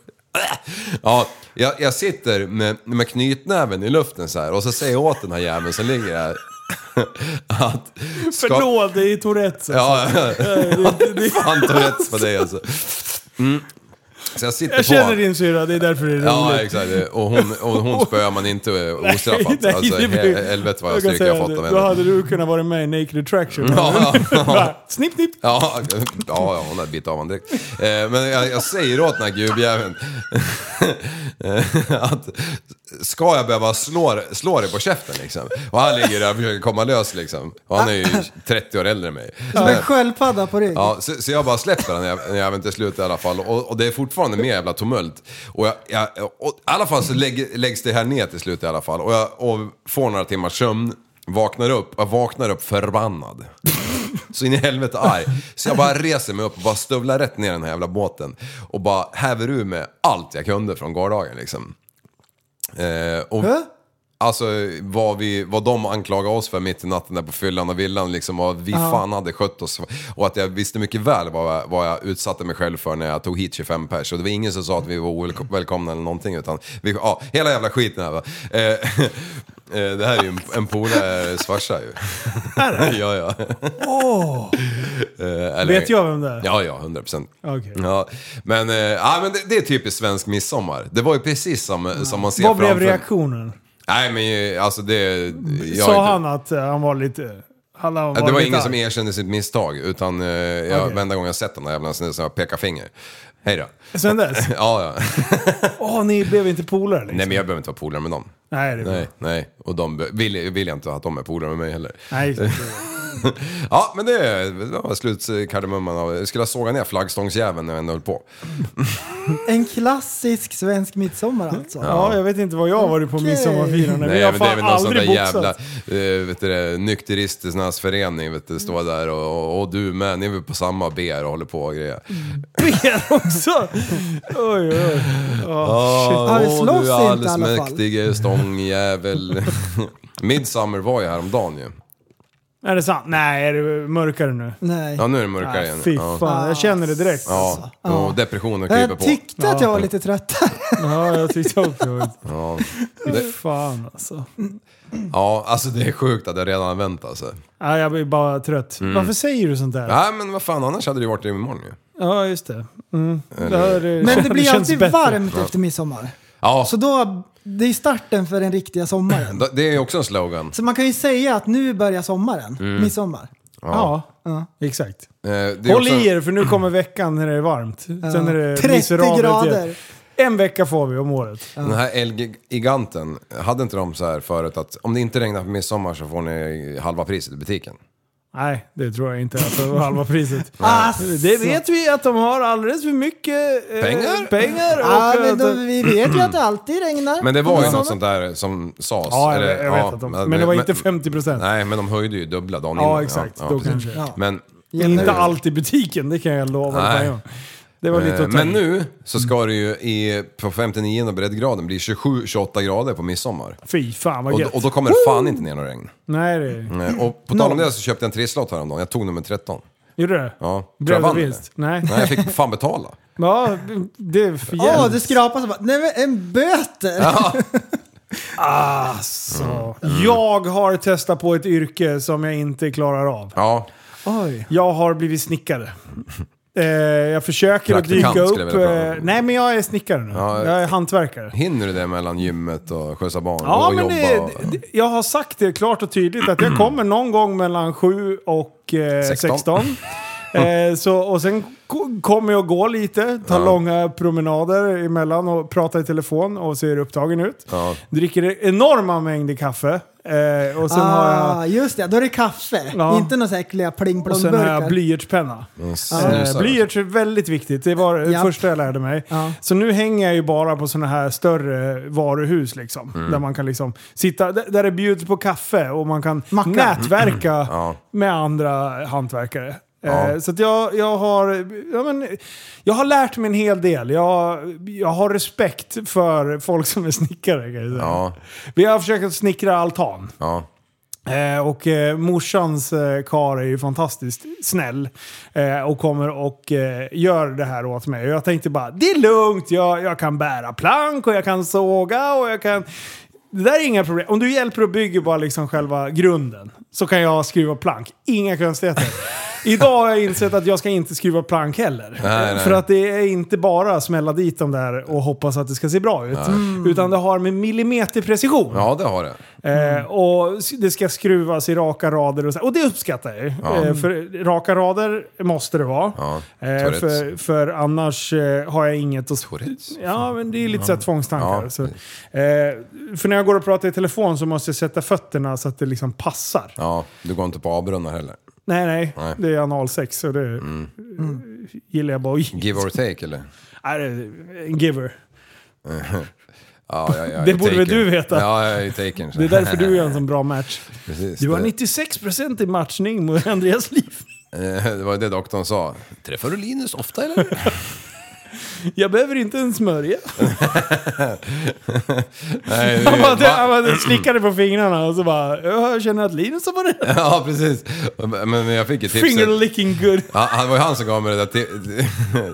Speaker 7: Ja, jag, jag sitter med, med knytnäven i luften så här och så säger jag åt den här jäveln som ligger här att... ska-
Speaker 5: Förlåt, det är Tourettes.
Speaker 7: Ja,
Speaker 5: alltså.
Speaker 7: ja.
Speaker 5: det, det,
Speaker 7: Fan Tourettes på dig alltså. Mm. Så jag sitter
Speaker 5: jag
Speaker 7: på
Speaker 5: känner din syrra, det är därför det är
Speaker 7: Ja,
Speaker 5: roligt.
Speaker 7: exakt. Och hon, och hon spöar man inte eh,
Speaker 5: Nej,
Speaker 7: ostraffat.
Speaker 5: nej,
Speaker 7: Alltså,
Speaker 5: det blir-
Speaker 7: he- helvete vad jag
Speaker 5: kan
Speaker 7: stryk jag
Speaker 5: säga
Speaker 7: fått
Speaker 5: det.
Speaker 7: av
Speaker 5: Då
Speaker 7: henne.
Speaker 5: hade du kunnat vara med i Naked Attraction.
Speaker 7: Ja, ja.
Speaker 5: Bara, Snipp, snipp.
Speaker 7: Ja, ja, ja, hon hade bitit av honom direkt. Eh, Men jag, jag säger åt den här gubbjäveln eh, att ska jag behöva slå, slå dig på käften liksom? Och han ligger där och försöker komma lös liksom. Och han är ju 30 år äldre än mig.
Speaker 6: Som en sköldpadda på rygg.
Speaker 7: Ja, så, så jag bara släpper den när jag även till slut i alla fall. Och, och det är fortfarande mer jävla tumult. Och, jag, jag, och i alla fall så lägg, läggs det här ner till slut i alla fall. Och jag och får några timmars sömn, vaknar upp, jag vaknar upp förbannad. Så in i helvete arg. Så jag bara reser mig upp och bara stövlar rätt ner i den här jävla båten. Och bara häver ur med allt jag kunde från gårdagen liksom. Eh, och, Alltså vad, vi, vad de anklagade oss för mitt i natten där på fyllan och villan liksom. Vad vi
Speaker 13: Ja.
Speaker 7: fan hade skött oss. Och att jag visste mycket väl vad jag, vad jag utsatte mig själv för när jag tog hit 25 pers. Och det var ingen som sa att vi var ovälkomna eller någonting. Utan vi, ja, hela jävla skiten här va. Eh, eh, det här är ju en, en polares farsa ju. ja, ja.
Speaker 5: Åh.
Speaker 7: Eh, eller-
Speaker 5: Vet jag vem det är?
Speaker 7: Ja, ja, 100 procent.
Speaker 5: Okej.
Speaker 7: Ja, men, eh, ja, men det, det är typiskt svensk midsommar. Det var ju precis som, som man ser
Speaker 5: Vad blev
Speaker 7: framför-
Speaker 5: reaktionen?
Speaker 7: Nej men eh, alltså det... Jag,
Speaker 5: Sa
Speaker 7: inte-
Speaker 5: han att eh, han var lite... Han var
Speaker 7: det var
Speaker 5: lite
Speaker 7: ingen
Speaker 5: arg.
Speaker 7: som erkände sitt misstag utan eh, jag,
Speaker 5: Okej.
Speaker 7: varenda gång jag sett den där jävla snuten så har jag pekat finger. Hej då.
Speaker 5: Sen dess?
Speaker 7: ja, ja.
Speaker 5: Åh, ni blev inte polare liksom.
Speaker 7: Nej men jag behöver inte vara polare med dem.
Speaker 5: Nej, det är bra.
Speaker 7: nej, nej. Och de be- vill, vill jag inte att de är polare med mig heller.
Speaker 5: Nej, det är
Speaker 7: ja men det, det var slutkardemumman av... Jag skulle ha sågat ner flaggstångsjäveln när jag ändå höll på.
Speaker 6: En klassisk svensk midsommar alltså.
Speaker 7: Ja,
Speaker 5: jag vet inte vad jag har varit på midsommarfirande.
Speaker 7: Nej,
Speaker 5: Vi har
Speaker 7: men det är
Speaker 5: fan
Speaker 7: väl någon sån där
Speaker 5: aldrig boxats.
Speaker 7: jävla eh, vet du, det, nykteristernas förening, vet du,
Speaker 5: Mm.
Speaker 7: står där och, och, och du med, ni är väl på samma BR och håller på och grejer.
Speaker 5: Ben också! Oj, oj, oj.
Speaker 7: Åh,
Speaker 5: Oh,
Speaker 7: åh, du är eh, allsmäktige stångjävel. Midsummer var ju häromdagen ju.
Speaker 5: Är det sant? Nej, är det mörkare nu?
Speaker 6: Nej.
Speaker 7: Ja, nu är det mörkare igen.
Speaker 5: Fy
Speaker 7: Ja.
Speaker 5: fan, alltså. jag känner det direkt.
Speaker 7: Ja, och depressionen kryper
Speaker 6: Jag
Speaker 7: på.
Speaker 6: tyckte att jag var lite trött.
Speaker 5: Ja, jag tyckte också det.
Speaker 7: Ja,
Speaker 5: Fy
Speaker 7: det,
Speaker 5: fan alltså.
Speaker 7: ja, alltså det är sjukt att jag redan har vänt alltså.
Speaker 5: Ja, jag blir bara trött.
Speaker 7: Mm.
Speaker 5: Varför säger du sånt där?
Speaker 7: Nej men vad fan, annars hade det ju varit det imorgon ju.
Speaker 5: Ja, just det. Mm.
Speaker 7: Eller-
Speaker 5: här är-
Speaker 6: Men det blir
Speaker 5: känns
Speaker 6: alltid
Speaker 5: bättre.
Speaker 6: varmt
Speaker 7: Ja.
Speaker 6: efter midsommar.
Speaker 7: Ja,
Speaker 6: Så då, det är starten för den riktiga sommaren.
Speaker 7: det är ju också en slogan.
Speaker 6: Så man kan ju säga att nu börjar sommaren,
Speaker 7: Mm.
Speaker 6: midsommar.
Speaker 7: Ja.
Speaker 5: exakt.
Speaker 7: Eh, det är
Speaker 5: Håll
Speaker 7: också-
Speaker 5: i er för nu kommer veckan när det är varmt. Sen är det
Speaker 6: 30
Speaker 5: miserabelt igen.
Speaker 6: grader.
Speaker 5: En vecka får vi om året.
Speaker 7: Den här Elgiganten, hade inte de så här förut att om det inte regnar på midsommar så får ni halva priset i butiken?
Speaker 5: Nej, det tror jag inte. Alltså, det var halva priset.
Speaker 7: Asså.
Speaker 5: Det vet vi att de har alldeles för mycket eh,
Speaker 7: Pengar?
Speaker 5: pengar och eh,
Speaker 6: Ja, men
Speaker 5: att-
Speaker 6: då, vi vet ju att det alltid regnar.
Speaker 7: Men det var ju
Speaker 6: Midsommar.
Speaker 7: något sånt där som sades.
Speaker 5: Ja, jag vet- jag vet att de- men det var inte
Speaker 7: 50%. Nej, men de höjde ju dubbla dagen
Speaker 5: Ja,
Speaker 7: innan.
Speaker 5: exakt. Då
Speaker 7: precis.
Speaker 5: kanske. Ja.
Speaker 7: Men,
Speaker 5: Men inte allt i butiken, det kan jag lova.
Speaker 7: Nej.
Speaker 5: Nej. Det var lite
Speaker 7: Eh,
Speaker 5: att ta
Speaker 7: Men
Speaker 5: i.
Speaker 7: nu så ska det ju i, på 59 breddgraden bli 27-28 grader på midsommar.
Speaker 5: Fy fan vad
Speaker 7: Och,
Speaker 5: gött.
Speaker 7: och då kommer det fan inte ner något regn.
Speaker 5: Nej, det...
Speaker 7: Eh, Och på tal om det så köpte jag en trisslott häromdagen. Jag tog nummer 13.
Speaker 5: Gjorde du det?
Speaker 7: Ja. Tror jag
Speaker 5: Blev det
Speaker 7: vann
Speaker 5: vinst?
Speaker 7: eller?
Speaker 5: Nej.
Speaker 7: Nej, jag fick fan betala.
Speaker 5: Ja, det är för
Speaker 6: Ja,
Speaker 5: jävligt.
Speaker 6: du skrapar så bara, nej men en böter!
Speaker 5: Alltså,
Speaker 7: Mm.
Speaker 5: jag har testat på ett yrke som jag inte klarar av.
Speaker 7: Ja.
Speaker 5: Oj. Jag har blivit snickare. Eh, jag försöker att
Speaker 7: Praktikant
Speaker 5: dyka
Speaker 7: skulle jag
Speaker 5: upp...
Speaker 7: vilja prata
Speaker 5: Eh, nej, men jag är snickare nu.
Speaker 7: Ja.
Speaker 5: jag är hantverkare.
Speaker 7: Hinner du det mellan gymmet och skjutsa barn
Speaker 5: Ja,
Speaker 7: och
Speaker 5: men
Speaker 7: jobba?
Speaker 5: det,
Speaker 7: och-
Speaker 5: det, jag har sagt det klart och tydligt att jag kommer någon gång mellan 7 och eh, 16.
Speaker 7: Sexton.
Speaker 5: Eh, så, och sen ko- kommer jag gå lite, ta
Speaker 7: Ja.
Speaker 5: långa promenader emellan och prata i telefon och ser upptagen ut.
Speaker 7: Ja.
Speaker 5: Dricker enorma mängder kaffe. Eh, och sen har jag...
Speaker 6: ah, just det. Då är det kaffe.
Speaker 5: Ja.
Speaker 6: Inte några så här äckliga pling
Speaker 5: Och
Speaker 6: plong
Speaker 5: sen har jag
Speaker 6: burkar
Speaker 5: blyertspenna.
Speaker 7: Mm,
Speaker 5: Eh,
Speaker 7: snusar.
Speaker 5: blyerts är väldigt viktigt. Det var det
Speaker 6: Ja.
Speaker 5: första jag lärde mig. Så nu hänger jag ju bara på sådana här större varuhus liksom.
Speaker 7: Mm.
Speaker 5: Där man kan liksom sitta, där där det bjuds på kaffe och man kan
Speaker 6: Macka.
Speaker 5: nätverka
Speaker 7: Mm. Ja.
Speaker 5: med andra hantverkare.
Speaker 7: Ja.
Speaker 5: Eh, Så att jag, jag, har, ja, men, jag har lärt mig en hel del. Jag, jag har respekt för folk som är snickare kan jag säga.
Speaker 7: Ja,
Speaker 5: Vi har försökt att snickra altan.
Speaker 7: ja.
Speaker 5: Eh, och eh, morsans eh, kar är ju fantastiskt snäll eh, och kommer och eh, gör det här åt mig. Och jag tänkte bara, det är lugnt, jag, jag kan bära plank och jag kan såga och jag kan... Det där är inga problem. Om du hjälper och bygger bara liksom själva grunden så kan jag skruva plank. Inga konstigheter. Idag har jag insett att jag ska inte skruva plank heller.
Speaker 7: Nej, nej.
Speaker 5: För att det är inte bara smälla dit dem där och hoppas att det ska se bra ut.
Speaker 7: Nej.
Speaker 5: Utan det har med millimeterprecision.
Speaker 7: Ja, det har det. Mm.
Speaker 5: Eh, och s- det ska skruvas i raka rader och så. Och det uppskattar jag ju.
Speaker 7: Ja.
Speaker 5: Eh, för raka rader måste det vara.
Speaker 7: Ja,
Speaker 5: eh,
Speaker 7: Tourettes.
Speaker 5: för, för annars eh, har jag inget att...
Speaker 7: Tourettes.
Speaker 5: Ja, men det är lite så här tvångstankar.
Speaker 7: Ja,
Speaker 5: så. Eh, för när jag går och pratar i telefon så måste jag sätta fötterna så att det liksom passar.
Speaker 7: Ja, du går inte på avbrunnar heller.
Speaker 5: Nej, nej.
Speaker 7: Nej. Mm.
Speaker 5: Det är analsex så det eh, gillar jag bara att ge.
Speaker 7: Give or take eller?
Speaker 5: Nej, det är en giver.
Speaker 7: Ja, jag, jag är
Speaker 5: Det borde väl
Speaker 7: taken.
Speaker 5: du veta.
Speaker 7: Ja, jag är taken. så.
Speaker 5: Det är därför du är en sån bra match.
Speaker 7: Precis.
Speaker 5: Du har
Speaker 7: det-
Speaker 5: 96% i matchning mot Andreas liv.
Speaker 7: eh, Det var ju det doktorn sa. Träffar du Linus ofta eller?
Speaker 5: Jag behöver inte en smörja.
Speaker 7: Nej, det är
Speaker 5: Han
Speaker 7: ju-
Speaker 5: bara,
Speaker 7: Va?
Speaker 5: han bara slickade på fingrarna och så bara jag känner att Linus har varit
Speaker 7: Ja, precis. Men jag fick ju tipset.
Speaker 5: finger licking good.
Speaker 7: Ja, han- det var ju han som gav mig det där, ti-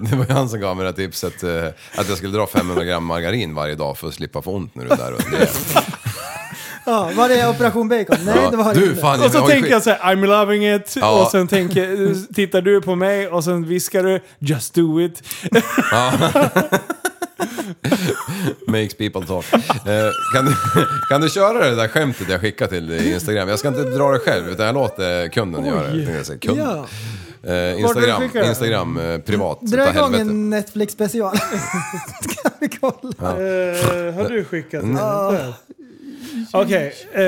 Speaker 7: det var ju han som gav mig det där tipset eh, att jag skulle dra 500 gram margarin varje dag för att slippa få ont när du är där. Och det.
Speaker 6: Ja, var det operation bacon? Nej,
Speaker 7: Ja,
Speaker 6: det var
Speaker 7: du,
Speaker 6: inte.
Speaker 7: fan,
Speaker 5: Och så
Speaker 7: har ju
Speaker 5: tänker
Speaker 7: skit-
Speaker 5: jag så här, I'm loving it.
Speaker 7: Ja.
Speaker 5: Och sen tänker, tittar du på mig och sen viskar du just do it.
Speaker 7: Makes people talk. Eh, kan, du, kan du köra det där skämtet jag skickade till dig i Instagram? Jag ska inte dra det själv utan jag låter kunden göra det. tänkte Jag säga. Kunden? Eh,
Speaker 5: Vart
Speaker 7: Instagram,
Speaker 5: vill du skicka det?
Speaker 7: Instagram eh, privat.
Speaker 6: Dra
Speaker 7: utav
Speaker 6: igång
Speaker 7: helvete.
Speaker 6: en Netflix special. Ska vi kolla?
Speaker 5: Eh, har du skickat
Speaker 7: Mm.
Speaker 5: den? Där. Okej, eh,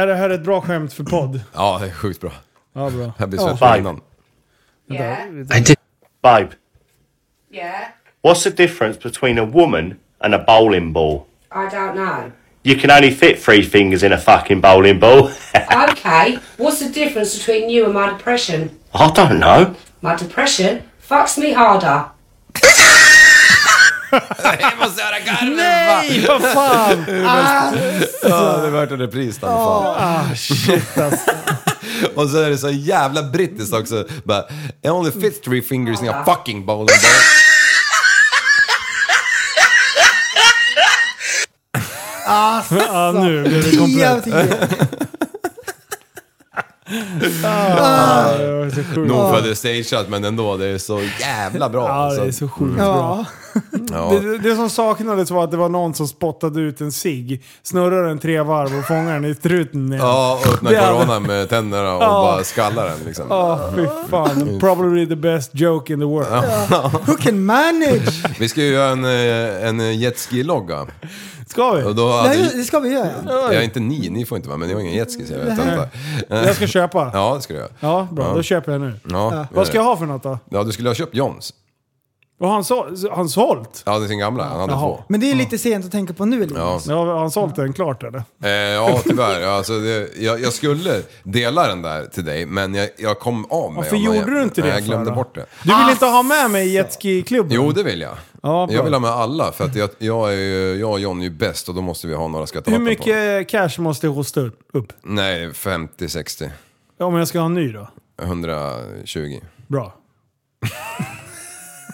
Speaker 5: är det här ett bra skämt för podd?
Speaker 7: Ja, det är sjukt bra.
Speaker 5: Ja, bra.
Speaker 7: Jag blir svettig på innan.
Speaker 13: I did. Babe. Yeah. What's the difference between a woman and a bowling ball?
Speaker 14: I don't know.
Speaker 13: You can only fit three fingers in a fucking bowling ball.
Speaker 14: okay, what's the difference between you and my depression?
Speaker 13: I don't know.
Speaker 14: My depression fucks me harder.
Speaker 5: Nej, vad fan!
Speaker 7: Ja, det är värt en repris i alla fall.
Speaker 5: Ah, shit alltså.
Speaker 7: Och så är det så jävla brittiskt också. Bara, I only fit three fingers in a fucking bowling ball.
Speaker 6: Asså!
Speaker 5: Ja, nu blev det komplett.
Speaker 6: Tio av tio.
Speaker 5: Ah, det var så sjukt.
Speaker 7: Nog för att det är stageat men ändå, det är så jävla bra. alltså.
Speaker 5: Ja, det är så sjukt bra.
Speaker 7: Ja.
Speaker 5: Det, det som saknades var att det var någon som spottade ut en cigg, snurrade den tre varv och fångade den i struten igen.
Speaker 7: Ja, och öppna
Speaker 5: Det hade-
Speaker 7: corona med tänderna och
Speaker 5: Ja.
Speaker 7: bara skallar den liksom.
Speaker 5: Ja, Ah, fy fan. Probably the best joke in the world.
Speaker 6: Who can manage?
Speaker 7: Vi ska ju göra en, eh, en jetski-logga.
Speaker 5: Ska vi?
Speaker 7: Och då hade,
Speaker 6: Nej, det ska vi göra.
Speaker 7: Ja, inte ni, ni får inte vara med, ni har ingen jetski så jag vet
Speaker 5: Nej.
Speaker 7: inte.
Speaker 5: Jag ska köpa.
Speaker 7: Ja, det ska du göra.
Speaker 5: Ja, bra.
Speaker 7: Ja.
Speaker 5: Då köper jag nu.
Speaker 7: Ja.
Speaker 5: Vad ska jag ha för något då?
Speaker 7: Ja, du skulle ha köpt Johns.
Speaker 5: Vad har han, så, har han sålt?
Speaker 7: Ja, det är sin gamla, han hade två.
Speaker 6: Men det är lite sent att tänka på nu. Linus.
Speaker 7: Ja.
Speaker 5: Ja, har han sålt den klart eller?
Speaker 7: Eh, ja, tyvärr. Ja, Alltså, det, jag, jag skulle dela den där till dig, men jag, jag kom av mig.
Speaker 5: Varför
Speaker 7: av någon
Speaker 5: gjorde
Speaker 7: jävla-
Speaker 5: du inte det
Speaker 7: Nej, Jag
Speaker 5: för
Speaker 7: glömde
Speaker 5: då?
Speaker 7: bort det.
Speaker 5: Du vill inte ha med mig i jetski-klubben?
Speaker 7: Ah, Jo, det vill jag.
Speaker 5: Ja, bra.
Speaker 7: jag vill ha med alla, för att jag, jag, är, ju- jag och John är ju bäst och då måste vi ha några
Speaker 5: Hur
Speaker 7: skatterabatter på.
Speaker 5: mycket cash måste jag hosta upp?
Speaker 7: Nej, 50-60.
Speaker 5: Om jag ska ha en ny då?
Speaker 7: 120.
Speaker 5: Bra.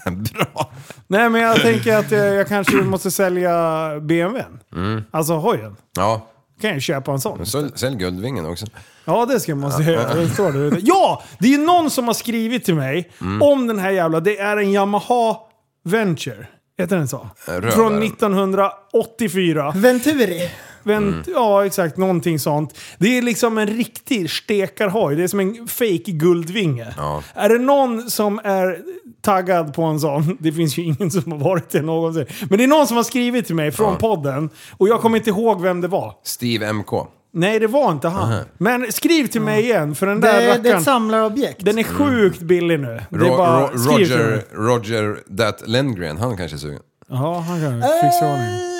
Speaker 7: Bra!
Speaker 5: Nej, men jag tänker att eh, jag, jag kanske måste sälja BMWn.
Speaker 7: Mm.
Speaker 5: Alltså hojen.
Speaker 7: Ja,
Speaker 5: kan jag ju köpa en sån.
Speaker 7: men sälj, sälj Guldvingen också.
Speaker 5: Ja, det ska man måste
Speaker 7: Ja.
Speaker 5: göra. Det står där ute. Ja, det är ju någon som har skrivit till mig
Speaker 7: Mm.
Speaker 5: om den här jävla... Det är en Yamaha Venture. Heter den så?
Speaker 7: Röd är
Speaker 5: Från
Speaker 7: den.
Speaker 5: 1984. Venturi. Vent,
Speaker 7: Mm.
Speaker 5: Ja, exakt. Någonting sånt. Det är liksom en riktig stekarhoj. Det är som en fake guldvinge.
Speaker 7: Ja.
Speaker 5: Är det någon som är taggad på en sån? Det finns ju ingen som har varit det någonsin. Men det är någon som har skrivit till mig från
Speaker 7: Ja.
Speaker 5: podden och jag kommer inte ihåg vem det var.
Speaker 7: Steve MK.
Speaker 5: Nej, det var inte han.
Speaker 7: Aha.
Speaker 5: Men skriv till mig igen, för den
Speaker 6: Det,
Speaker 5: där
Speaker 6: är- det är ett
Speaker 5: rackaren...
Speaker 6: samlarobjekt.
Speaker 5: Den är sjukt billig nu. Det
Speaker 7: Mm. Ro,
Speaker 5: är bara...
Speaker 7: Ro,
Speaker 5: skriv till
Speaker 7: Roger,
Speaker 5: mig.
Speaker 7: Roger That Lendgren, han kanske är sugen.
Speaker 5: Ja, han kan fixa i ordning.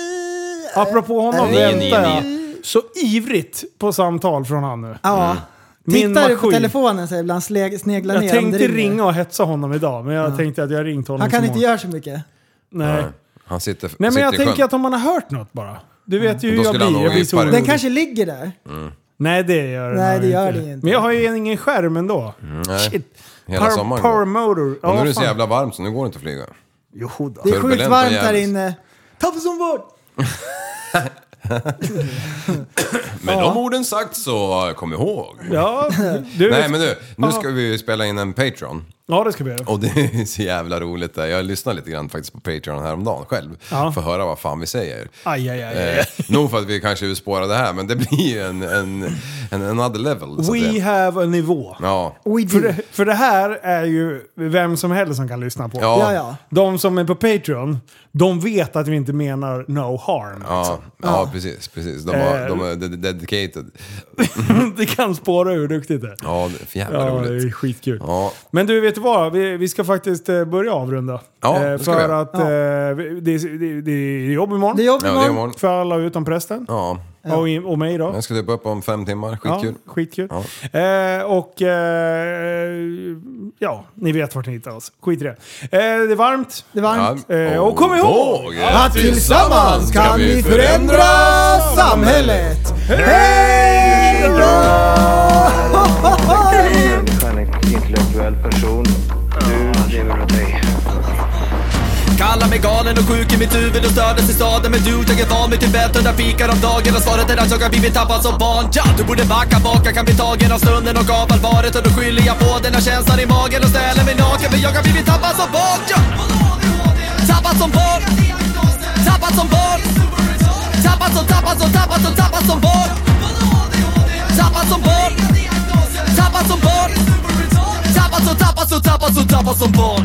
Speaker 5: Apropå honom
Speaker 7: Nio, nio,
Speaker 5: väntar jag så ivrigt på samtal från han nu.
Speaker 6: Ja.
Speaker 7: Mm.
Speaker 5: Min
Speaker 6: Tittar du på
Speaker 5: maskin.
Speaker 6: telefonen så här ibland sle- sneglar
Speaker 5: Jag
Speaker 6: ner om det
Speaker 5: tänkte
Speaker 6: ringer.
Speaker 5: ringa och hetsa honom idag, men jag
Speaker 6: Ja.
Speaker 5: tänkte att jag ringt honom
Speaker 6: Han kan
Speaker 5: så
Speaker 6: inte
Speaker 5: många-
Speaker 6: göra så mycket.
Speaker 5: Nej.
Speaker 7: Han sitter,
Speaker 5: Nej, men
Speaker 7: sitter
Speaker 5: jag
Speaker 7: i
Speaker 5: tänker
Speaker 7: sjön. Mm.
Speaker 5: att om man har hört något bara. Du vet ju hur
Speaker 7: Då
Speaker 5: jag
Speaker 7: skulle han
Speaker 5: blir.
Speaker 7: nog
Speaker 5: Jag blir så
Speaker 7: vippa det.
Speaker 5: orolig.
Speaker 6: Den kanske ligger där.
Speaker 7: Mm.
Speaker 5: Nej, det gör den
Speaker 6: Nej,
Speaker 5: nog
Speaker 6: det gör
Speaker 5: inte.
Speaker 6: den ju inte.
Speaker 5: Men jag har ju ingen skärm ändå.
Speaker 7: Nej.
Speaker 5: Shit.
Speaker 7: Hela
Speaker 5: Power-
Speaker 7: sommaren
Speaker 5: power
Speaker 7: går.
Speaker 5: motor.
Speaker 7: Och nu är det så
Speaker 5: fan.
Speaker 7: jävla varmt så nu går det inte att flyga.
Speaker 5: Jo, då.
Speaker 6: Det är sjukt
Speaker 7: Turbulent och
Speaker 6: varmt
Speaker 7: jävligt.
Speaker 6: här inne. Ta för som vård!
Speaker 7: Med
Speaker 6: Ja.
Speaker 7: de orden sagt så kom ihåg.
Speaker 5: Ja,
Speaker 7: Nej men du, nu ska
Speaker 5: Ja.
Speaker 7: vi ju spela in en Patreon.
Speaker 5: Ja, det ska vi göra.
Speaker 7: Och det är så jävla roligt där. Jag lyssnade lite grann faktiskt på Patreon häromdagen själv.
Speaker 5: Ja.
Speaker 7: För att höra vad fan vi säger.
Speaker 5: Aj, aj, aj. aj.
Speaker 7: Eh, nog för att vi kanske vill spåra det här men det blir ju en, en, en another level. så att
Speaker 5: We
Speaker 7: det-
Speaker 5: have a nivå.
Speaker 7: Ja.
Speaker 5: För det, för det här är ju vem som helst som kan lyssna på.
Speaker 7: Ja. Ja, ja.
Speaker 5: De som är på Patreon, de vet att vi inte menar no harm.
Speaker 7: Ja, ja, precis. precis. De, har, de är ded- dedicated.
Speaker 5: det kan spåra ur duktigt det är.
Speaker 7: Ja, det är för jävla
Speaker 5: Ja,
Speaker 7: roligt.
Speaker 5: det är skitkul.
Speaker 7: Ja,
Speaker 5: Men du, vet du vad? Vi, vi ska faktiskt eh, börja avrunda.
Speaker 7: Ja,
Speaker 5: Eh,
Speaker 7: det ska
Speaker 5: för
Speaker 7: vi.
Speaker 5: att eh, vi- det, är- det, det är jobb imorgon.
Speaker 6: Det är jobb
Speaker 7: Ja, det är imorgon. imorgon.
Speaker 5: För alla utom prästen.
Speaker 7: ja.
Speaker 5: Och, i- och mig då.
Speaker 7: Jag ska typ upp om fem timmar, skitkul.
Speaker 5: Ja, skitkul.
Speaker 7: Ja.
Speaker 5: Eh, och eh, ja, ni vet vart ni hittar oss. Skit i det. Eh, det är varmt.
Speaker 6: Det är
Speaker 5: varmt. Eh, och kom ihåg!
Speaker 6: Att tillsammans kan vi förändra samhället! Hej då!
Speaker 3: Människan är en intellektuell person. Du lever av dig.
Speaker 1: Kallar mig galen och sjuk i mitt huvud och stördes i staden Men du, jag är van vid Tibet under fikar om dagen Och svaret är att jag har blivit tappad som barn ja, Du borde backa bak, jag kan bli tagen av stunden och av allvaret Och då skyller jag på den här känslan i magen och ställer mig naken För jag har blivit tappad som barn ja. Tappad som barn Tappad som barn Tappad som, tappad som, tappad som, tappad som barn Tappad som barn Tappad som barn Tappad som, tappad som, tappad som, tappad som barn